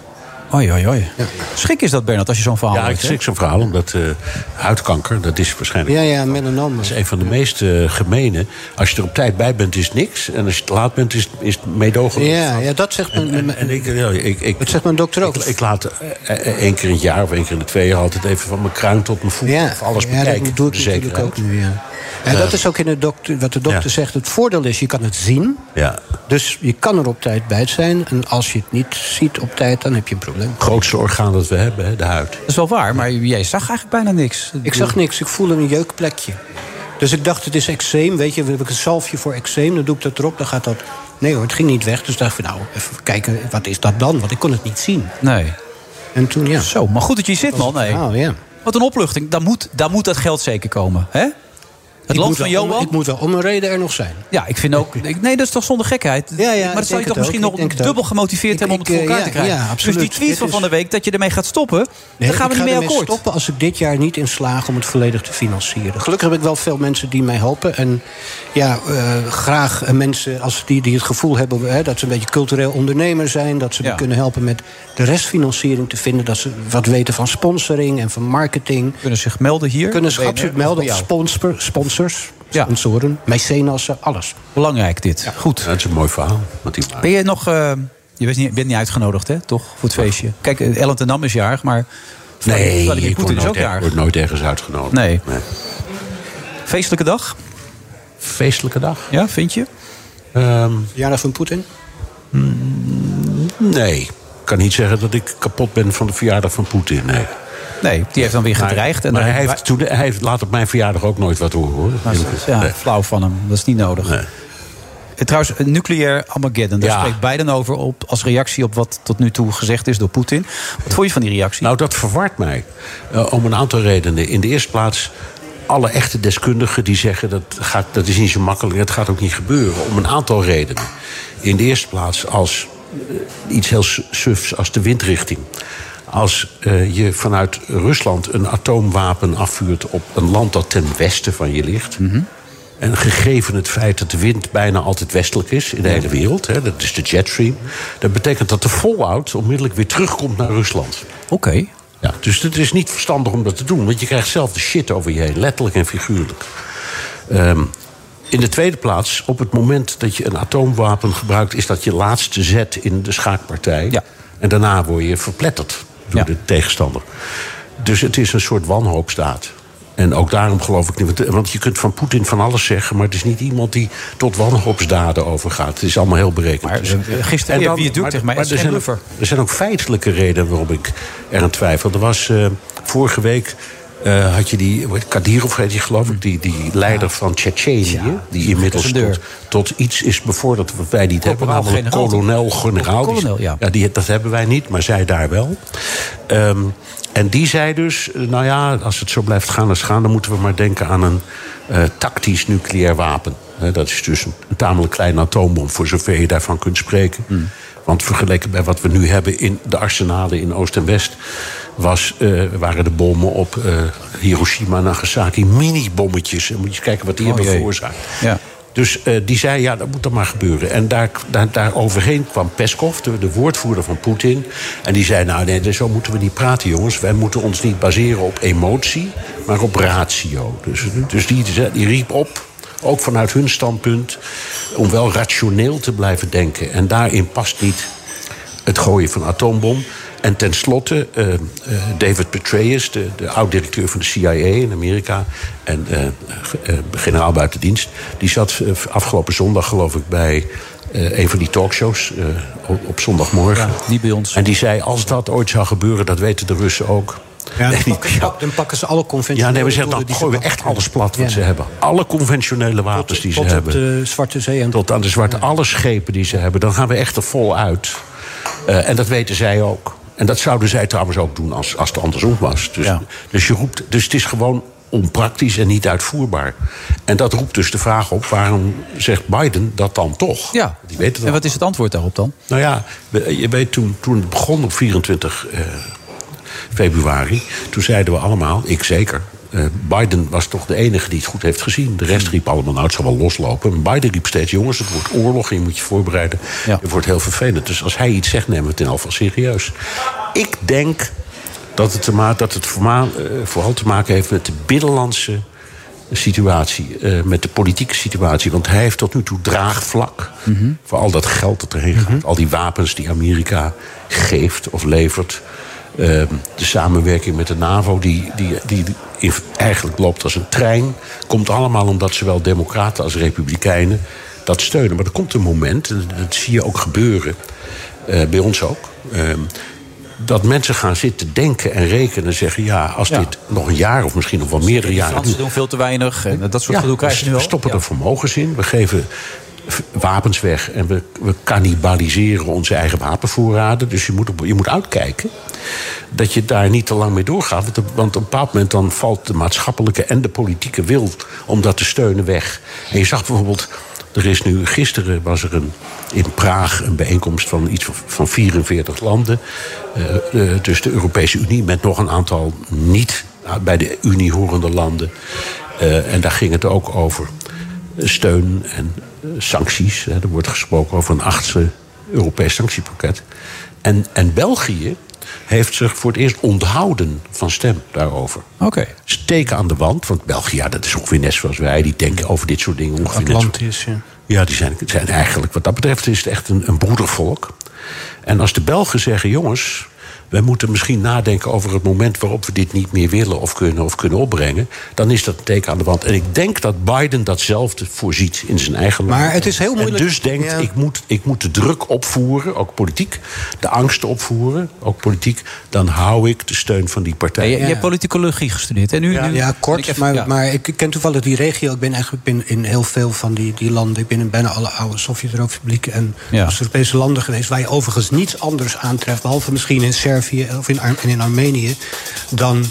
Speaker 5: Oei, oei, oei. Schrik is dat, Bernard, als je zo'n verhaal
Speaker 22: Ja, ik
Speaker 5: hoort, hè?
Speaker 22: schrik zo'n verhaal, omdat eh, huidkanker, dat is waarschijnlijk...
Speaker 6: Ja, ja, melanoom.
Speaker 22: Dat is een van de meest eh, gemene. Als je er op tijd bij bent, is het niks. En als je te laat bent, is, is het meedogenloos.
Speaker 6: Ja, ja, dat zegt mijn...
Speaker 22: En, en ik, ja, ik, ik,
Speaker 6: dat zegt mijn dokter ook.
Speaker 22: Ik, ik laat eh, eh, één keer in het jaar of één keer in de twee jaar altijd even van mijn kruin tot mijn voet of alles
Speaker 6: ja,
Speaker 22: bekijken.
Speaker 6: dat doe ik
Speaker 22: voor de
Speaker 6: natuurlijk ook
Speaker 22: zekerheid.
Speaker 6: nu, ja. En
Speaker 22: Eh,
Speaker 6: dat is ook in de dokter, wat de dokter zegt. Het voordeel is, je kan het zien.
Speaker 22: Ja.
Speaker 6: Dus je kan er op tijd bij zijn. En als je het niet ziet op tijd, dan heb je een probleem.
Speaker 22: grootste orgaan dat we hebben, hè, de huid.
Speaker 5: Dat is wel waar, maar jij zag eigenlijk bijna niks.
Speaker 6: Ik zag niks, ik voelde een jeukplekje. Dus ik dacht, het is eczeem, weet je, dan heb ik een zalfje voor eczeem... dan doe ik dat erop, dan gaat dat... Nee hoor, het ging niet weg, dus dacht ik, van, nou, even kijken, wat is dat dan? Want ik kon het niet zien.
Speaker 5: Nee.
Speaker 6: En toen, ja.
Speaker 5: Zo, maar goed dat je hier zit,
Speaker 6: Dat was
Speaker 5: man.
Speaker 6: het
Speaker 5: Nee.
Speaker 6: verhaal, ja.
Speaker 5: Wat een opluchting. Daar moet, daar moet dat geld zeker komen, hè? Het
Speaker 6: Ik
Speaker 5: land
Speaker 6: moet
Speaker 5: van
Speaker 6: wel om-
Speaker 5: Johan.
Speaker 6: ik moet wel om een reden er nog zijn.
Speaker 5: Ja, ik vind ook...
Speaker 6: [LAUGHS]
Speaker 5: ik- Nee, dat is toch zonder gekheid? maar
Speaker 6: ik
Speaker 5: dat zou je
Speaker 6: denk
Speaker 5: toch
Speaker 6: het ook,
Speaker 5: misschien
Speaker 6: ik
Speaker 5: nog
Speaker 6: denk het ook.
Speaker 5: dubbel gemotiveerd
Speaker 6: Ik-
Speaker 5: hebben om
Speaker 6: ik,
Speaker 5: het voor
Speaker 6: eh,
Speaker 5: elkaar
Speaker 6: ja,
Speaker 5: te krijgen.
Speaker 6: ja, absoluut.
Speaker 5: Dus die tweet
Speaker 6: Dit
Speaker 5: van
Speaker 6: is-
Speaker 5: van de week, dat je ermee gaat stoppen...
Speaker 6: Nee,
Speaker 5: daar gaan we
Speaker 6: ik
Speaker 5: niet mee
Speaker 6: ermee
Speaker 5: akkoord.
Speaker 6: stoppen als ik dit jaar niet in slaag om het volledig te financieren. Gelukkig heb ik wel veel mensen die mij helpen. En ja, eh, graag eh, mensen als die, die het gevoel hebben hè, dat ze een beetje cultureel ondernemer zijn. Dat ze me
Speaker 5: Ja.
Speaker 6: kunnen helpen met de restfinanciering te vinden. Dat ze wat weten van sponsoring en van marketing.
Speaker 5: Kunnen zich melden hier?
Speaker 6: Kunnen zich
Speaker 5: Bij-
Speaker 6: absoluut
Speaker 5: of bij
Speaker 6: melden.
Speaker 5: jou?
Speaker 6: Sponsor, sponsors, sponsoren, mecenassen, eh, alles.
Speaker 5: Belangrijk dit. Goed.
Speaker 22: dat is een mooi verhaal. Wat die maakt.
Speaker 5: Ben je nog... eh, je bent niet, bent niet uitgenodigd, hè? Toch? Voor het feestje. Kijk, eh, Ellen ten Dam is jarig, maar...
Speaker 22: Nee,
Speaker 5: Vladimir
Speaker 22: ik
Speaker 5: Poetin
Speaker 22: word
Speaker 5: is ook
Speaker 22: nooit, er-
Speaker 5: jarig.
Speaker 22: word nooit ergens uitgenodigd.
Speaker 5: Nee. Feestelijke dag?
Speaker 22: Feestelijke dag.
Speaker 5: Ja, vind je?
Speaker 22: Ehm,
Speaker 6: Verjaardag van Poetin?
Speaker 22: mm, Nee. Ik kan niet zeggen dat ik kapot ben van de verjaardag van Poetin. Nee.
Speaker 5: Nee, die heeft dan weer gedreigd.
Speaker 22: Maar,
Speaker 5: En dan-
Speaker 22: hij, heeft toen, hij heeft laat op mijn verjaardag ook nooit wat horen. Hoor.
Speaker 5: Maar-
Speaker 22: Eerlijk gezegd.
Speaker 5: Ja, flauw van hem. Dat is niet nodig. En Eh, trouwens, een nucleair Armageddon. Daar
Speaker 22: Ja.
Speaker 5: spreekt Biden over op, als reactie op wat tot nu toe gezegd is door Poetin. Wat vond je van die reactie?
Speaker 22: Nou, dat verwart mij. Eh, om een aantal redenen. In de eerste plaats. Alle echte deskundigen die zeggen dat, gaat, dat is niet zo makkelijk, dat gaat ook niet gebeuren. Om een aantal redenen. In de eerste plaats als eh, iets heel su- sufs als de windrichting. Als eh, je vanuit Rusland een atoomwapen afvuurt op een land dat ten westen van je ligt. En gegeven het feit dat de wind bijna altijd westelijk is in de hele wereld, hè, dat is de jetstream, dat betekent dat de fallout onmiddellijk weer terugkomt naar Rusland.
Speaker 5: Oké.
Speaker 22: Ja, dus het is niet verstandig om dat te doen, want je krijgt zelf de shit over je heen, letterlijk en figuurlijk. Ehm, in de tweede plaats, op het moment dat je een atoomwapen gebruikt, is dat je laatste zet in de schaakpartij. En daarna word je verpletterd door de tegenstander. Dus het is een soort wanhoopstaat. En ook daarom geloof ik niet. want- Want je kunt van Poetin van alles zeggen, maar het is niet iemand die tot wanhoopsdaden overgaat. Het is allemaal heel berekend. Dus-
Speaker 5: eh, gisteren
Speaker 22: En
Speaker 5: weer wie het doet
Speaker 22: maar-
Speaker 5: tegen mij,
Speaker 22: maar
Speaker 5: het
Speaker 22: er
Speaker 5: is
Speaker 22: zijn
Speaker 5: geen
Speaker 22: ook- er zijn ook feitelijke redenen waarom ik eraan twijfel. Er was eh, vorige week. eh, had je die, hoe heet- Kadirov heet die geloof ik, die, die leider van Tsjetsjenië... die inmiddels tot, tot iets is bevorderd wat wij niet hebben... namelijk
Speaker 5: generaal, toch?
Speaker 22: kolonel-generaal. Die-
Speaker 5: Kolonel, ja.
Speaker 22: ja, die, dat hebben wij niet, maar zij daar wel. Ehm, en die zei dus, eh, nou ja, als het zo blijft gaan als gaan... dan moeten we maar denken aan een eh, tactisch nucleair wapen. Hè, dat is dus een, een tamelijk kleine atoombom, voor zover je daarvan kunt spreken.
Speaker 5: Hmm.
Speaker 22: Want vergeleken bij wat we nu hebben in de arsenalen in Oost en West... Was, eh, waren de bommen op eh, Hiroshima en Nagasaki mini-bommetjes. En moet je eens kijken wat die
Speaker 5: Oh,
Speaker 22: hebben
Speaker 5: jee.
Speaker 22: veroorzaakt.
Speaker 5: Ja.
Speaker 22: Dus eh, die zei, ja, dat moet dan maar gebeuren. En daar, daar, daar overheen kwam Peskov, de, de woordvoerder van Poetin. En die zei, nou nee, zo moeten we niet praten, jongens. Wij moeten ons niet baseren op emotie, maar op ratio. Dus, dus die, ze- die riep op, ook vanuit hun standpunt... om wel rationeel te blijven denken. En daarin past niet het gooien van atoombom. En tenslotte, eh, eh, David Petraeus, de, de oud-directeur van de CIA in Amerika... en eh, ge- eh, generaal buiten dienst, die zat eh, afgelopen zondag geloof ik bij... eh, een van die talkshows eh, op, op zondagmorgen.
Speaker 5: niet bij ons.
Speaker 22: En die zei, als dat ooit zou gebeuren, dat weten de Russen ook.
Speaker 6: Ja, dan,
Speaker 22: Nee, [LAUGHS]
Speaker 6: pakken, ze- dan pakken ze alle conventies.
Speaker 22: ja, nee, we zeggen, dan gooien we echt alles plat wat
Speaker 6: Ja.
Speaker 22: ze hebben. Alle conventionele wapens die ze
Speaker 6: tot op
Speaker 22: hebben.
Speaker 6: de Zwarte Zee. En...
Speaker 22: Tot aan de Zwarte, alle schepen die ze hebben. Dan gaan we echt er vol uit. Eh, en dat weten zij ook. En dat zouden zij trouwens ook doen als, als het andersom was. Dus, dus, je roept, dus het is gewoon onpraktisch en niet uitvoerbaar. En dat roept dus de vraag op... waarom zegt Biden dat dan toch?
Speaker 5: Ja.
Speaker 22: Die weten dat
Speaker 5: En wat is het antwoord daarop dan?
Speaker 22: nou ja, we- je weet toen, toen het begon op 24 eh, februari... toen zeiden we allemaal, ik zeker... eh, Biden was toch de enige die het goed heeft gezien. De rest riep allemaal, nou, het zal wel loslopen. Maar Biden riep steeds, jongens, het wordt oorlog en je moet je voorbereiden. Het wordt heel vervelend. Dus als hij iets zegt, nemen we het in elk geval serieus. Ik denk dat het, te ma- dat het voorma- eh, vooral te maken heeft met de binnenlandse situatie. eh, met de politieke situatie. Want hij heeft tot nu toe draagvlak
Speaker 5: Mhm.
Speaker 22: voor al dat geld dat erheen gaat. Al die wapens die Amerika geeft of levert. Ehm, de samenwerking met de NAVO, die, die, die in- eigenlijk loopt als een trein. Komt allemaal omdat zowel Democraten als Republikeinen dat steunen. Maar er komt een moment, en dat zie je ook gebeuren, eh, bij ons ook. ehm, dat mensen gaan zitten denken en rekenen en zeggen: ja, als dit nog een jaar of misschien nog wel meerdere
Speaker 5: De
Speaker 22: jaren
Speaker 5: Fransen doen veel te weinig en eh, dat soort gedoe krijg je
Speaker 22: we
Speaker 5: nu al.
Speaker 22: stoppen er vermogens in. We geven v- wapens weg en we, we cannibaliseren onze eigen wapenvoorraden. Dus je moet, op- je moet uitkijken dat je daar niet te lang mee doorgaat. Want, op- want op een bepaald moment dan valt de maatschappelijke en de politieke wil om dat te steunen weg. En je zag bijvoorbeeld. Er is nu, gisteren was er een, in Praag een bijeenkomst van iets van- van 44 landen. Eh, eh, dus de Europese Unie met nog een aantal niet nou, bij de Unie horende landen. Eh, en daar ging het ook over eh, steun en eh, sancties. Hè. Er wordt gesproken over een achtste Europees sanctiepakket. En, en België heeft zich voor het eerst onthouden van stem daarover.
Speaker 5: Oké.
Speaker 22: Steken aan de wand, want België, ja, dat is ongeveer net zoals wij. Die denken over dit soort dingen ongeveer net zo-
Speaker 6: Atlantis, ja.
Speaker 22: ja, die zijn, zijn eigenlijk, wat dat betreft, is het echt een, een broedervolk. En als de Belgen zeggen: jongens, we moeten misschien nadenken over het moment waarop we dit niet meer willen of kunnen of kunnen opbrengen. Dan is dat een teken aan de wand. En ik denk dat Biden datzelfde voorziet in zijn eigen land.
Speaker 6: Maar het is heel moeilijk.
Speaker 22: En dus denkt,
Speaker 6: Ja.
Speaker 22: ik, moet, ik moet de druk opvoeren, ook politiek. De angsten opvoeren, ook politiek. Dan hou ik de steun van die partij.
Speaker 5: Je hebt politicologie gestudeerd. En nu,
Speaker 6: ja,
Speaker 5: nu-
Speaker 6: ja, kort,
Speaker 5: ik even-
Speaker 6: maar,
Speaker 5: ja.
Speaker 6: maar ik ken toevallig die regio. Ik ben eigenlijk ik ben in heel veel van die, die landen. Ik ben in bijna alle oude Sovjet-Republieken en
Speaker 5: Ja.
Speaker 6: Oost-Europese landen geweest... waar je overigens niets anders aantreft... behalve misschien in Servië of in Ar- en in Armenië... dan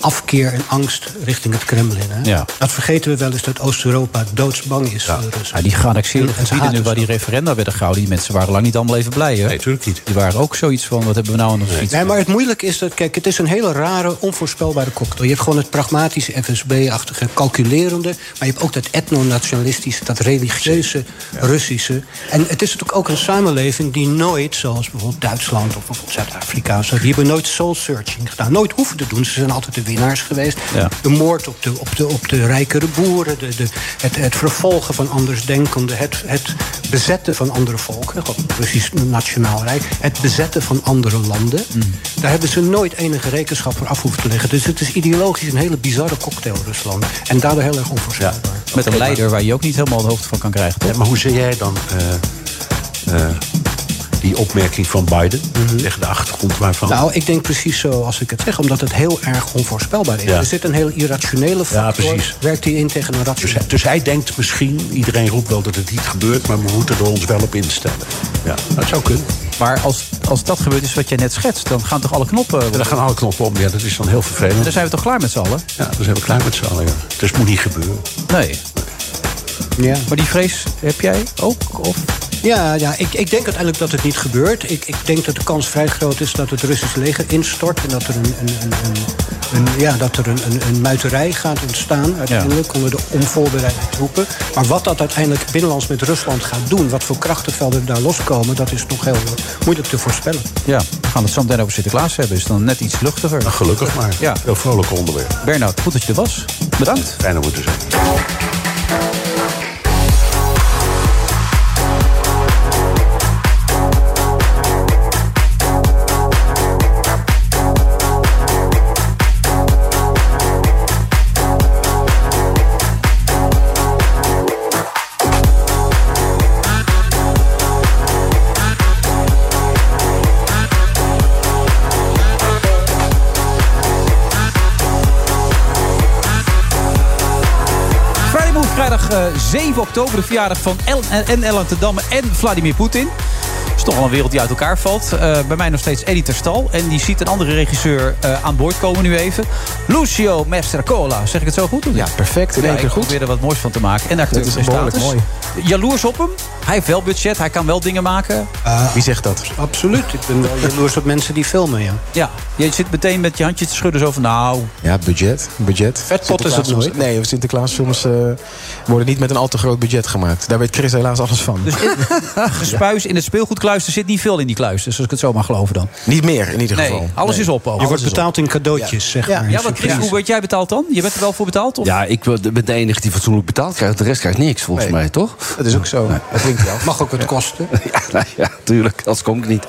Speaker 6: afkeer en angst richting het Kremlin. Hè?
Speaker 5: Ja.
Speaker 6: Dat vergeten we wel eens dat Oost-Europa doodsbang is voor de Russen.
Speaker 5: Ja, die geannexeerde
Speaker 6: En- en ze
Speaker 5: gebieden nu
Speaker 6: haten
Speaker 5: waar die referenda werden gehouden... die mensen waren lang niet allemaal even blij, hè? Nee,
Speaker 22: natuurlijk niet.
Speaker 5: Die waren ook zoiets van, wat hebben we nou aan ons iets?
Speaker 6: Nee, maar het moeilijke is dat, kijk, het is een hele rare, onvoorspelbare cocktail. Je hebt gewoon het pragmatische FSB-achtige, calculerende. Maar je hebt ook dat etnonationalistische, dat religieuze Russische. En het is natuurlijk ook een samenleving die nooit, zoals bijvoorbeeld Duitsland of bijvoorbeeld Zuid-Afrika, of zo, die hebben nooit soul-searching gedaan. Nooit hoeven te doen. Ze zijn altijd de winnaars geweest.
Speaker 5: Ja.
Speaker 6: De moord op de, op de, op de rijkere boeren, de, de, het, het vervolgen van andersdenkenden, het, het bezetten van andere volken, gewoon het Russisch Nationaal Rijk, het bezetten van andere landen.
Speaker 22: Mm.
Speaker 6: Daar hebben ze nooit enige rekenschap voor af hoeven te leggen. Dus het is ideologisch een hele bizarre cocktail, Rusland. En daardoor heel erg onvoorspelbaar.
Speaker 5: Met een leider waar je ook niet helemaal de hoogte van kan krijgen, toch?
Speaker 22: maar hoe zie jij dan eh, eh, die opmerking van Biden tegen de achtergrond waarvan?
Speaker 6: Nou, ik denk precies zo als ik het zeg, omdat het heel erg onvoorspelbaar is.
Speaker 22: Ja.
Speaker 6: Er zit een heel irrationele factor.
Speaker 22: precies.
Speaker 6: Werkt hij in tegen een rationele?
Speaker 22: Dus, dus hij denkt misschien, iedereen roept wel dat het niet gebeurt, maar we moeten er ons wel op instellen. Ja, dat zou kunnen.
Speaker 5: Maar als, als dat gebeurt is wat jij net schetst, dan gaan toch alle knoppen...
Speaker 22: En dan gaan alle knoppen om. Ja, dat is dan heel vervelend.
Speaker 5: Dan zijn we toch klaar met z'n allen?
Speaker 22: Ja, dan zijn we klaar met z'n allen. Ja. Dus moet niet gebeuren.
Speaker 5: Nee.
Speaker 6: Ja.
Speaker 5: Maar die vrees heb jij ook? Of?
Speaker 6: Ja, ja ik, ik denk uiteindelijk dat het niet gebeurt. Ik, ik denk dat de kans vrij groot is dat het Russisch leger instort... en dat er een, een, een, een- een- ja, dat er een, een, een muiterij gaat ontstaan uiteindelijk... onder de onvoorbereide troepen. Maar wat dat uiteindelijk binnenlands met Rusland gaat doen... wat voor krachtenvelden daar loskomen... dat is nog heel eh, moeilijk te voorspellen.
Speaker 5: Ja, we gaan het zo meteen over Sinterklaas hebben. Is dan net iets luchtiger.
Speaker 22: Nou, gelukkig maar.
Speaker 5: Ja.
Speaker 22: Heel vrolijk onderwerp.
Speaker 5: Bernard, goed dat je er was. Bedankt.
Speaker 22: Fijn om er te zijn.
Speaker 5: Friday Move, vrijdag eh, 7 oktober, de verjaardag van El en Ellen te Damme en Vladimir Poetin. Dat is toch al een wereld die uit elkaar valt. Eh, bij mij nog steeds Eddie Terstal. En die ziet een andere regisseur eh, aan boord komen nu even. Lucio Messercola. Zeg ik het zo goed? Ja, perfect.
Speaker 23: In één keer
Speaker 5: ik
Speaker 23: goed.
Speaker 5: probeer er wat moois van te maken. En acteur
Speaker 23: Dat is behoorlijk
Speaker 5: Jaloers op hem. Hij heeft wel budget. Hij kan wel dingen maken.
Speaker 6: Wie zegt dat? Absoluut. Ik ben wel jaloers op mensen die filmen, ja.
Speaker 5: [LAUGHS] Ja, je zit meteen met je handje te schudden. Zo van, nou,
Speaker 23: Ja, budget. budget.
Speaker 5: Vetpot is het
Speaker 23: Sinterklaasfilms-
Speaker 5: nooit.
Speaker 23: Nee, Sinterklaasfilms eh worden niet met een al te groot budget gemaakt. Daar weet Chris helaas alles van.
Speaker 5: [LAUGHS] Dus in, gespuis in het speelgoedkluister zit niet veel in die kluisters. Als ik het zo mag geloven dan.
Speaker 23: Niet meer in ieder
Speaker 5: Nee,
Speaker 23: geval.
Speaker 5: alles is op ook.
Speaker 6: Je wordt betaald in cadeautjes, zeg maar.
Speaker 5: Ja, maar Chris, hoe word jij betaald dan? Je bent er wel voor betaald? Of?
Speaker 24: Ja, ik wil- ben de enige die fatsoenlijk betaald krijgt. De rest krijgt niks, volgens
Speaker 23: Nee.
Speaker 24: mij, toch?
Speaker 23: Dat is ook zo. Dat klinkt wel.
Speaker 6: Mag ook wat kosten.
Speaker 24: [LAUGHS] Ja, [LAUGHS] nou ja, tuurlijk. Als kom ik niet.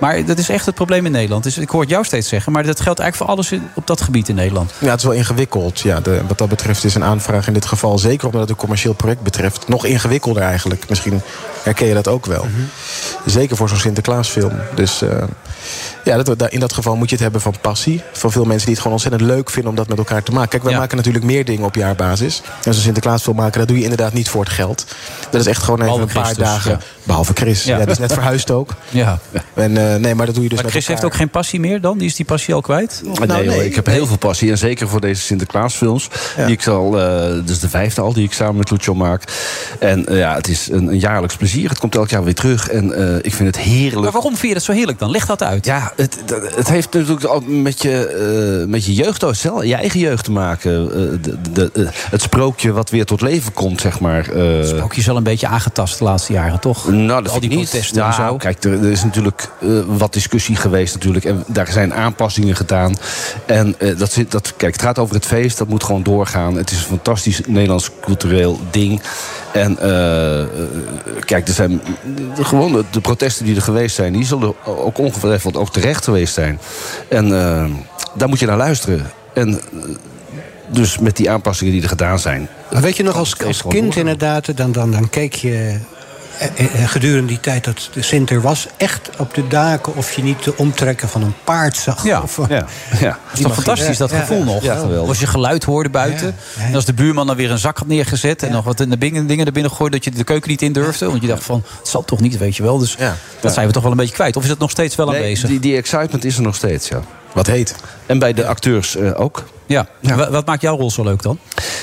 Speaker 5: Maar dat is echt het probleem in Nederland. Dus ik hoor het jou steeds zeggen. Maar dat geldt eigenlijk voor alles in- op dat gebied in Nederland.
Speaker 23: Ja, het is wel ingewikkeld. Ja, de- wat dat betreft is een aanvraag in dit geval, zeker omdat het een commercieel project betreft, nog ingewikkelder eigenlijk. Misschien herken je dat ook wel.
Speaker 5: Mhm.
Speaker 23: Zeker voor zo'n Sinterklaasfilm. Dus eh, ja, dat, da- in dat geval moet je het hebben van passie. Van veel mensen die het gewoon ontzettend leuk vinden om dat met elkaar te maken. Kijk, wij maken natuurlijk meer dingen op jaarbasis. En zo'n Sinterklaasfilm maken, dat doe je inderdaad niet voor het geld. Dat is echt gewoon even
Speaker 5: Behalve
Speaker 23: een paar
Speaker 5: Chris dus,
Speaker 23: dagen.
Speaker 5: ja.
Speaker 23: Behalve Chris.
Speaker 5: Ja.
Speaker 23: Ja. die is net
Speaker 5: [LAUGHS]
Speaker 23: verhuisd ook.
Speaker 5: Ja.
Speaker 23: En, eh, nee, maar dat doe je dus
Speaker 5: maar
Speaker 23: met
Speaker 5: Chris heeft
Speaker 23: elkaar.
Speaker 5: ook geen passie meer dan? Die is die passie al kwijt?
Speaker 23: Nou,
Speaker 24: nee, joh, ik heb heel veel passie. En zeker voor deze Sinterklaasfilms. Die ik zal, eh dus de vijfde al die ik samen met Lucio maak. En eh, ja, het is een, een jaarlijks plezier. Het komt elk jaar weer terug. En eh, ik vind het heerlijk.
Speaker 5: Maar waarom vind je dat zo heerlijk dan? Leg dat uit.
Speaker 24: Ja, het, dat- het heeft natuurlijk al met je, eh, met je jeugd, ook, zelf, je eigen jeugd te maken. Eh, de, de, eh, het sprookje wat weer tot leven komt, zeg maar. eh.
Speaker 5: Ook je is wel een beetje aangetast de laatste jaren, toch?
Speaker 24: Nou, dat
Speaker 5: Al die
Speaker 24: vind ik niet.
Speaker 5: protesten en
Speaker 24: Nou,
Speaker 5: zo.
Speaker 24: Kijk, er, er is natuurlijk eh, wat discussie geweest natuurlijk. En daar zijn aanpassingen gedaan. En eh, dat zit, dat, kijk, het gaat over het feest. Dat moet gewoon doorgaan. Het is een fantastisch Nederlands cultureel ding. En eh, eh, kijk, er zijn de- gewoon de, de protesten die er geweest zijn, die zullen ook ongetwijfeld ook terecht geweest zijn. En eh, daar moet je naar luisteren. En eh, dus met die aanpassingen die er gedaan zijn.
Speaker 6: Maar weet je nog, als, als
Speaker 24: gewoon
Speaker 6: kind inderdaad, dan, dan, dan keek je eh, eh, gedurende die tijd dat de Sint er was... echt op de daken of je niet de omtrekken van een paard zag. Ja, of, eh,
Speaker 24: ja. ja.
Speaker 5: Dat is toch fantastisch, dat gevoel nog. als je geluid hoorde buiten. En als de buurman dan weer een zak had neergezet. En nog wat in de bingen- dingen naar binnen gooide. Dat je de keuken niet in durfde. Want je dacht van, het zal toch niet, weet je wel. Dus dat zijn we toch wel een beetje kwijt. Of is dat nog steeds wel
Speaker 24: Nee,
Speaker 5: aanwezig?
Speaker 24: Die, die excitement is er nog steeds, ja. Wat heet. En bij de acteurs eh, ook.
Speaker 5: Ja. Wa- Wat maakt jouw rol zo leuk dan?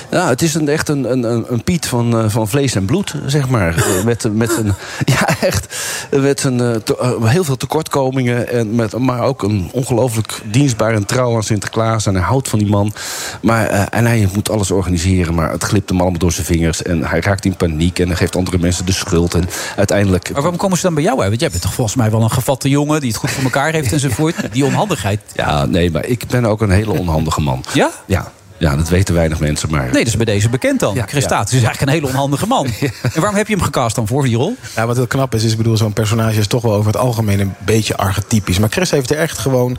Speaker 24: Nou, het is een, echt een, een, een een Piet van, eh, van vlees en bloed, zeg
Speaker 5: [LAUGHS]
Speaker 24: maar. Eh, met, met een, ja, echt. Met een, eh, te- eh, heel veel tekortkomingen. En met, maar ook een ongelooflijk dienstbaar en trouw aan Sinterklaas. En hij houdt van die man. Maar, eh, en hij moet alles organiseren. Maar het glipt hem allemaal door zijn vingers. En hij raakt in paniek. En hij geeft andere mensen de schuld. En uiteindelijk
Speaker 5: Maar waarom komen ze dan bij jou uit? Want jij bent toch volgens mij wel een gevatte jongen... die het goed voor elkaar heeft
Speaker 24: [LAUGHS]
Speaker 5: enzovoort. Die onhandigheid.
Speaker 24: Ja, nee, maar ik ben ook een hele onhandige man.
Speaker 5: Ja?
Speaker 24: Ja, ja dat weten weinig mensen, maar...
Speaker 5: Nee, dat is bij deze bekend dan. Chris
Speaker 24: ja.
Speaker 5: Staat is eigenlijk een hele onhandige
Speaker 24: [LAUGHS]
Speaker 5: man. En waarom heb je hem gecast dan voor, die rol?
Speaker 23: Ja, wat heel knap is, is ik bedoel, zo'n personage is toch wel over het algemeen een beetje archetypisch. Maar Chris heeft er echt gewoon,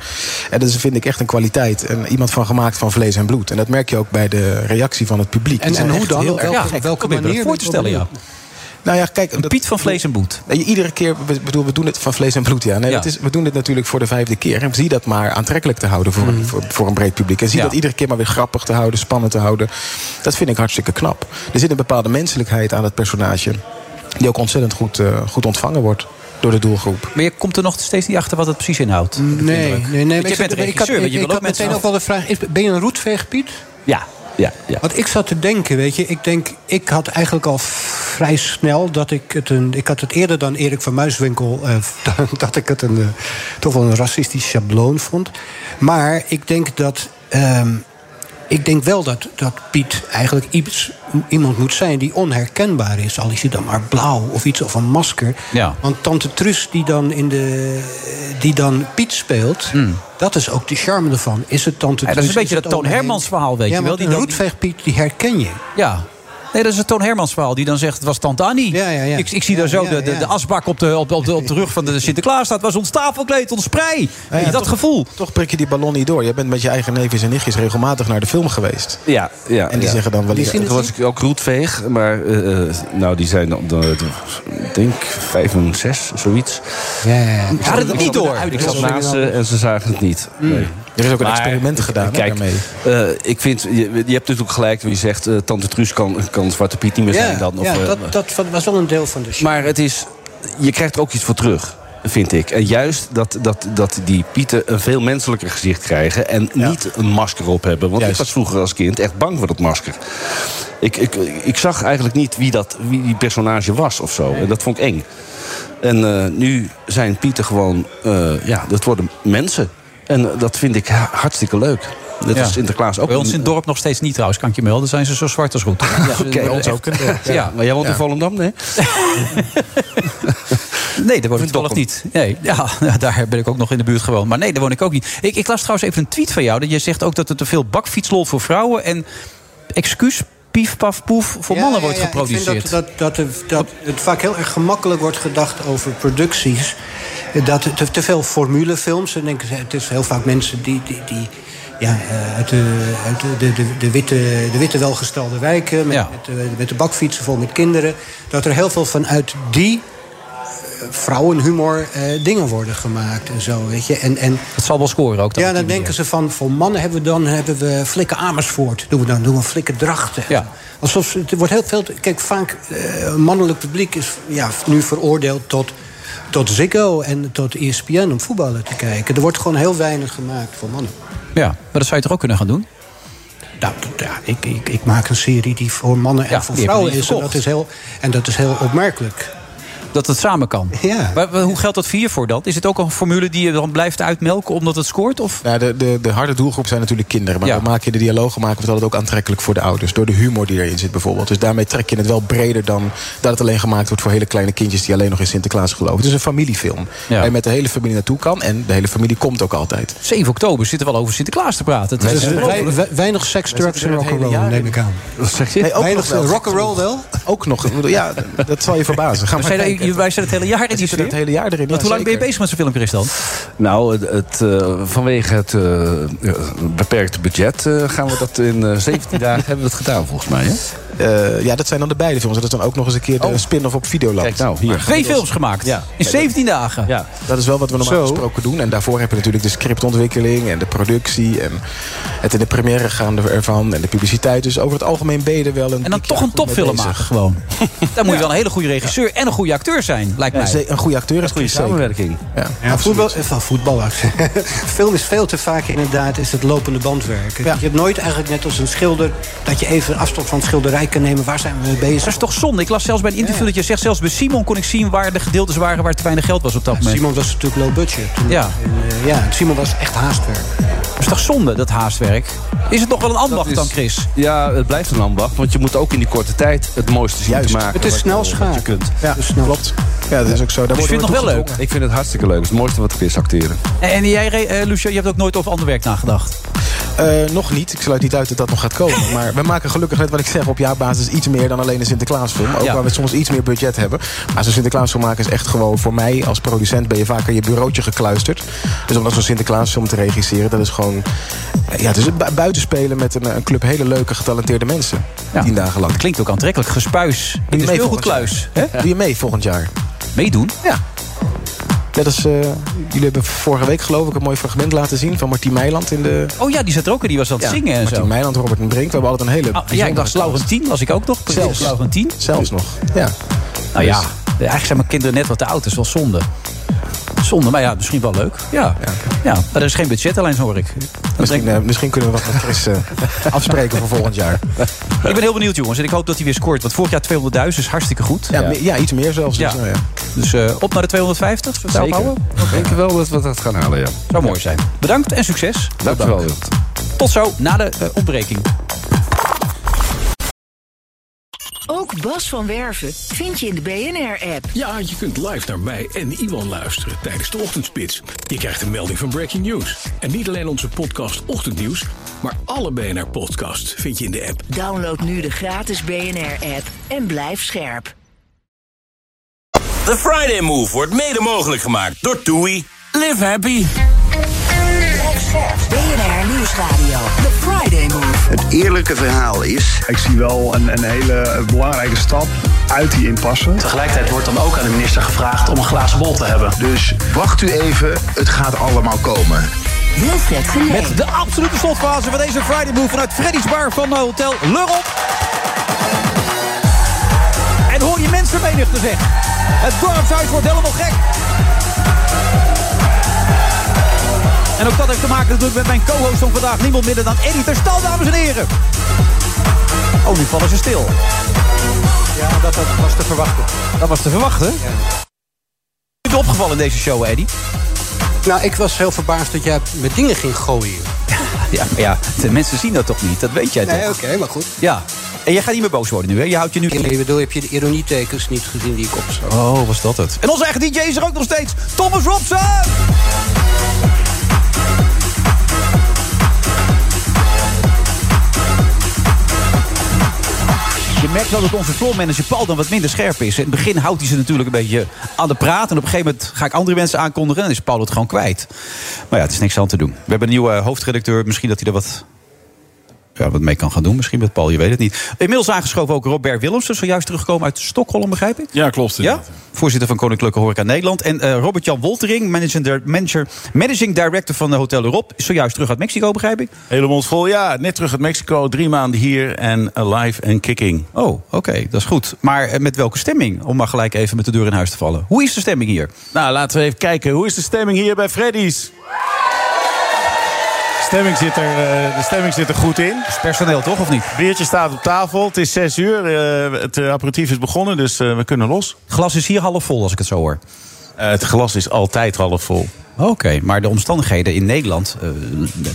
Speaker 23: en dat is, vind ik echt een kwaliteit, en iemand van gemaakt van vlees en bloed. En dat merk je ook bij de reactie van het publiek.
Speaker 6: En,
Speaker 23: Die
Speaker 6: en
Speaker 23: zijn
Speaker 6: hoe
Speaker 23: echt
Speaker 6: dan?
Speaker 23: heel
Speaker 6: Op
Speaker 23: erg
Speaker 6: welke,
Speaker 23: gek.
Speaker 6: op welke manier?
Speaker 5: voor te stellen, ja.
Speaker 23: Nou ja, kijk, dat-
Speaker 5: Piet van Vlees en Bloed.
Speaker 23: Nee, iedere keer, we- bedoel, we doen het van vlees en bloed, ja. Nee,
Speaker 5: Ja.
Speaker 23: dat is, we doen dit natuurlijk voor de vijfde keer. En zie dat maar aantrekkelijk te houden voor, een, voor, voor een breed publiek. En zie
Speaker 5: Mm. Ja.
Speaker 23: dat iedere keer maar weer grappig te houden, spannend te houden. Dat vind ik hartstikke knap. Er zit een bepaalde menselijkheid aan het personage... die ook ontzettend goed, eh, goed ontvangen wordt door de doelgroep.
Speaker 5: Maar je komt er nog steeds niet achter wat het precies inhoudt.
Speaker 6: Nee, nee, nee. maar
Speaker 5: je
Speaker 6: ik
Speaker 5: bent
Speaker 6: zat- ik had,
Speaker 5: regisseur, want
Speaker 6: ik,
Speaker 5: je
Speaker 6: ik
Speaker 5: wil ook
Speaker 6: had
Speaker 5: mensen...
Speaker 6: meteen ook wel de vraag, is- ben je een roetveeg, Piet?
Speaker 24: Ja, ja, ja.
Speaker 6: Want ik zat te denken, weet je, ik denk, ik had eigenlijk al vrij snel dat ik het een. Ik had het eerder dan Erik van Muiswinkel, eh, [LAUGHS] dat ik het een, eh, toch wel een racistisch schabloon vond. Maar ik denk dat. ehm, ik denk wel dat, dat Piet eigenlijk iets, iemand moet zijn die onherkenbaar is. Al is hij dan maar blauw of iets of een masker.
Speaker 5: Ja.
Speaker 6: Want Tante Truus die dan, in de, die dan Piet speelt, dat is ook de charme ervan. Is het Tante
Speaker 5: Hmm. Ja, dat is
Speaker 6: Truus,
Speaker 5: een beetje
Speaker 6: het
Speaker 5: dat Toon
Speaker 6: Ome Henk?
Speaker 5: Hermans verhaal, weet
Speaker 6: ja,
Speaker 5: je wel,
Speaker 6: want
Speaker 5: die
Speaker 6: een
Speaker 5: dan-
Speaker 6: roetveegpiet, die herken je.
Speaker 5: Ja. Nee, dat is het Toon Hermans verhaal. Die dan zegt, het was Tante Annie. Ik, ik zie daar zo de, de, de asbak op de, op, op, de, op de rug van de Sinterklaas staat. was ons tafelkleed, ons prei. Weet je, dat gevoel.
Speaker 23: Toch prik je die ballon niet door. Je bent met je eigen neefjes en nichtjes regelmatig naar de film geweest.
Speaker 24: Ja, ja.
Speaker 23: En die
Speaker 24: ja.
Speaker 23: zeggen dan wel
Speaker 24: Die
Speaker 23: eens-
Speaker 24: zien het Toen was ik ook roetveeg, maar eh, eh, nou, die zijn dan, dan- ik denk, vijf en zes, zoiets.
Speaker 6: Ja, ja, ja.
Speaker 24: Ik zat-
Speaker 5: het
Speaker 24: ik
Speaker 5: niet
Speaker 24: zat-
Speaker 5: door.
Speaker 24: Ik zat naast ze en ze zagen het niet. Nee.
Speaker 23: Hmm. Er is ook een
Speaker 24: Maar,
Speaker 23: experiment
Speaker 24: ik-
Speaker 23: gedaan hè,
Speaker 24: Kijk,
Speaker 23: daarmee.
Speaker 24: eh, ik vind, je, je hebt natuurlijk gelijk wie zegt... eh, Tante Truus kan, kan Zwarte Piet niet meer zijn dan. Of,
Speaker 6: ja,
Speaker 24: eh,
Speaker 6: dat, dat was wel een deel van de show.
Speaker 24: Maar het is, je krijgt er ook iets voor terug, vind ik. En juist dat, dat, dat die pieten een veel menselijker gezicht krijgen... en niet een masker op hebben. Want ik was vroeger als kind echt bang voor dat masker. Ik, ik, ik zag eigenlijk niet wie, dat, wie die personage was of zo. En dat vond ik eng. En eh, nu zijn pieten gewoon... eh, ja, dat worden mensen. En eh, dat vind ik ha- hartstikke leuk. Dat
Speaker 5: Ja.
Speaker 24: is Sinterklaas ook.
Speaker 5: Bij ons
Speaker 24: een-
Speaker 5: in het dorp nog steeds niet trouwens, kan ik je melden. Zijn ze zo zwart als goed. Ja,
Speaker 24: [LAUGHS] Oké, echt. [LAUGHS] Ja. Maar jij woont in Volendam, nee?
Speaker 5: Nee, daar woon ik toevallig niet. Nee, ja, [LAUGHS] daar ben ik ook nog in de buurt gewoon. Maar nee, daar woon ik ook niet. Ik, ik las trouwens even een tweet van jou. Dat je zegt ook dat er te veel bakfietslol voor vrouwen... en excuus, pief, paf, poef voor
Speaker 6: Ja,
Speaker 5: mannen
Speaker 6: ja,
Speaker 5: wordt
Speaker 6: ja,
Speaker 5: geproduceerd.
Speaker 6: Ik vind dat, dat, dat, er- dat het vaak heel erg gemakkelijk wordt gedacht over producties. Eh, Dat er te, te veel formulefilms. En denk, ik, het is heel vaak mensen die. die, die ja, eh, uit, de, uit de, de, de, de witte, de witte welgestelde wijken, met, met, eh, de, met de bakfietsen vol met kinderen. Dat er heel veel vanuit die eh, vrouwenhumor eh, dingen worden gemaakt en zo, weet je. En, en
Speaker 5: Het zal wel scoren ook.
Speaker 6: ja, dan denken ze van, voor mannen hebben we dan hebben we flikken Amersfoort. Doen we dan doen we flikken Drachten. Alsof ze- het wordt heel veel. Kijk, vaak eh, mannelijk publiek is ja, nu veroordeeld tot, tot Ziggo en tot E ESPN om voetballen te kijken. Er wordt gewoon heel weinig gemaakt voor mannen.
Speaker 5: Ja, maar dat zou je toch ook kunnen gaan doen?
Speaker 6: Nou, dat- ja, ik, ik, ik maak een serie die voor mannen en
Speaker 5: Ja,
Speaker 6: voor
Speaker 5: die hebben
Speaker 6: vrouwen
Speaker 5: die
Speaker 6: is. En dat
Speaker 5: verkocht.
Speaker 6: is heel, en dat is heel opmerkelijk.
Speaker 5: dat het samen kan. Maar, maar hoe geldt dat vier voor dan? Is het ook een formule die je dan blijft uitmelken omdat het scoort? Of?
Speaker 23: Nou, de, de, de harde doelgroep zijn natuurlijk kinderen. Maar we maken de dialogen maken we het altijd ook aantrekkelijk voor de ouders. Door de humor die erin zit bijvoorbeeld. Dus daarmee trek je het wel breder dan dat het alleen gemaakt wordt voor hele kleine kindjes die alleen nog in Sinterklaas geloven. Het is een familiefilm.
Speaker 5: Ja.
Speaker 23: Waar je met de hele familie naartoe kan. En de hele familie komt ook altijd.
Speaker 5: 7 oktober zitten we al over Sinterklaas te praten. Het
Speaker 23: Wij
Speaker 5: is
Speaker 23: zijn-
Speaker 5: ongelooflijk.
Speaker 23: wij- wij-
Speaker 6: Weinig seks,
Speaker 23: Wij
Speaker 6: drugs en
Speaker 23: zitten er het hele
Speaker 6: rock'n'roll,
Speaker 23: jaar
Speaker 6: neem
Speaker 23: in.
Speaker 6: ik aan.
Speaker 23: Wat zeg je?
Speaker 6: Nee, ook
Speaker 23: Weinig
Speaker 6: nog wel.
Speaker 23: wel.
Speaker 6: Rock'n'roll wel?
Speaker 23: Ook nog. Ik bedoel, Ja, dat zal je verbazen. Gaan we
Speaker 5: Zijn er-
Speaker 23: kijken.
Speaker 5: wij zijn het hele jaar in die
Speaker 23: We zitten het
Speaker 5: sfeer?
Speaker 23: hele jaar erin.
Speaker 5: Want
Speaker 23: ja,
Speaker 5: hoe lang ben je
Speaker 23: zeker.
Speaker 5: bezig met zo'n filmpje, dan?
Speaker 24: Nou, het, het, eh, vanwege het eh, beperkte budget eh, gaan we dat in eh, 17 dagen [LAUGHS] hebben we dat gedaan volgens mij. Hè?
Speaker 23: Eh, ja, dat zijn dan de beide films. En dat is dan ook nog eens een keer de spin-off op Videoland. Kijk
Speaker 24: nou,
Speaker 5: Oh. hier. Twee films gemaakt. In 17 dagen. Ja.
Speaker 23: Dat is wel wat we normaal
Speaker 5: Zo.
Speaker 23: gesproken doen. En daarvoor heb je natuurlijk de scriptontwikkeling en de productie... en het in de première gaan er- ervan en de publiciteit. Dus over het algemeen ben je er wel een...
Speaker 5: En dan toch een topfilm maken gewoon. Dan moet je wel een hele goede regisseur en een goede acteur zijn, lijkt
Speaker 23: Ja,
Speaker 5: mij.
Speaker 23: ze- een goede acteur is
Speaker 5: goede
Speaker 23: samenwerking. Ja,
Speaker 6: Ja, voetbal, eh, van voetballers. [LAUGHS] Film is veel te vaak inderdaad is het lopende bandwerk. Je hebt nooit eigenlijk net als een schilder... dat je even afstand van het schilderij kan nemen. Waar zijn we mee bezig?
Speaker 5: Dat is toch zonde? Ik las zelfs bij een interview dat je zegt... zelfs bij Simon kon ik zien waar de gedeeltes waren... waar te weinig geld was op dat moment.
Speaker 6: Nou, Simon was natuurlijk low budget.
Speaker 5: Ja.
Speaker 6: Eh, ja, Simon was echt haastwerk.
Speaker 5: Dat is toch zonde, dat haastwerk? Is het nog wel een ambacht dan, Chris?
Speaker 24: Ja, het blijft een ambacht, want je moet ook in die korte tijd het mooiste zien te maken.
Speaker 6: Het is
Speaker 24: wat- eh,
Speaker 6: snel
Speaker 24: wat
Speaker 6: schaak.
Speaker 24: Je kunt.
Speaker 6: Ja, klopt.
Speaker 23: Ja, dat is ook zo. Daar
Speaker 5: Dus
Speaker 23: worden
Speaker 5: je vindt
Speaker 23: we
Speaker 5: het nog wel
Speaker 23: toe
Speaker 5: leuk?
Speaker 24: Ik vind het hartstikke leuk. Het is het mooiste wat er is, acteren.
Speaker 5: En, en jij, eh, Lucia, je hebt ook nooit over ander werk nagedacht.
Speaker 23: Eh, nog niet. Ik sluit niet uit dat dat nog gaat
Speaker 5: [LAUGHS]
Speaker 23: komen. Maar we maken gelukkig, net wat ik zeg, op jaarbasis iets meer dan alleen een Sinterklaasfilm. Ook
Speaker 5: Ja.
Speaker 23: waar we soms iets meer budget hebben. Maar zo'n Sinterklaasfilm maken is echt gewoon voor mij als producent ben je vaak aan je bureautje gekluisterd. Dus om dan zo'n Sinterklaasfilm te regisseren, dat is gewoon. eh, Ja, het is bu- buitenspelen met een, eh, een club hele leuke, getalenteerde mensen. Tien dagen lang.
Speaker 5: Klinkt ook aantrekkelijk. Gespuis in de
Speaker 23: mee
Speaker 5: speelgoedkluis. hè?
Speaker 23: Doe je mee volgend jaar?
Speaker 5: Meedoen?
Speaker 23: Ja. Net als eh, jullie hebben vorige week geloof ik een mooi fragment laten zien van Martien Meiland in de
Speaker 5: Oh ja, die zat er ook in. Die was aan het
Speaker 23: Ja,
Speaker 5: zingen en
Speaker 23: Martien
Speaker 5: zo.
Speaker 23: Meiland, Robert en Brink. We hebben altijd een hele...
Speaker 5: Ah, ja, ik dacht Laurentien was ik ook nog. Zelfs. Laurentien.
Speaker 23: Zelfs nog, ja.
Speaker 5: Nou ja, eigenlijk zijn mijn kinderen net wat te oud. Dat is wel zonde. Zonde, maar ja, misschien wel leuk. Ja, ja. maar er is geen budget alleen, hoor ik.
Speaker 23: Misschien, eh, misschien kunnen we wat met Chris eh, [LAUGHS] afspreken voor volgend jaar.
Speaker 5: Ik ben heel benieuwd, jongens. En ik hoop dat hij weer scoort. Want vorig jaar 200.000 is hartstikke goed.
Speaker 23: Ja, me- ja, iets meer zelfs. Dus,
Speaker 5: Ja.
Speaker 23: nou ja.
Speaker 5: Dus eh, op naar de 250. Zullen we het daarop
Speaker 23: Zeker.
Speaker 5: houden?
Speaker 24: Ik denk wel dat we dat gaan halen, ja.
Speaker 5: Zou mooi zijn. Bedankt en succes.
Speaker 24: Dankjewel.
Speaker 5: Tot zo, na de eh, ontbreking.
Speaker 1: Ook Bas van Werven vind je in de BNR-app.
Speaker 20: Ja, je kunt live naar mij en Iwan luisteren tijdens de ochtendspits. Je krijgt een melding van Breaking News. En niet alleen onze podcast Ochtendnieuws, maar alle BNR-podcasts vind je in de app.
Speaker 1: Download nu de gratis BNR-app en blijf scherp.
Speaker 13: The Friday Move wordt mede mogelijk gemaakt door TUI. Live happy.
Speaker 1: BNR Nieuwsradio. The Friday Move.
Speaker 2: Het eerlijke verhaal is...
Speaker 14: Ik zie wel een, een hele belangrijke stap uit die impasse.
Speaker 15: Tegelijkertijd wordt dan ook aan de minister gevraagd om een glazen bol te hebben.
Speaker 2: Dus wacht u even, het gaat allemaal komen.
Speaker 1: Wilfred Genee.
Speaker 5: Met de absolute slotfase van deze Friday Move vanuit Freddy's Bar van Hotel Lurop. En hoor je mensenmenigte zeg. Het dorpshuis wordt helemaal gek. En ook dat heeft te maken natuurlijk met mijn co-host van vandaag. Niemand minder dan Eddie Terstal, dames en heren. Oh, nu vallen ze stil.
Speaker 6: Ja, dat, dat was te verwachten.
Speaker 5: Dat was te verwachten. Is je opgevallen in deze show, Eddie?
Speaker 6: Nou, ik was heel verbaasd dat jij met dingen ging gooien.
Speaker 5: Ja, maar ja, de mensen zien dat toch niet? Dat weet jij toch?
Speaker 6: Nee, oké, maar goed.
Speaker 5: Ja. En jij gaat niet meer boos worden nu, hè? Je houdt je nu...
Speaker 6: Ik bedoel, heb je de ironietekens niet gezien die ik opzag?
Speaker 5: Oh, was dat het? En onze eigen DJ is er ook nog steeds. Thomas Robson! Je merkt wel dat onze floormanager Paul dan wat minder scherp is. In het begin houdt hij ze natuurlijk een beetje aan de praat. En op een gegeven moment ga ik andere mensen aankondigen. En dan is Paul het gewoon kwijt. Maar ja, het is niks aan te doen. We hebben een nieuwe eh, hoofdredacteur. Misschien dat hij er wat ja, wat mee kan gaan doen. Misschien met Paul, je weet het niet. Inmiddels aangeschoven ook Robert Willemsen. Zojuist teruggekomen uit Stockholm, begrijp ik?
Speaker 7: Ja, klopt.
Speaker 5: Ja? Voorzitter van Koninklijke Horeca Nederland. En eh, Robert-Jan Woltering, managing, dir- manager, managing director van de Hotel Europe. is Zojuist terug uit Mexico, begrijp ik?
Speaker 7: Hele mond vol, ja. Net terug uit Mexico, drie maanden hier en alive en kicking.
Speaker 5: Oh, oké, dat is goed. Maar eh, met welke stemming? Om maar gelijk even met de deur in huis te vallen. Hoe is de stemming hier?
Speaker 7: Nou, laten we even kijken. Hoe is de stemming hier bij Freddy's?
Speaker 25: stemming zit er, eh, de stemming zit er goed in. Het
Speaker 5: is personeel toch, of niet?
Speaker 25: Biertje staat op tafel. Het is zes uur. eh, het eh, aperitief is begonnen, dus eh, we kunnen los. Eh,
Speaker 5: Glas is hier half vol, als ik het zo hoor.
Speaker 25: het glas is altijd half vol.
Speaker 5: Oké, maar de omstandigheden in Nederland eh,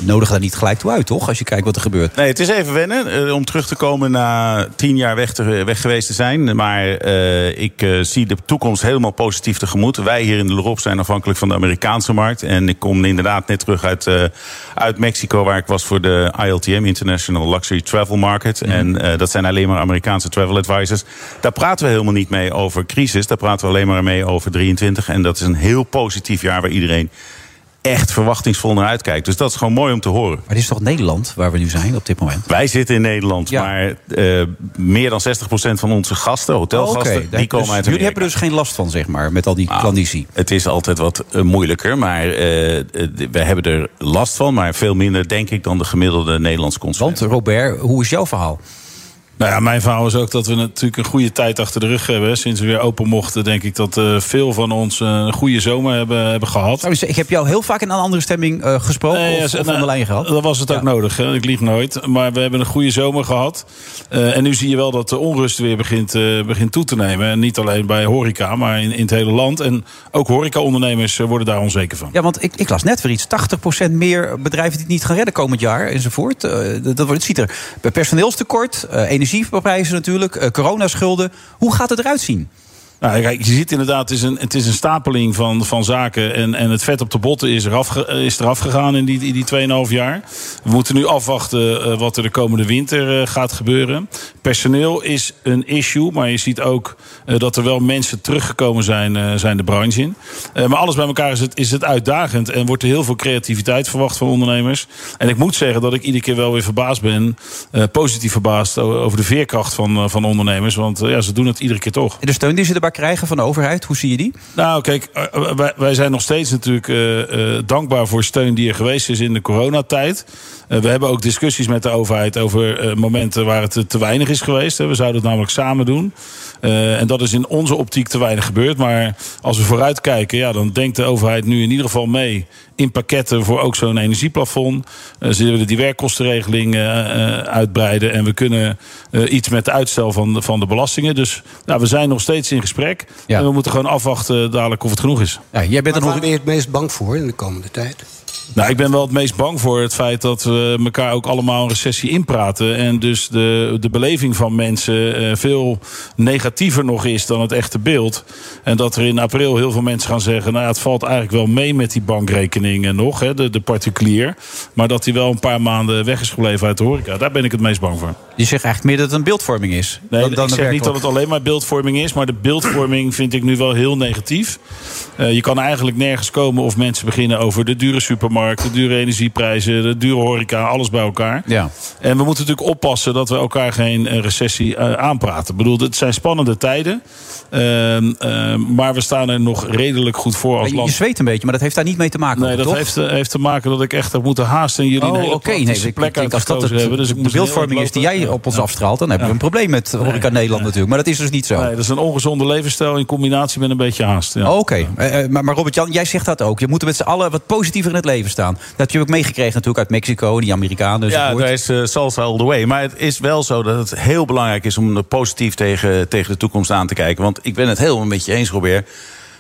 Speaker 5: nodigen daar niet gelijk toe uit, toch? Als je kijkt wat er
Speaker 25: [LAUGHS]
Speaker 5: gebeurt.
Speaker 25: Nee, het is even wennen eh, om terug te komen na tien jaar weg, te- weg geweest te zijn. Maar eh, ik eh, zie de toekomst helemaal positief tegemoet. Wij hier in de Lorop zijn afhankelijk van de Amerikaanse markt. En ik kom inderdaad net terug uit, eh, uit Mexico, waar ik was voor de ILTM, International Luxury Travel Market. En eh, dat zijn alleen maar Amerikaanse travel advisors. Daar praten we helemaal niet mee over crisis. Daar praten we alleen maar mee over 23. En dat is een heel positief jaar waar iedereen echt verwachtingsvol naar uitkijkt. Dus dat is gewoon mooi om te horen.
Speaker 5: Maar het is toch Nederland waar we nu zijn op dit moment?
Speaker 25: Wij zitten in Nederland, maar eh, meer dan 60% van onze gasten, hotelgasten,
Speaker 5: Oké,
Speaker 25: die komen
Speaker 5: dus
Speaker 25: uit
Speaker 5: Jullie
Speaker 25: Amerika. Nou,
Speaker 5: hebben er dus geen last van, zeg maar, met al die klandizie.
Speaker 25: Het is altijd wat eh, moeilijker, maar eh, eh, d- we hebben er last van, maar veel minder denk ik dan de gemiddelde Nederlandse consument.
Speaker 5: Want Robert, hoe is jouw verhaal?
Speaker 26: Nou ja, mijn verhaal is ook dat we natuurlijk een goede tijd achter de rug hebben. Sinds we weer open mochten, denk ik dat eh, veel van ons eh, een goede zomer hebben, hebben gehad.
Speaker 5: Trouwens, ik heb jou heel vaak in een andere Nou, stemming eh, gesproken
Speaker 26: Nee, ja,
Speaker 5: of,
Speaker 26: ze-
Speaker 5: of
Speaker 26: nou,
Speaker 5: aan de lijn gehad.
Speaker 26: Dat was het ook nodig, hè? ik lieg nooit. Maar we hebben een goede zomer gehad. Eh, en nu zie je wel dat de onrust weer begint, eh, begint toe te nemen. En niet alleen bij horeca, maar in, in het hele land. En ook horecaondernemers eh, worden daar onzeker van.
Speaker 5: Ja, want ik, ik las net weer iets. 80% meer bedrijven die het niet gaan redden komend jaar enzovoort. Eh, dat, dat wordt, het ziet er bij personeelstekort, eh, energieprijzen natuurlijk, eh, coronaschulden. Hoe gaat het eruit zien?
Speaker 26: Nou, kijk, je ziet inderdaad, het is een, het is een stapeling van, van zaken. En, en het vet op de botten is eraf, ge- eh, is eraf gegaan in die, in die 2,5 jaar. We moeten nu afwachten eh, wat er de komende winter eh, gaat gebeuren. Personeel is een issue, maar je ziet ook eh, dat er wel mensen teruggekomen zijn, eh, zijn de branche in. Eh, maar alles bij elkaar is het, is het uitdagend en wordt er heel veel creativiteit verwacht van ondernemers. En ik moet zeggen dat ik iedere keer wel weer verbaasd ben, eh, positief verbaasd o- over de veerkracht van, eh, van ondernemers. Want eh, ja, ze doen het iedere keer toch.
Speaker 5: En de steun die ze erbij krijgen van de overheid, hoe zie je die?
Speaker 26: Nou, kijk, eh, eh, wij, wij zijn nog steeds natuurlijk eh, eh, dankbaar voor steun die er geweest is in de coronatijd. Eh, we hebben ook discussies met de overheid over eh, momenten waar het eh, te weinig is geweest. Hè. We zouden het namelijk samen doen. Eh, en dat is in onze optiek te weinig gebeurd. Maar als we vooruitkijken, ja, dan denkt de overheid nu in ieder geval mee in pakketten voor ook zo'n energieplafond. Eh, ze willen die werkkostenregeling eh, eh, uitbreiden. En we kunnen eh, iets met de uitstel van de, van de belastingen. Dus nou, we zijn nog steeds in gesprek. En we moeten gewoon afwachten dadelijk of het genoeg is.
Speaker 5: Ja, jij bent
Speaker 26: er nog...
Speaker 6: ben je het meest bang voor in de komende tijd?
Speaker 26: Nou, ik ben wel het meest bang voor het feit dat we elkaar ook allemaal een recessie inpraten. En dus de, de beleving van mensen eh, veel negatiever nog is dan het echte beeld. En dat er in april heel veel mensen gaan zeggen... nou ja, het valt eigenlijk wel mee met die bankrekening eh, nog, hè, de, de particulier. Maar dat die wel een paar maanden weg is gebleven uit de horeca. Daar ben ik het meest bang voor.
Speaker 5: Je zegt eigenlijk meer dat het een beeldvorming is.
Speaker 26: Nee,
Speaker 5: dan- dan
Speaker 26: ik zeg
Speaker 5: werkelijk.
Speaker 26: niet dat het alleen maar beeldvorming is, maar de beeldvorming [CLEARS THROAT] vind ik nu wel heel negatief. Eh, je kan eigenlijk nergens komen of mensen beginnen over de dure supermarkt, de dure energieprijzen, de dure horeca, alles bij elkaar.
Speaker 5: Ja.
Speaker 26: En we moeten natuurlijk oppassen dat we elkaar geen eh, recessie eh, aanpraten. Ik bedoel, het zijn spannende tijden, Ehm, ehm, maar we staan er nog redelijk goed voor als
Speaker 5: Je-
Speaker 26: land.
Speaker 5: Je zweet een beetje, maar dat heeft daar niet mee te maken.
Speaker 26: Nee, dat
Speaker 5: toch?
Speaker 26: heeft, eh, heeft te maken dat ik echt heb moeten haasten en jullie
Speaker 5: Oh,
Speaker 26: een hele
Speaker 5: oké.
Speaker 26: okay,
Speaker 5: Nee, ik- ik
Speaker 26: plek
Speaker 5: denk als dat
Speaker 26: uitgekozen
Speaker 5: het,
Speaker 26: hebben. Dus ik
Speaker 5: de
Speaker 26: moest een heel
Speaker 5: beeldvorming
Speaker 26: eind
Speaker 5: is die jij op ons afstraalt, dan hebben we een probleem met horeca Nederland natuurlijk. Maar dat is dus niet zo.
Speaker 26: Nee, dat is een ongezonde levensstijl in combinatie met een beetje haast. Ja.
Speaker 5: Oké, eh, eh, maar, maar Robert-Jan, jij zegt dat ook. Je moet met z'n allen wat positiever in het leven staan. Dat heb je ook meegekregen natuurlijk uit Mexico, die Amerikanen. Dus
Speaker 25: Ja, daar is eh, salsa all the way. Maar het is wel zo dat het heel belangrijk is om er positief tegen, tegen de toekomst aan te kijken. Want ik ben het helemaal met je eens, Robert.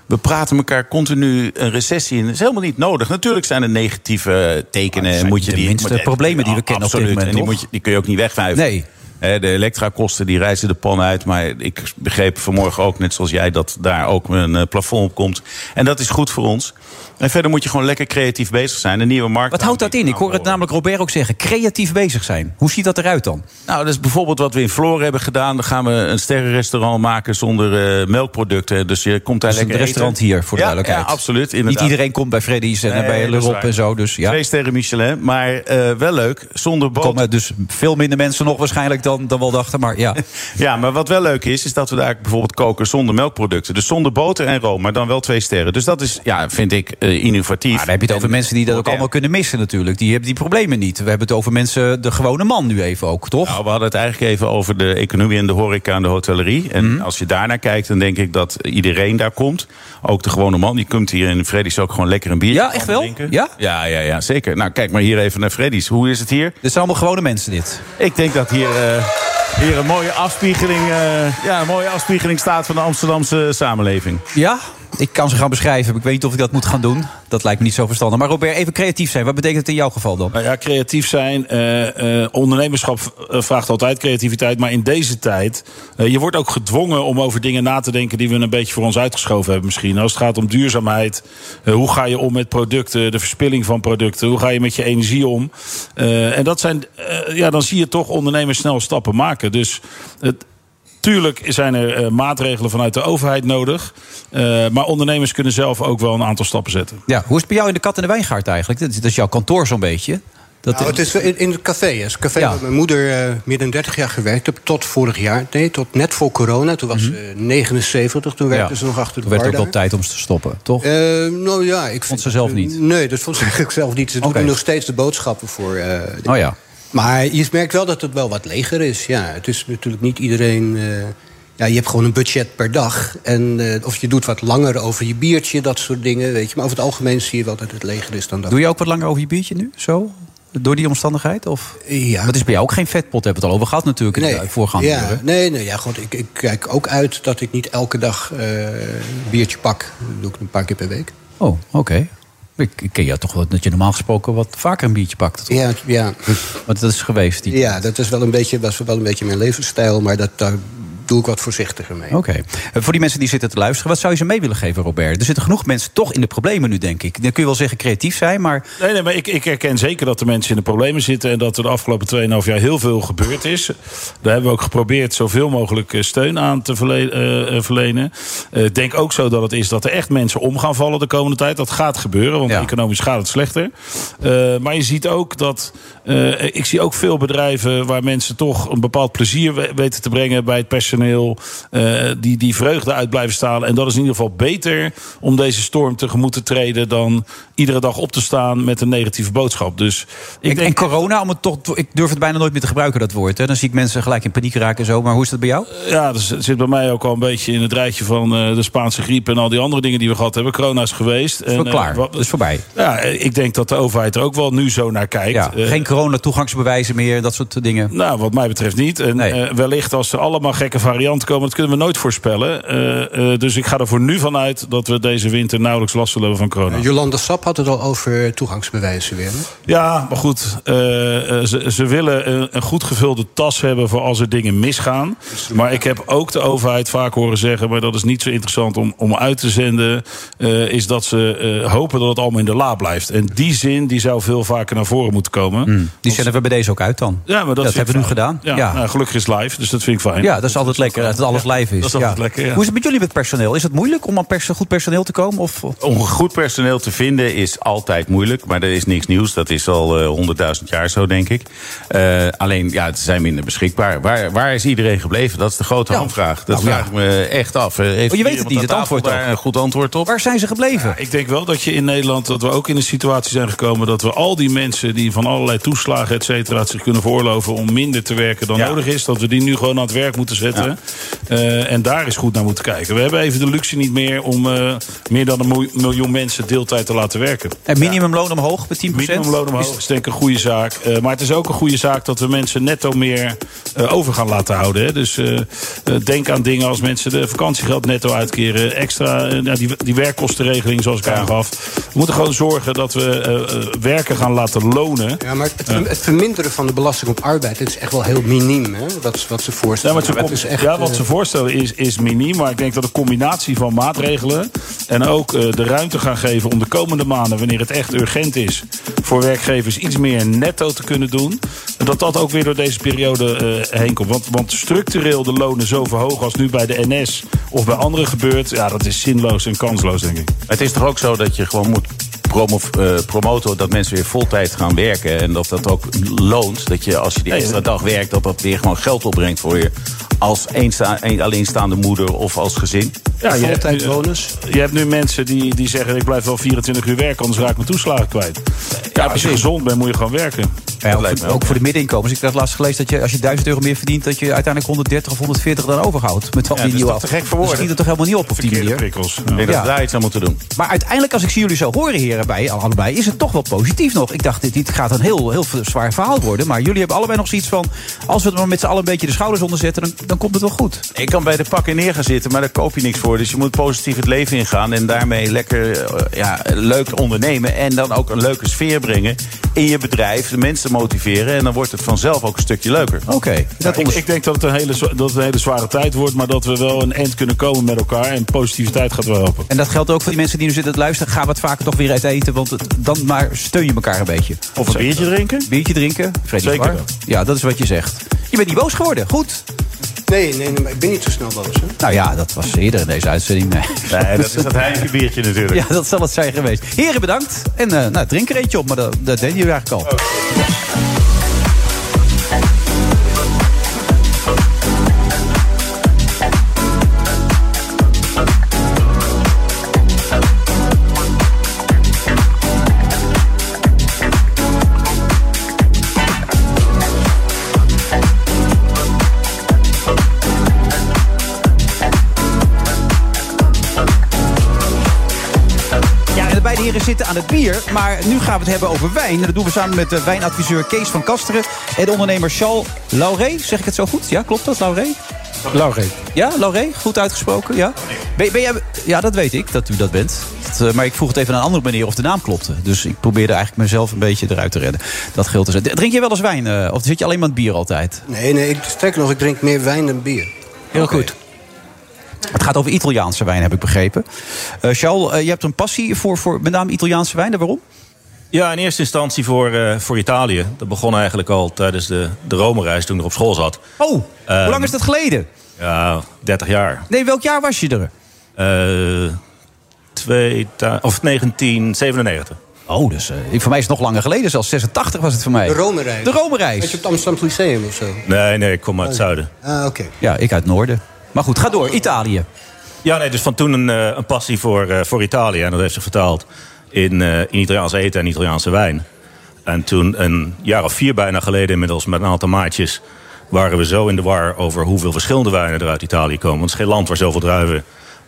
Speaker 25: We praten elkaar continu een recessie in. Dat is helemaal niet nodig. Natuurlijk zijn er negatieve eh, tekenen. en moet je
Speaker 5: de
Speaker 25: die,
Speaker 5: minste
Speaker 25: moet je-
Speaker 5: problemen die we kennen op dit
Speaker 25: absoluut.
Speaker 5: moment,
Speaker 25: En die,
Speaker 5: toch?
Speaker 25: moet je, die kun je ook niet wegwuiven.
Speaker 5: Nee.
Speaker 25: Hè, De elektrakosten die reizen de pan uit. Maar ik begreep vanmorgen ook, net zoals jij, dat daar ook een eh, plafond op komt. En dat is goed voor ons. En verder moet je gewoon lekker creatief bezig zijn. Een nieuwe markt.
Speaker 5: Wat houdt dat in? Ik hoor het namelijk Robert ook zeggen. Creatief bezig zijn. Hoe ziet dat eruit dan?
Speaker 25: Nou, dat is bijvoorbeeld wat we in Floor hebben gedaan. Dan gaan we een sterrenrestaurant maken zonder eh, melkproducten. Dus je komt daar
Speaker 5: Dus een
Speaker 25: lekker
Speaker 5: restaurant
Speaker 25: eten.
Speaker 5: hier, voor de
Speaker 25: Ja,
Speaker 5: duidelijkheid.
Speaker 25: Ja, absoluut. Inderdaad.
Speaker 5: Niet iedereen komt bij Freddy's en
Speaker 25: Nee,
Speaker 5: bij
Speaker 25: dat is
Speaker 5: Lerop
Speaker 25: waar.
Speaker 5: en zo. Dus ja.
Speaker 25: Twee sterren Michelin, maar eh, wel leuk. Zonder boter.
Speaker 5: Er komen dus veel minder mensen nog waarschijnlijk dan dan, dan wel dachten. Maar
Speaker 25: [LAUGHS]
Speaker 5: ja.
Speaker 8: Ja, maar wat wel leuk is, is dat we daar bijvoorbeeld koken zonder melkproducten. Dus zonder boter en room, maar dan wel twee sterren. Dus dat is, ja, vind ik eh, innovatief.
Speaker 5: Maar dan heb je het over mensen die dat ook allemaal kunnen missen natuurlijk. Die hebben die problemen niet. We hebben het over mensen, de gewone man nu even ook, toch?
Speaker 8: Nou, we hadden het eigenlijk even over de economie en de horeca en de hotellerie. En
Speaker 5: Mhm.
Speaker 8: als je daarnaar kijkt, dan denk ik dat iedereen daar komt. Ook de gewone man. Die komt hier in Freddy's ook gewoon lekker een bier.
Speaker 5: Ja, echt wel? Ja?
Speaker 8: Ja, ja, ja, zeker. Nou, kijk maar hier even naar Freddy's. Hoe is het hier?
Speaker 5: Dit zijn allemaal gewone mensen, dit.
Speaker 8: Ik denk dat hier, eh, hier een, mooie afspiegeling, eh, ja, een mooie afspiegeling staat van de Amsterdamse samenleving.
Speaker 5: Ja, ik kan ze gaan beschrijven. maar Ik weet niet of ik dat moet gaan doen. Dat lijkt me niet zo verstandig. Maar Robert, even creatief zijn. Wat betekent het in jouw geval dan?
Speaker 26: Nou ja, creatief zijn. eh, eh, ondernemerschap v- eh, vraagt altijd creativiteit. Maar in deze tijd. eh, je wordt ook gedwongen om over dingen na te denken. die we een beetje voor ons uitgeschoven hebben, misschien. Als het gaat om duurzaamheid. eh, hoe ga je om met producten? De verspilling van producten. Hoe ga je met je energie om? Eh, en dat zijn. eh, ja, dan zie je toch ondernemers snel stappen maken. Dus het, Tuurlijk zijn er eh, maatregelen vanuit de overheid nodig. eh, maar ondernemers kunnen zelf ook wel een aantal stappen zetten.
Speaker 5: Ja, hoe is het bij jou in de kat en de wijngaard eigenlijk? Dat is, dat is jouw kantoor zo'n beetje. Dat
Speaker 6: Nou, het is in, in het café. hè. Het café
Speaker 5: Ja.
Speaker 6: waar mijn moeder eh, meer dan 30 jaar gewerkt heeft. Tot vorig jaar. Nee, tot net voor corona. Toen was ze 79. Toen werkte
Speaker 5: Mhm. Ja.
Speaker 6: ze nog achter de
Speaker 5: Toen werd
Speaker 6: bar
Speaker 5: het ook wel
Speaker 6: daar.
Speaker 5: tijd om ze te stoppen, toch?
Speaker 6: Eh, nou ja, ik vond
Speaker 5: ze zelf niet.
Speaker 6: Nee, dat vond ze [LAUGHS] eigenlijk zelf niet. Ze doet
Speaker 5: Oké.
Speaker 6: nu nog steeds de boodschappen voor. eh,
Speaker 5: Oh ja.
Speaker 6: Maar je merkt wel dat het wel wat leger is. Ja, het is natuurlijk niet iedereen. eh, ja, je hebt gewoon een budget per dag. En eh, of je doet wat langer over je biertje, dat soort dingen. Weet je. Maar over het algemeen zie je wel dat het leger is dan dat.
Speaker 5: Doe je ook wat langer over je biertje nu? Zo? Door die omstandigheid? Of?
Speaker 6: Ja.
Speaker 5: Dat is bij jou ook geen vetpot, hebben we het al over gehad natuurlijk in de voorgaande
Speaker 6: ja,
Speaker 5: uren.
Speaker 6: Nee, nee, ja, goed, ik, ik kijk ook uit dat ik niet elke dag eh, een biertje pak. Dat doe ik een paar keer per week.
Speaker 5: Oh, oké. Ik, ik ken jou toch wel dat je normaal gesproken wat vaker een biertje pakt. toch?
Speaker 6: Ja, ja.
Speaker 5: Want dat is geweest. Die...
Speaker 6: ja dat is wel een beetje, was wel een beetje mijn levensstijl, maar dat, daar doe ik wat voorzichtiger mee.
Speaker 5: Oké. Eh, Voor die mensen die zitten te luisteren, wat zou je ze mee willen geven, Robert? Er zitten genoeg mensen toch in de problemen nu, denk ik. Dan kun je wel zeggen creatief zijn, maar
Speaker 26: Nee, nee, maar ik, ik herken zeker dat de mensen in de problemen zitten. En dat er de afgelopen 2,5 jaar heel veel gebeurd is. Daar hebben we ook geprobeerd zoveel mogelijk eh, steun aan te verle- eh, eh, verlenen. Eh, Ik denk ook zo dat het is dat er echt mensen om gaan vallen de komende tijd. Dat gaat gebeuren, want economisch gaat het slechter. Eh, maar je ziet ook dat. eh, ik zie ook veel bedrijven waar mensen toch een bepaald plezier we- weten te brengen bij het personeel. eh, die die vreugde uit blijven stalen. En dat is in ieder geval beter om deze storm tegemoet te treden. dan iedere dag op te staan met een negatieve boodschap. Dus ik denk.
Speaker 5: En corona, Nou, om het toch, ik durf het bijna nooit meer te gebruiken, dat woord. Hè. Dan zie ik mensen gelijk in paniek raken en zo. Maar hoe is dat bij jou?
Speaker 26: Eh, Ja, dat zit bij mij ook al een beetje in het rijtje van eh, de Spaanse griep en al die andere dingen die we gehad hebben. Corona is geweest.
Speaker 5: is wel
Speaker 26: en, eh,
Speaker 5: klaar.
Speaker 26: wat-
Speaker 5: Dat is voorbij.
Speaker 26: ja, eh, ik denk dat de overheid er ook wel nu zo naar kijkt.
Speaker 5: Ja,
Speaker 26: Eh,
Speaker 5: geen corona-toegangsbewijzen meer, eh, dat soort dingen.
Speaker 26: Nou, wat mij betreft niet. En eh, wellicht als er allemaal gekke varianten komen, dat kunnen we nooit voorspellen. Eh, eh, dus ik ga er voor nu van uit dat we deze winter nauwelijks last zullen hebben van corona.
Speaker 6: Jolanda Sap had het al over toegangsbewijzen weer. hè?
Speaker 26: Ja, maar goed. eh, eh, ze, ze willen een, een goed gevulde tas hebben voor als er dingen misgaan. Maar ik heb ook de overheid vaak horen zeggen, maar dat is niet zo interessant om, om uit te zenden. eh, is dat ze eh, hopen dat het allemaal in de la blijft. En die zin die zou veel vaker naar voren moeten komen.
Speaker 5: Hmm. Die zenden we bij deze ook uit dan.
Speaker 26: Ja, maar dat,
Speaker 5: dat
Speaker 26: vind ik
Speaker 5: hebben we nu
Speaker 26: fijn.
Speaker 5: gedaan. Ja,
Speaker 26: Ja, nou, gelukkig is het live, dus dat vind ik fijn.
Speaker 5: Ja, dat is altijd lekker, dat het alles live is.
Speaker 26: dat is altijd
Speaker 5: Ja.
Speaker 26: lekker, ja.
Speaker 5: Hoe is het met jullie met personeel? Is het moeilijk om aan pers goed personeel te komen? Of, of-
Speaker 8: Om goed personeel te vinden is altijd moeilijk, maar er is niks nieuws. Dat is al eh, honderdduizend jaar zo, denk ik. Eh, alleen, ja, ze zijn minder beschikbaar. Waar, waar is iedereen gebleven? Dat is de grote hamvraag. Dat
Speaker 5: Nou, ja.
Speaker 8: vraag ik me echt af. Eh, Heeft
Speaker 5: Oh, je weet
Speaker 8: iemand
Speaker 5: het niet,
Speaker 8: aan
Speaker 5: het
Speaker 8: tafel
Speaker 5: antwoord
Speaker 8: daar
Speaker 5: ook.
Speaker 8: een goed antwoord op?
Speaker 5: Waar zijn ze gebleven?
Speaker 26: Ja, ik denk wel dat je in Nederland dat we ook in een situatie zijn gekomen dat we al die mensen die van allerlei toeslagen et cetera het zich kunnen veroorloven om minder te werken dan nodig is, dat we die nu gewoon aan het werk moeten zetten. Eh, en daar is goed naar moeten kijken. We hebben even de luxe niet meer om eh, meer dan een moe- miljoen mensen deeltijd te laten werken.
Speaker 5: En minimumloon omhoog met 10%?
Speaker 26: Minimumloon omhoog is denk ik een goede zaak. Eh, maar het is ook een goede zaak dat we mensen netto meer eh, over gaan laten houden. Hè. Dus eh, eh, denk aan dingen als mensen de vakantiegeld netto uitkeren. Extra, eh, nou, die, die werkkostenregeling zoals ik aangaf. We moeten gewoon zorgen dat we eh, eh, werken gaan laten lonen. Eh.
Speaker 6: Ja, maar het, het verminderen van de belasting op arbeid, dat is echt wel heel miniem, hè? Wat, wat ze
Speaker 26: Ja,
Speaker 6: voorstellen.
Speaker 26: maar ze
Speaker 6: Dat
Speaker 26: kom-
Speaker 6: is echt,
Speaker 26: ja, wat
Speaker 6: eh,
Speaker 26: ze voorstellen is, is miniem. Maar ik denk dat een combinatie van maatregelen. en ook eh, de ruimte gaan geven om de komende maanden. wanneer het echt urgent is. voor werkgevers iets meer netto te kunnen doen. En dat dat ook weer door deze periode eh, heen komt. Want, want structureel de lonen zo verhogen. als nu bij de NS of bij anderen gebeurt. ja, dat is zinloos en kansloos, denk ik.
Speaker 8: Het is toch ook zo dat je gewoon moet promo, eh, promoten dat mensen weer voltijd gaan werken. En dat dat ook loont. Dat je als je die extra dag werkt, dat dat weer gewoon geld opbrengt voor je. Als eensta- een alleenstaande moeder of als gezin.
Speaker 26: je hebt- Je hebt nu mensen die, die zeggen: ik blijf wel 24 uur werken, anders raak ik mijn toeslagen kwijt. Ja, als je gezond bent, moet je gewoon werken.
Speaker 5: Ja, ook, voor, ook voor de middeninkomens. Ik had laatst gelezen dat je als je 1000 euro meer verdient, dat je uiteindelijk 130 of 140 dan overhoudt. Met al die
Speaker 8: Ja, dus dat is
Speaker 5: nieuwe
Speaker 8: toch te
Speaker 5: af-
Speaker 8: gek voor
Speaker 5: Dat
Speaker 8: woorden.
Speaker 5: schiet er toch helemaal niet op op die
Speaker 8: Verkeerde
Speaker 5: manier.
Speaker 8: prikkels. Ik denk dat we daar iets aan moeten doen.
Speaker 5: Maar uiteindelijk, als ik zie jullie zo horen, heren, bij allebei, is het toch wel positief nog. Ik dacht, dit, dit gaat een heel, heel zwaar verhaal worden. Maar jullie hebben allebei nog zoiets van. Als we het maar met z'n allen een beetje de schouders onderzetten, dan, dan komt het wel goed.
Speaker 8: Ik kan bij de pakken neer gaan zitten, maar daar koop je niks voor. Dus je moet positief het leven ingaan en daarmee lekker eh, ja, leuk ondernemen. En dan ook een leuke sfeer brengen in je bedrijf. De mensen motiveren en dan wordt het vanzelf ook een stukje leuker.
Speaker 5: Oké.
Speaker 26: Ja, Nou, ik, ik denk dat het, een hele, zwa- dat het een hele zware tijd wordt, maar dat we wel een eind kunnen komen met elkaar. En positiviteit gaat wel helpen.
Speaker 5: En dat geldt ook voor die mensen die nu zitten te luisteren. Ga wat vaker toch weer uit eten, want het- dan maar steun je elkaar een beetje.
Speaker 8: Of een biertje drinken?
Speaker 5: Biertje drinken, Freddy
Speaker 6: Zeker
Speaker 5: Zwaar.
Speaker 6: wel.
Speaker 5: Ja, dat is wat je zegt. Je bent niet boos geworden, goed.
Speaker 6: Nee, nee, nee, maar ik ben niet zo snel boos. Hè?
Speaker 5: Nou ja, dat was eerder in deze uitzending. Nee,
Speaker 8: Nee, dat is dat Heineken biertje natuurlijk.
Speaker 5: Ja, dat zal het zijn geweest. Heren, bedankt. En eh, nou, drink er eentje op, maar dat, dat deden jullie eigenlijk al. Ja, en de beide heren zitten aan het bier. Maar nu gaan we het hebben over wijn. En dat doen we samen met eh, wijnadviseur Kees van Kasteren. En de ondernemer Charles Lauré. Zeg ik het zo goed? Ja, klopt dat, Lauré?
Speaker 12: Lauré.
Speaker 5: Ja, Lauré? Goed uitgesproken, ja? Ben, ben jij, ja, dat weet ik, dat u dat bent. Dat, eh, maar ik vroeg het even aan een andere manier of de naam klopte. Dus ik probeerde eigenlijk mezelf een beetje eruit te redden. Dat geldt dus. Drink je wel eens wijn? eh, of zit je alleen maar aan het bier altijd?
Speaker 6: Nee, nee, ik, sterker nog, ik drink meer wijn dan bier.
Speaker 5: Heel goed. Het gaat over Italiaanse wijn, heb ik begrepen. Eh, Charles, eh, je hebt een passie voor, voor met name Italiaanse wijn. En Waarom?
Speaker 12: Ja, in eerste instantie voor, eh, voor Italië. Dat begon eigenlijk al tijdens de, de Rome-reis toen ik er op school zat. Ehm,
Speaker 5: Oh, hoe lang is dat geleden?
Speaker 12: Ja, 30 jaar.
Speaker 5: Nee, welk jaar was je er?
Speaker 12: Eh, twee, ta- of 1997.
Speaker 5: Oh, dus voor mij is het nog langer geleden. Zelfs 86 was het voor mij.
Speaker 6: De Rome-reis.
Speaker 5: De Rome-reis. Oh.
Speaker 6: Weet je op het Amsterdam Lyceum of zo?
Speaker 12: Nee, nee, ik kom uit het zuiden.
Speaker 6: Ah, oké.
Speaker 5: Ja, ik uit het noorden. Maar goed, ga door. Italië.
Speaker 12: Ja, nee, dus van toen een, eh, een passie voor, eh, voor Italië. En dat heeft zich vertaald in, eh in Italiaans eten en Italiaanse wijn. En toen, een jaar of vier bijna geleden inmiddels, met een aantal maatjes... waren we zo in de war over hoeveel verschillende wijnen er uit Italië komen. Want het is geen land waar zoveel druiven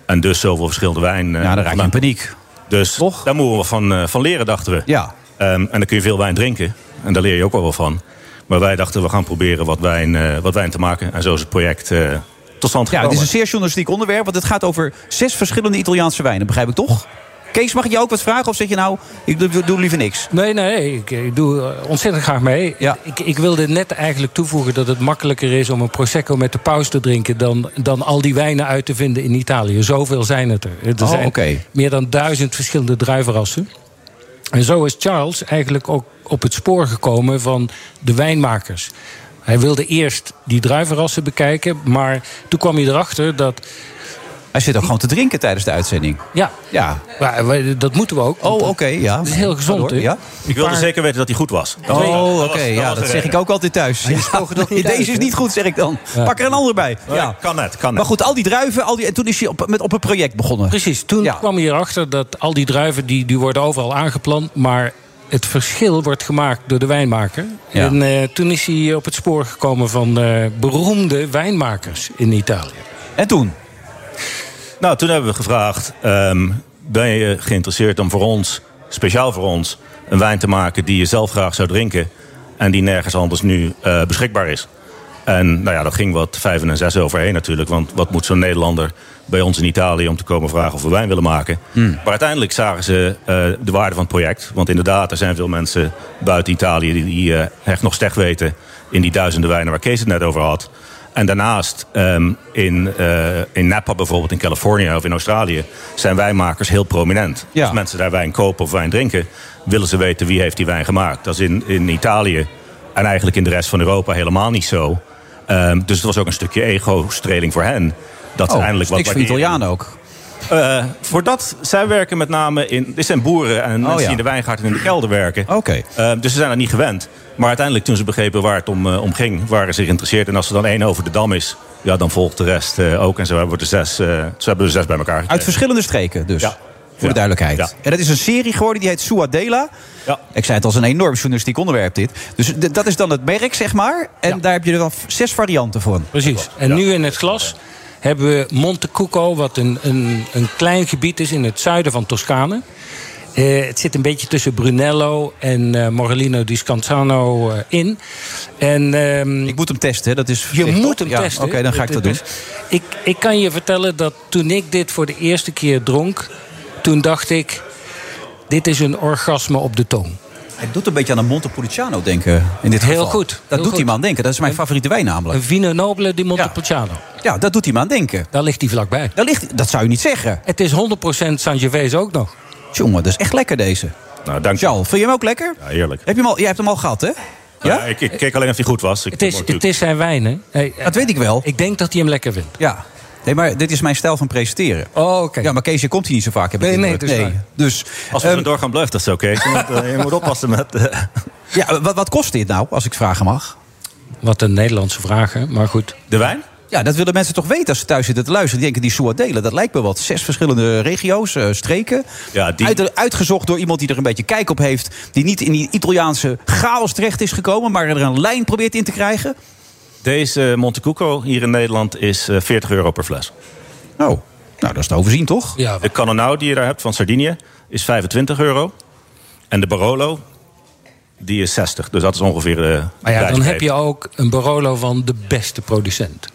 Speaker 12: en dus zoveel verschillende wijn... ja,
Speaker 5: dan raak je in paniek.
Speaker 12: Dus daar moeten we van, eh, van leren, dachten we.
Speaker 5: Ja.
Speaker 12: Ehm, en dan kun je veel wijn drinken. En daar leer je ook wel wat van. Maar wij dachten, we gaan proberen wat wijn, eh, wat wijn te maken. En zo is het project eh, tot stand
Speaker 5: Ja,
Speaker 12: gekomen.
Speaker 5: het is een zeer journalistiek onderwerp, want het gaat over zes verschillende Italiaanse wijnen, begrijp ik toch? Kees, mag ik je ook wat vragen? Of zeg je nou, ik doe, doe liever niks?
Speaker 12: Nee, nee, ik, ik
Speaker 16: doe eh, ontzettend graag mee. Ik, ik wilde net eigenlijk toevoegen dat het makkelijker is om een Prosecco met de paus te drinken dan, dan al die wijnen uit te vinden in Italië. Zoveel zijn het er. Er
Speaker 5: Oh,
Speaker 16: zijn
Speaker 5: oké.
Speaker 16: meer dan duizend verschillende druivenrassen. En zo is Charles eigenlijk ook op het spoor gekomen van de wijnmakers. Hij wilde eerst die druivenrassen bekijken, maar toen kwam hij erachter dat.
Speaker 5: Hij zit ook gewoon te drinken tijdens de uitzending.
Speaker 16: Ja,
Speaker 5: ja.
Speaker 16: Maar eh, wij- dat moeten we ook.
Speaker 5: Oh, oké, ja.
Speaker 16: Het is heel gezond,
Speaker 5: Pardon,
Speaker 16: hè?
Speaker 5: ja.
Speaker 12: Ik wilde zeker weten dat hij goed was. Dat was-
Speaker 5: Oh, oké,
Speaker 12: was- dat was
Speaker 5: ja,
Speaker 12: de
Speaker 5: dat zeg
Speaker 12: reden.
Speaker 5: ik ook altijd thuis. Ja, nee,
Speaker 12: niet uit,
Speaker 5: [LAUGHS] deze is
Speaker 12: hè?
Speaker 5: niet goed, zeg ik dan.
Speaker 12: Ja.
Speaker 5: Pak er een ander bij.
Speaker 12: Ja,
Speaker 5: Ja.
Speaker 12: Kan net, kan net.
Speaker 5: Maar goed, al die druiven, al die, en toen is je op, met, op een project begonnen.
Speaker 16: Precies, toen kwam je erachter dat al die druiven die, die worden overal aangeplant, maar het verschil wordt gemaakt door de wijnmaker.
Speaker 5: Ja.
Speaker 16: En eh, toen is hij op het spoor gekomen van eh, beroemde wijnmakers in Italië.
Speaker 5: En toen?
Speaker 12: Nou, toen hebben we gevraagd: ehm, ben je geïnteresseerd om voor ons, speciaal voor ons, een wijn te maken die je zelf graag zou drinken en die nergens anders nu eh, beschikbaar is? En nou ja, dat ging wat vijf en zes overheen natuurlijk. Want wat moet zo'n Nederlander bij ons in Italië om te komen vragen of we wijn willen maken?
Speaker 5: Hmm.
Speaker 12: Maar uiteindelijk zagen ze eh, de waarde van het project. Want inderdaad, er zijn veel mensen buiten Italië die, die eh, echt nog slecht weten in die duizenden wijnen waar Kees het net over had. En daarnaast, ehm, in, eh, in Napa bijvoorbeeld, in Californië of in Australië, zijn wijnmakers heel prominent.
Speaker 5: Ja.
Speaker 12: Als mensen daar wijn kopen of wijn drinken, willen ze weten wie heeft die wijn gemaakt. Dat is in, in Italië en eigenlijk in de rest van Europa helemaal niet zo. Ehm, dus het was ook een stukje ego-streling voor hen. Dat ze
Speaker 5: Oh,
Speaker 12: eindelijk wat
Speaker 5: niks voor
Speaker 12: waardering-
Speaker 5: Italianen ook.
Speaker 12: eh, voor dat, zij werken met name in... Dit zijn boeren en mensen die
Speaker 5: Oh, ja.
Speaker 12: in de wijngaard en in de kelder werken.
Speaker 5: Oké.
Speaker 12: dus ze zijn dat niet gewend. Maar uiteindelijk, toen ze begrepen waar het om, eh, om ging... waren ze geïnteresseerd. En als er dan één over de dam is... Ja, dan volgt de rest eh, ook. En zo hebben we er zes, eh, zo hebben we er zes bij elkaar gekregen.
Speaker 5: Uit verschillende streken dus. Voor de duidelijkheid. En dat is een serie geworden die heet Suadela.
Speaker 12: Ja.
Speaker 5: Ik zei het als een enorm journalistiek onderwerp dit. Dus d- dat is dan het merk, zeg maar. En daar heb je er dan v- zes varianten van.
Speaker 16: Precies. En nu in het glas hebben we Montecucco, wat een, een, een klein gebied is in het zuiden van Toscane. Eh, het zit een beetje tussen Brunello en eh, Morellino di Scanzano eh, in. En, ik
Speaker 5: moet hem testen, dat is
Speaker 16: Je
Speaker 5: verplicht,
Speaker 16: moet
Speaker 5: toch?
Speaker 16: hem
Speaker 5: Ja,
Speaker 16: testen. Dus
Speaker 5: oké, dan ga ik dat doen.
Speaker 16: Ik, ik kan je vertellen dat toen ik dit voor de eerste keer dronk... toen dacht ik, dit is een orgasme op de tong.
Speaker 5: Hij doet een beetje aan een Montepulciano denken. In dit
Speaker 16: Heel
Speaker 5: geval.
Speaker 16: goed,
Speaker 5: Dat
Speaker 16: heel
Speaker 5: doet hij
Speaker 16: goed.
Speaker 5: me aan denken. Dat is mijn favoriete wijn namelijk.
Speaker 16: Een Vino Nobile di Montepulciano.
Speaker 5: Ja, dat doet hij me aan denken.
Speaker 16: Daar ligt hij vlakbij.
Speaker 5: Daar ligt, dat zou je niet zeggen.
Speaker 16: Het is 100% Sangiovese ook nog.
Speaker 5: Jongen, dat is echt lekker deze.
Speaker 12: Nou, dank
Speaker 5: Charles, vind je hem ook lekker?
Speaker 12: Ja, heerlijk.
Speaker 5: Heb je hem al, jij hebt hem al gehad, hè?
Speaker 12: Ja? ik, ik keek alleen of die goed was. Ik
Speaker 16: Het is, het is zijn wijn, hè? eh,
Speaker 5: dat weet ik wel.
Speaker 16: Ik denk dat hij hem lekker vindt.
Speaker 5: Ja. Nee, maar dit is mijn stijl van presenteren.
Speaker 16: Oh, oké.
Speaker 5: Ja, maar Kees, je komt hier niet zo vaak. Heb ik
Speaker 16: Nee,
Speaker 5: de
Speaker 16: nee,
Speaker 5: indruk.
Speaker 16: het is waar.
Speaker 5: Dus,
Speaker 12: Als we
Speaker 5: ehm,
Speaker 12: zo doorgaan, blijft dat zo, Kees. Je moet, eh, je moet oppassen met... eh,
Speaker 5: ja, wat, wat kost dit nou, als ik vragen mag?
Speaker 16: Wat een Nederlandse vraag, hè? Maar goed.
Speaker 12: De wijn?
Speaker 5: Ja, dat willen mensen toch weten als ze thuis zitten te luisteren. Die denken, die Soadelen, dat lijkt me wat. Zes verschillende regio's, eh, streken.
Speaker 12: Ja, die-
Speaker 5: Uit- uitgezocht door iemand die er een beetje kijk op heeft. Die niet in die Italiaanse chaos terecht is gekomen... maar er een lijn probeert in te krijgen.
Speaker 12: Deze Montecucco hier in Nederland is eh, 40 euro per fles.
Speaker 5: Oh, nou dat is te overzien toch?
Speaker 16: Ja.
Speaker 12: De Cannonau die je daar hebt van Sardinië is 25 euro. En de Barolo, die is 60. Dus dat is ongeveer de
Speaker 16: Maar ja, dan
Speaker 12: prijsbreedte.
Speaker 16: heb je ook een Barolo van de beste producent.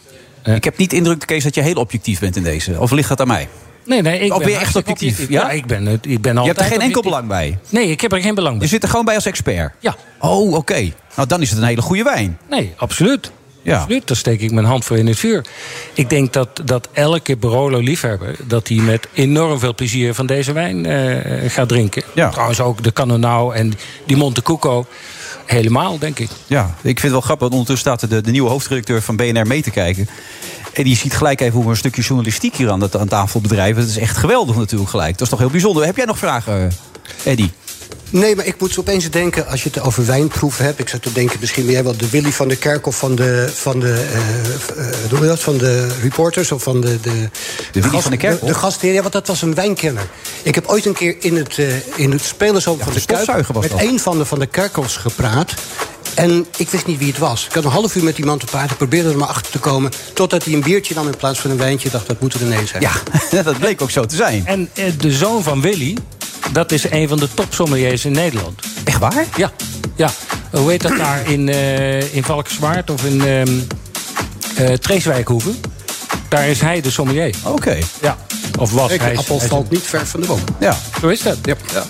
Speaker 16: Eh.
Speaker 5: Ik heb niet de indruk, Kees, dat je heel objectief bent in deze. Of ligt dat aan mij?
Speaker 16: Nee, nee, ik
Speaker 5: Of
Speaker 16: ben
Speaker 5: ben je echt
Speaker 16: hartstikke
Speaker 5: objectief,
Speaker 16: objectief.
Speaker 5: ja?
Speaker 16: ik ben, het- ik ben
Speaker 5: Je
Speaker 16: altijd
Speaker 5: hebt er geen enkel
Speaker 16: objectief.
Speaker 5: belang bij.
Speaker 16: Nee, ik heb er geen belang
Speaker 5: Je
Speaker 16: bij.
Speaker 5: zit er gewoon bij als expert.
Speaker 16: Ja.
Speaker 5: Oh, oké. Nou, dan is het een hele goede wijn.
Speaker 16: Nee, absoluut.
Speaker 5: Ja.
Speaker 16: Absoluut, daar steek ik mijn hand voor in het vuur. Ik denk dat, dat elke Barolo-liefhebber... dat die met enorm veel plezier van deze wijn eh, gaat drinken. Trouwens ook de Cannonau en die Montecucco. Helemaal, denk ik.
Speaker 5: Ja, ik vind het wel grappig. Want ondertussen staat de, de nieuwe hoofdredacteur van BNR mee te kijken. En die ziet gelijk even hoe we een stukje journalistiek hier aan, de, aan tafel bedrijven. Dat is echt geweldig natuurlijk gelijk. Dat is toch heel bijzonder. Heb jij nog vragen, Eddy?
Speaker 6: Nee, maar ik moet opeens denken, als je het over wijnproeven hebt... ik zou te denken, misschien ben jij wel de Willy van de Kerkhof van de... Van de eh, eh, hoe noem je dat? Van de reporters of van de... De,
Speaker 5: Willy van de Kerkhof?
Speaker 6: De, de gastheer, ja, want dat was een wijnkenner. Ik heb ooit een keer in het, eh, in het spelershoofd van de Kuip...
Speaker 5: stofzuiger was
Speaker 6: met
Speaker 5: dat.
Speaker 6: een van de Van de Kerkhofs gepraat... En ik wist niet wie het was. Ik had een half uur met die man te praten, probeerde er maar achter te komen... totdat hij een biertje nam in plaats van een wijntje. dacht, dat moet er ineens zijn.
Speaker 5: Ja, [LAUGHS] dat bleek ook zo te zijn.
Speaker 16: En eh, de zoon van Willy, dat is een van de topsommeliers in Nederland.
Speaker 5: Echt waar?
Speaker 16: Ja, ja. Hoe heet dat daar in, eh in Valkenswaard of in ehm eh, Treeswijkhoeven? Daar is hij de sommelier.
Speaker 5: Oké.
Speaker 16: Ja, of was
Speaker 6: Kijk,
Speaker 16: hij.
Speaker 6: de appel
Speaker 16: hij-
Speaker 6: valt niet ver van de boom.
Speaker 5: Ja.
Speaker 16: Zo is dat.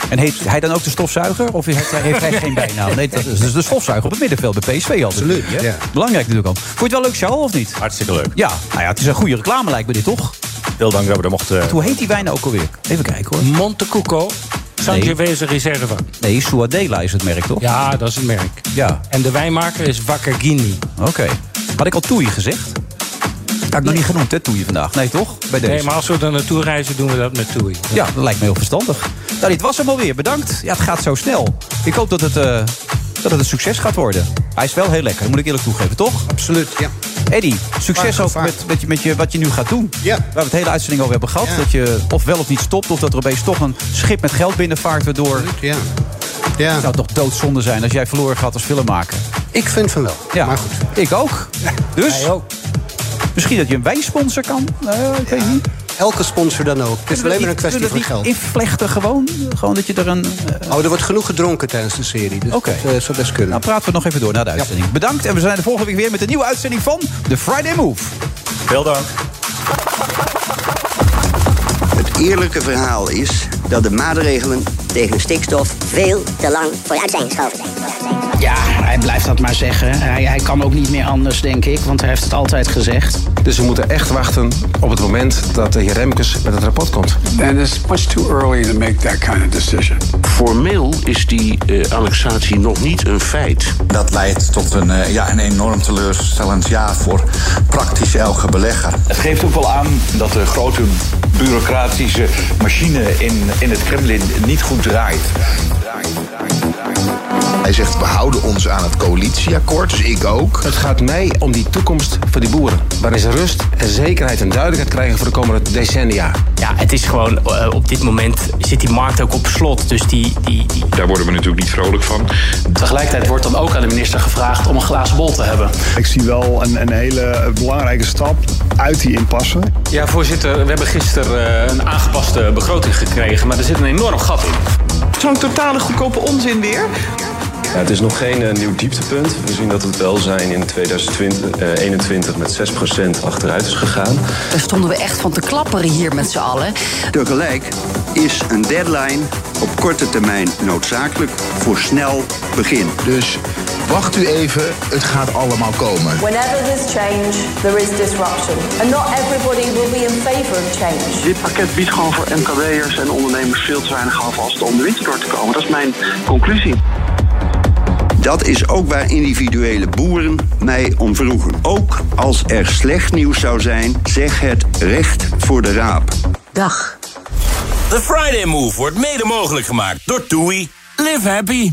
Speaker 5: En heet hij dan ook de stofzuiger? Of heeft hij, heeft hij geen bijnaam? Nee, dat is dus de stofzuiger op het middenveld bij PSV altijd.
Speaker 6: Absoluut,
Speaker 5: Hè?
Speaker 6: ja.
Speaker 5: Belangrijk natuurlijk al. Vond je het wel leuk, Charles, of niet?
Speaker 12: Hartstikke leuk.
Speaker 5: Ja, nou ja, het is een goede reclame lijkt me dit, toch?
Speaker 12: Heel dank dat eh, we er mochten...
Speaker 5: Hoe heet die wijn nou ook alweer? Even kijken hoor.
Speaker 16: Montecucco, Sangiovese Reserva.
Speaker 5: Nee, Suadela is het merk, toch?
Speaker 16: Ja, dat is het merk.
Speaker 5: Ja,
Speaker 16: En de wijnmaker is Wakagini.
Speaker 5: oké. Had ik al Toei gezegd? Had ik nog niet genoemd, hè, Toei vandaag. Nee, toch? Bij deze.
Speaker 16: Nee, maar als we er naartoe reizen, doen we dat met Toei.
Speaker 5: Ja, dat lijkt me heel verstandig. Nou, dit was hem alweer. Bedankt. Ja, het gaat zo snel. Ik hoop dat het, eh, dat het een succes gaat worden. Hij is wel heel lekker, dat moet ik eerlijk toegeven, toch?
Speaker 6: Absoluut, ja.
Speaker 5: Eddy, succes
Speaker 6: Maar
Speaker 5: ook met, met, je, met je, wat je nu gaat doen.
Speaker 6: Ja.
Speaker 5: Waar we het hele uitzending over hebben gehad.
Speaker 6: Ja.
Speaker 5: Dat je of wel of niet stopt, of dat er opeens toch een schip met geld binnenvaart... waardoor
Speaker 6: Ja. ja.
Speaker 5: het zou toch doodzonde zijn als jij verloren gaat als filmmaker.
Speaker 6: Ik vind van wel.
Speaker 5: Ja,
Speaker 6: Maar goed.
Speaker 5: ik ook. Dus
Speaker 16: Hij ook.
Speaker 5: misschien dat je een wijnsponsor kan. Eh, ik weet niet.
Speaker 6: Elke sponsor dan ook. Het is alleen maar een kwestie van geld.
Speaker 5: Invlechten gewoon. Gewoon dat je er een. eh,
Speaker 6: Oh, er wordt genoeg gedronken tijdens de serie. Dus
Speaker 5: Oké.
Speaker 6: dat eh, zou best kunnen.
Speaker 5: nou, praten we het nog even door na de uitzending. Bedankt en we zijn de volgende week weer met een nieuwe uitzending van The Friday Move.
Speaker 12: Heel dank.
Speaker 17: Het eerlijke verhaal is dat de maatregelen tegen stikstof...
Speaker 18: veel te lang vooruit zijn geschoven zijn. Ja, hij blijft dat maar zeggen. Hij, hij kan ook niet meer anders, denk ik, want hij heeft het altijd gezegd.
Speaker 27: Dus we moeten echt wachten op het moment dat de heer Remkes met het rapport komt.
Speaker 28: And it's much too early to make that kind of decision.
Speaker 29: Formeel is die eh, annexatie nog niet een feit.
Speaker 30: Dat leidt tot een, eh, ja, een enorm teleurstellend jaar voor praktisch elke belegger.
Speaker 31: Het geeft ook wel aan dat de grote
Speaker 32: bureaucratische machine in, in het Kremlin niet goed draait.
Speaker 2: Hij zegt, we houden ons aan het coalitieakkoord, dus ik ook.
Speaker 33: Het gaat mij om die toekomst van die boeren. Waarin ze rust en zekerheid en duidelijkheid krijgen voor de komende decennia.
Speaker 34: Ja, het is gewoon, eh, op dit moment zit die markt ook op slot. Dus die, die, die...
Speaker 32: Daar worden we natuurlijk niet vrolijk van.
Speaker 16: Tegelijkertijd wordt dan ook aan de minister gevraagd om een glazen bol te hebben.
Speaker 14: Ik zie wel een, een hele belangrijke stap uit die impasse.
Speaker 16: Ja, voorzitter, we hebben gisteren eh, een aangepaste begroting gekregen, maar er zit een enorm gat in.
Speaker 5: Zo'n totale goedkope onzin weer.
Speaker 24: Ja, het is nog geen eh, nieuw dieptepunt. We zien dat het welzijn in 2021 met 6% achteruit is gegaan.
Speaker 1: Daar stonden we echt van te klapperen hier met z'n allen.
Speaker 18: Tegelijk is een deadline op korte termijn noodzakelijk voor snel begin.
Speaker 2: Dus wacht u even, het gaat allemaal komen.
Speaker 35: Whenever there's change, there is disruption. And not everybody will be in favor of change.
Speaker 36: Dit pakket biedt gewoon voor MKW'ers en ondernemers veel te weinig alvast om de winter door te komen. Dat is mijn conclusie.
Speaker 18: Dat is ook waar individuele boeren mij om vroegen. Ook als er slecht nieuws zou zijn, zeg het recht voor de raap.
Speaker 1: Dag.
Speaker 13: The Friday Move wordt mede mogelijk gemaakt door TUI. Live happy.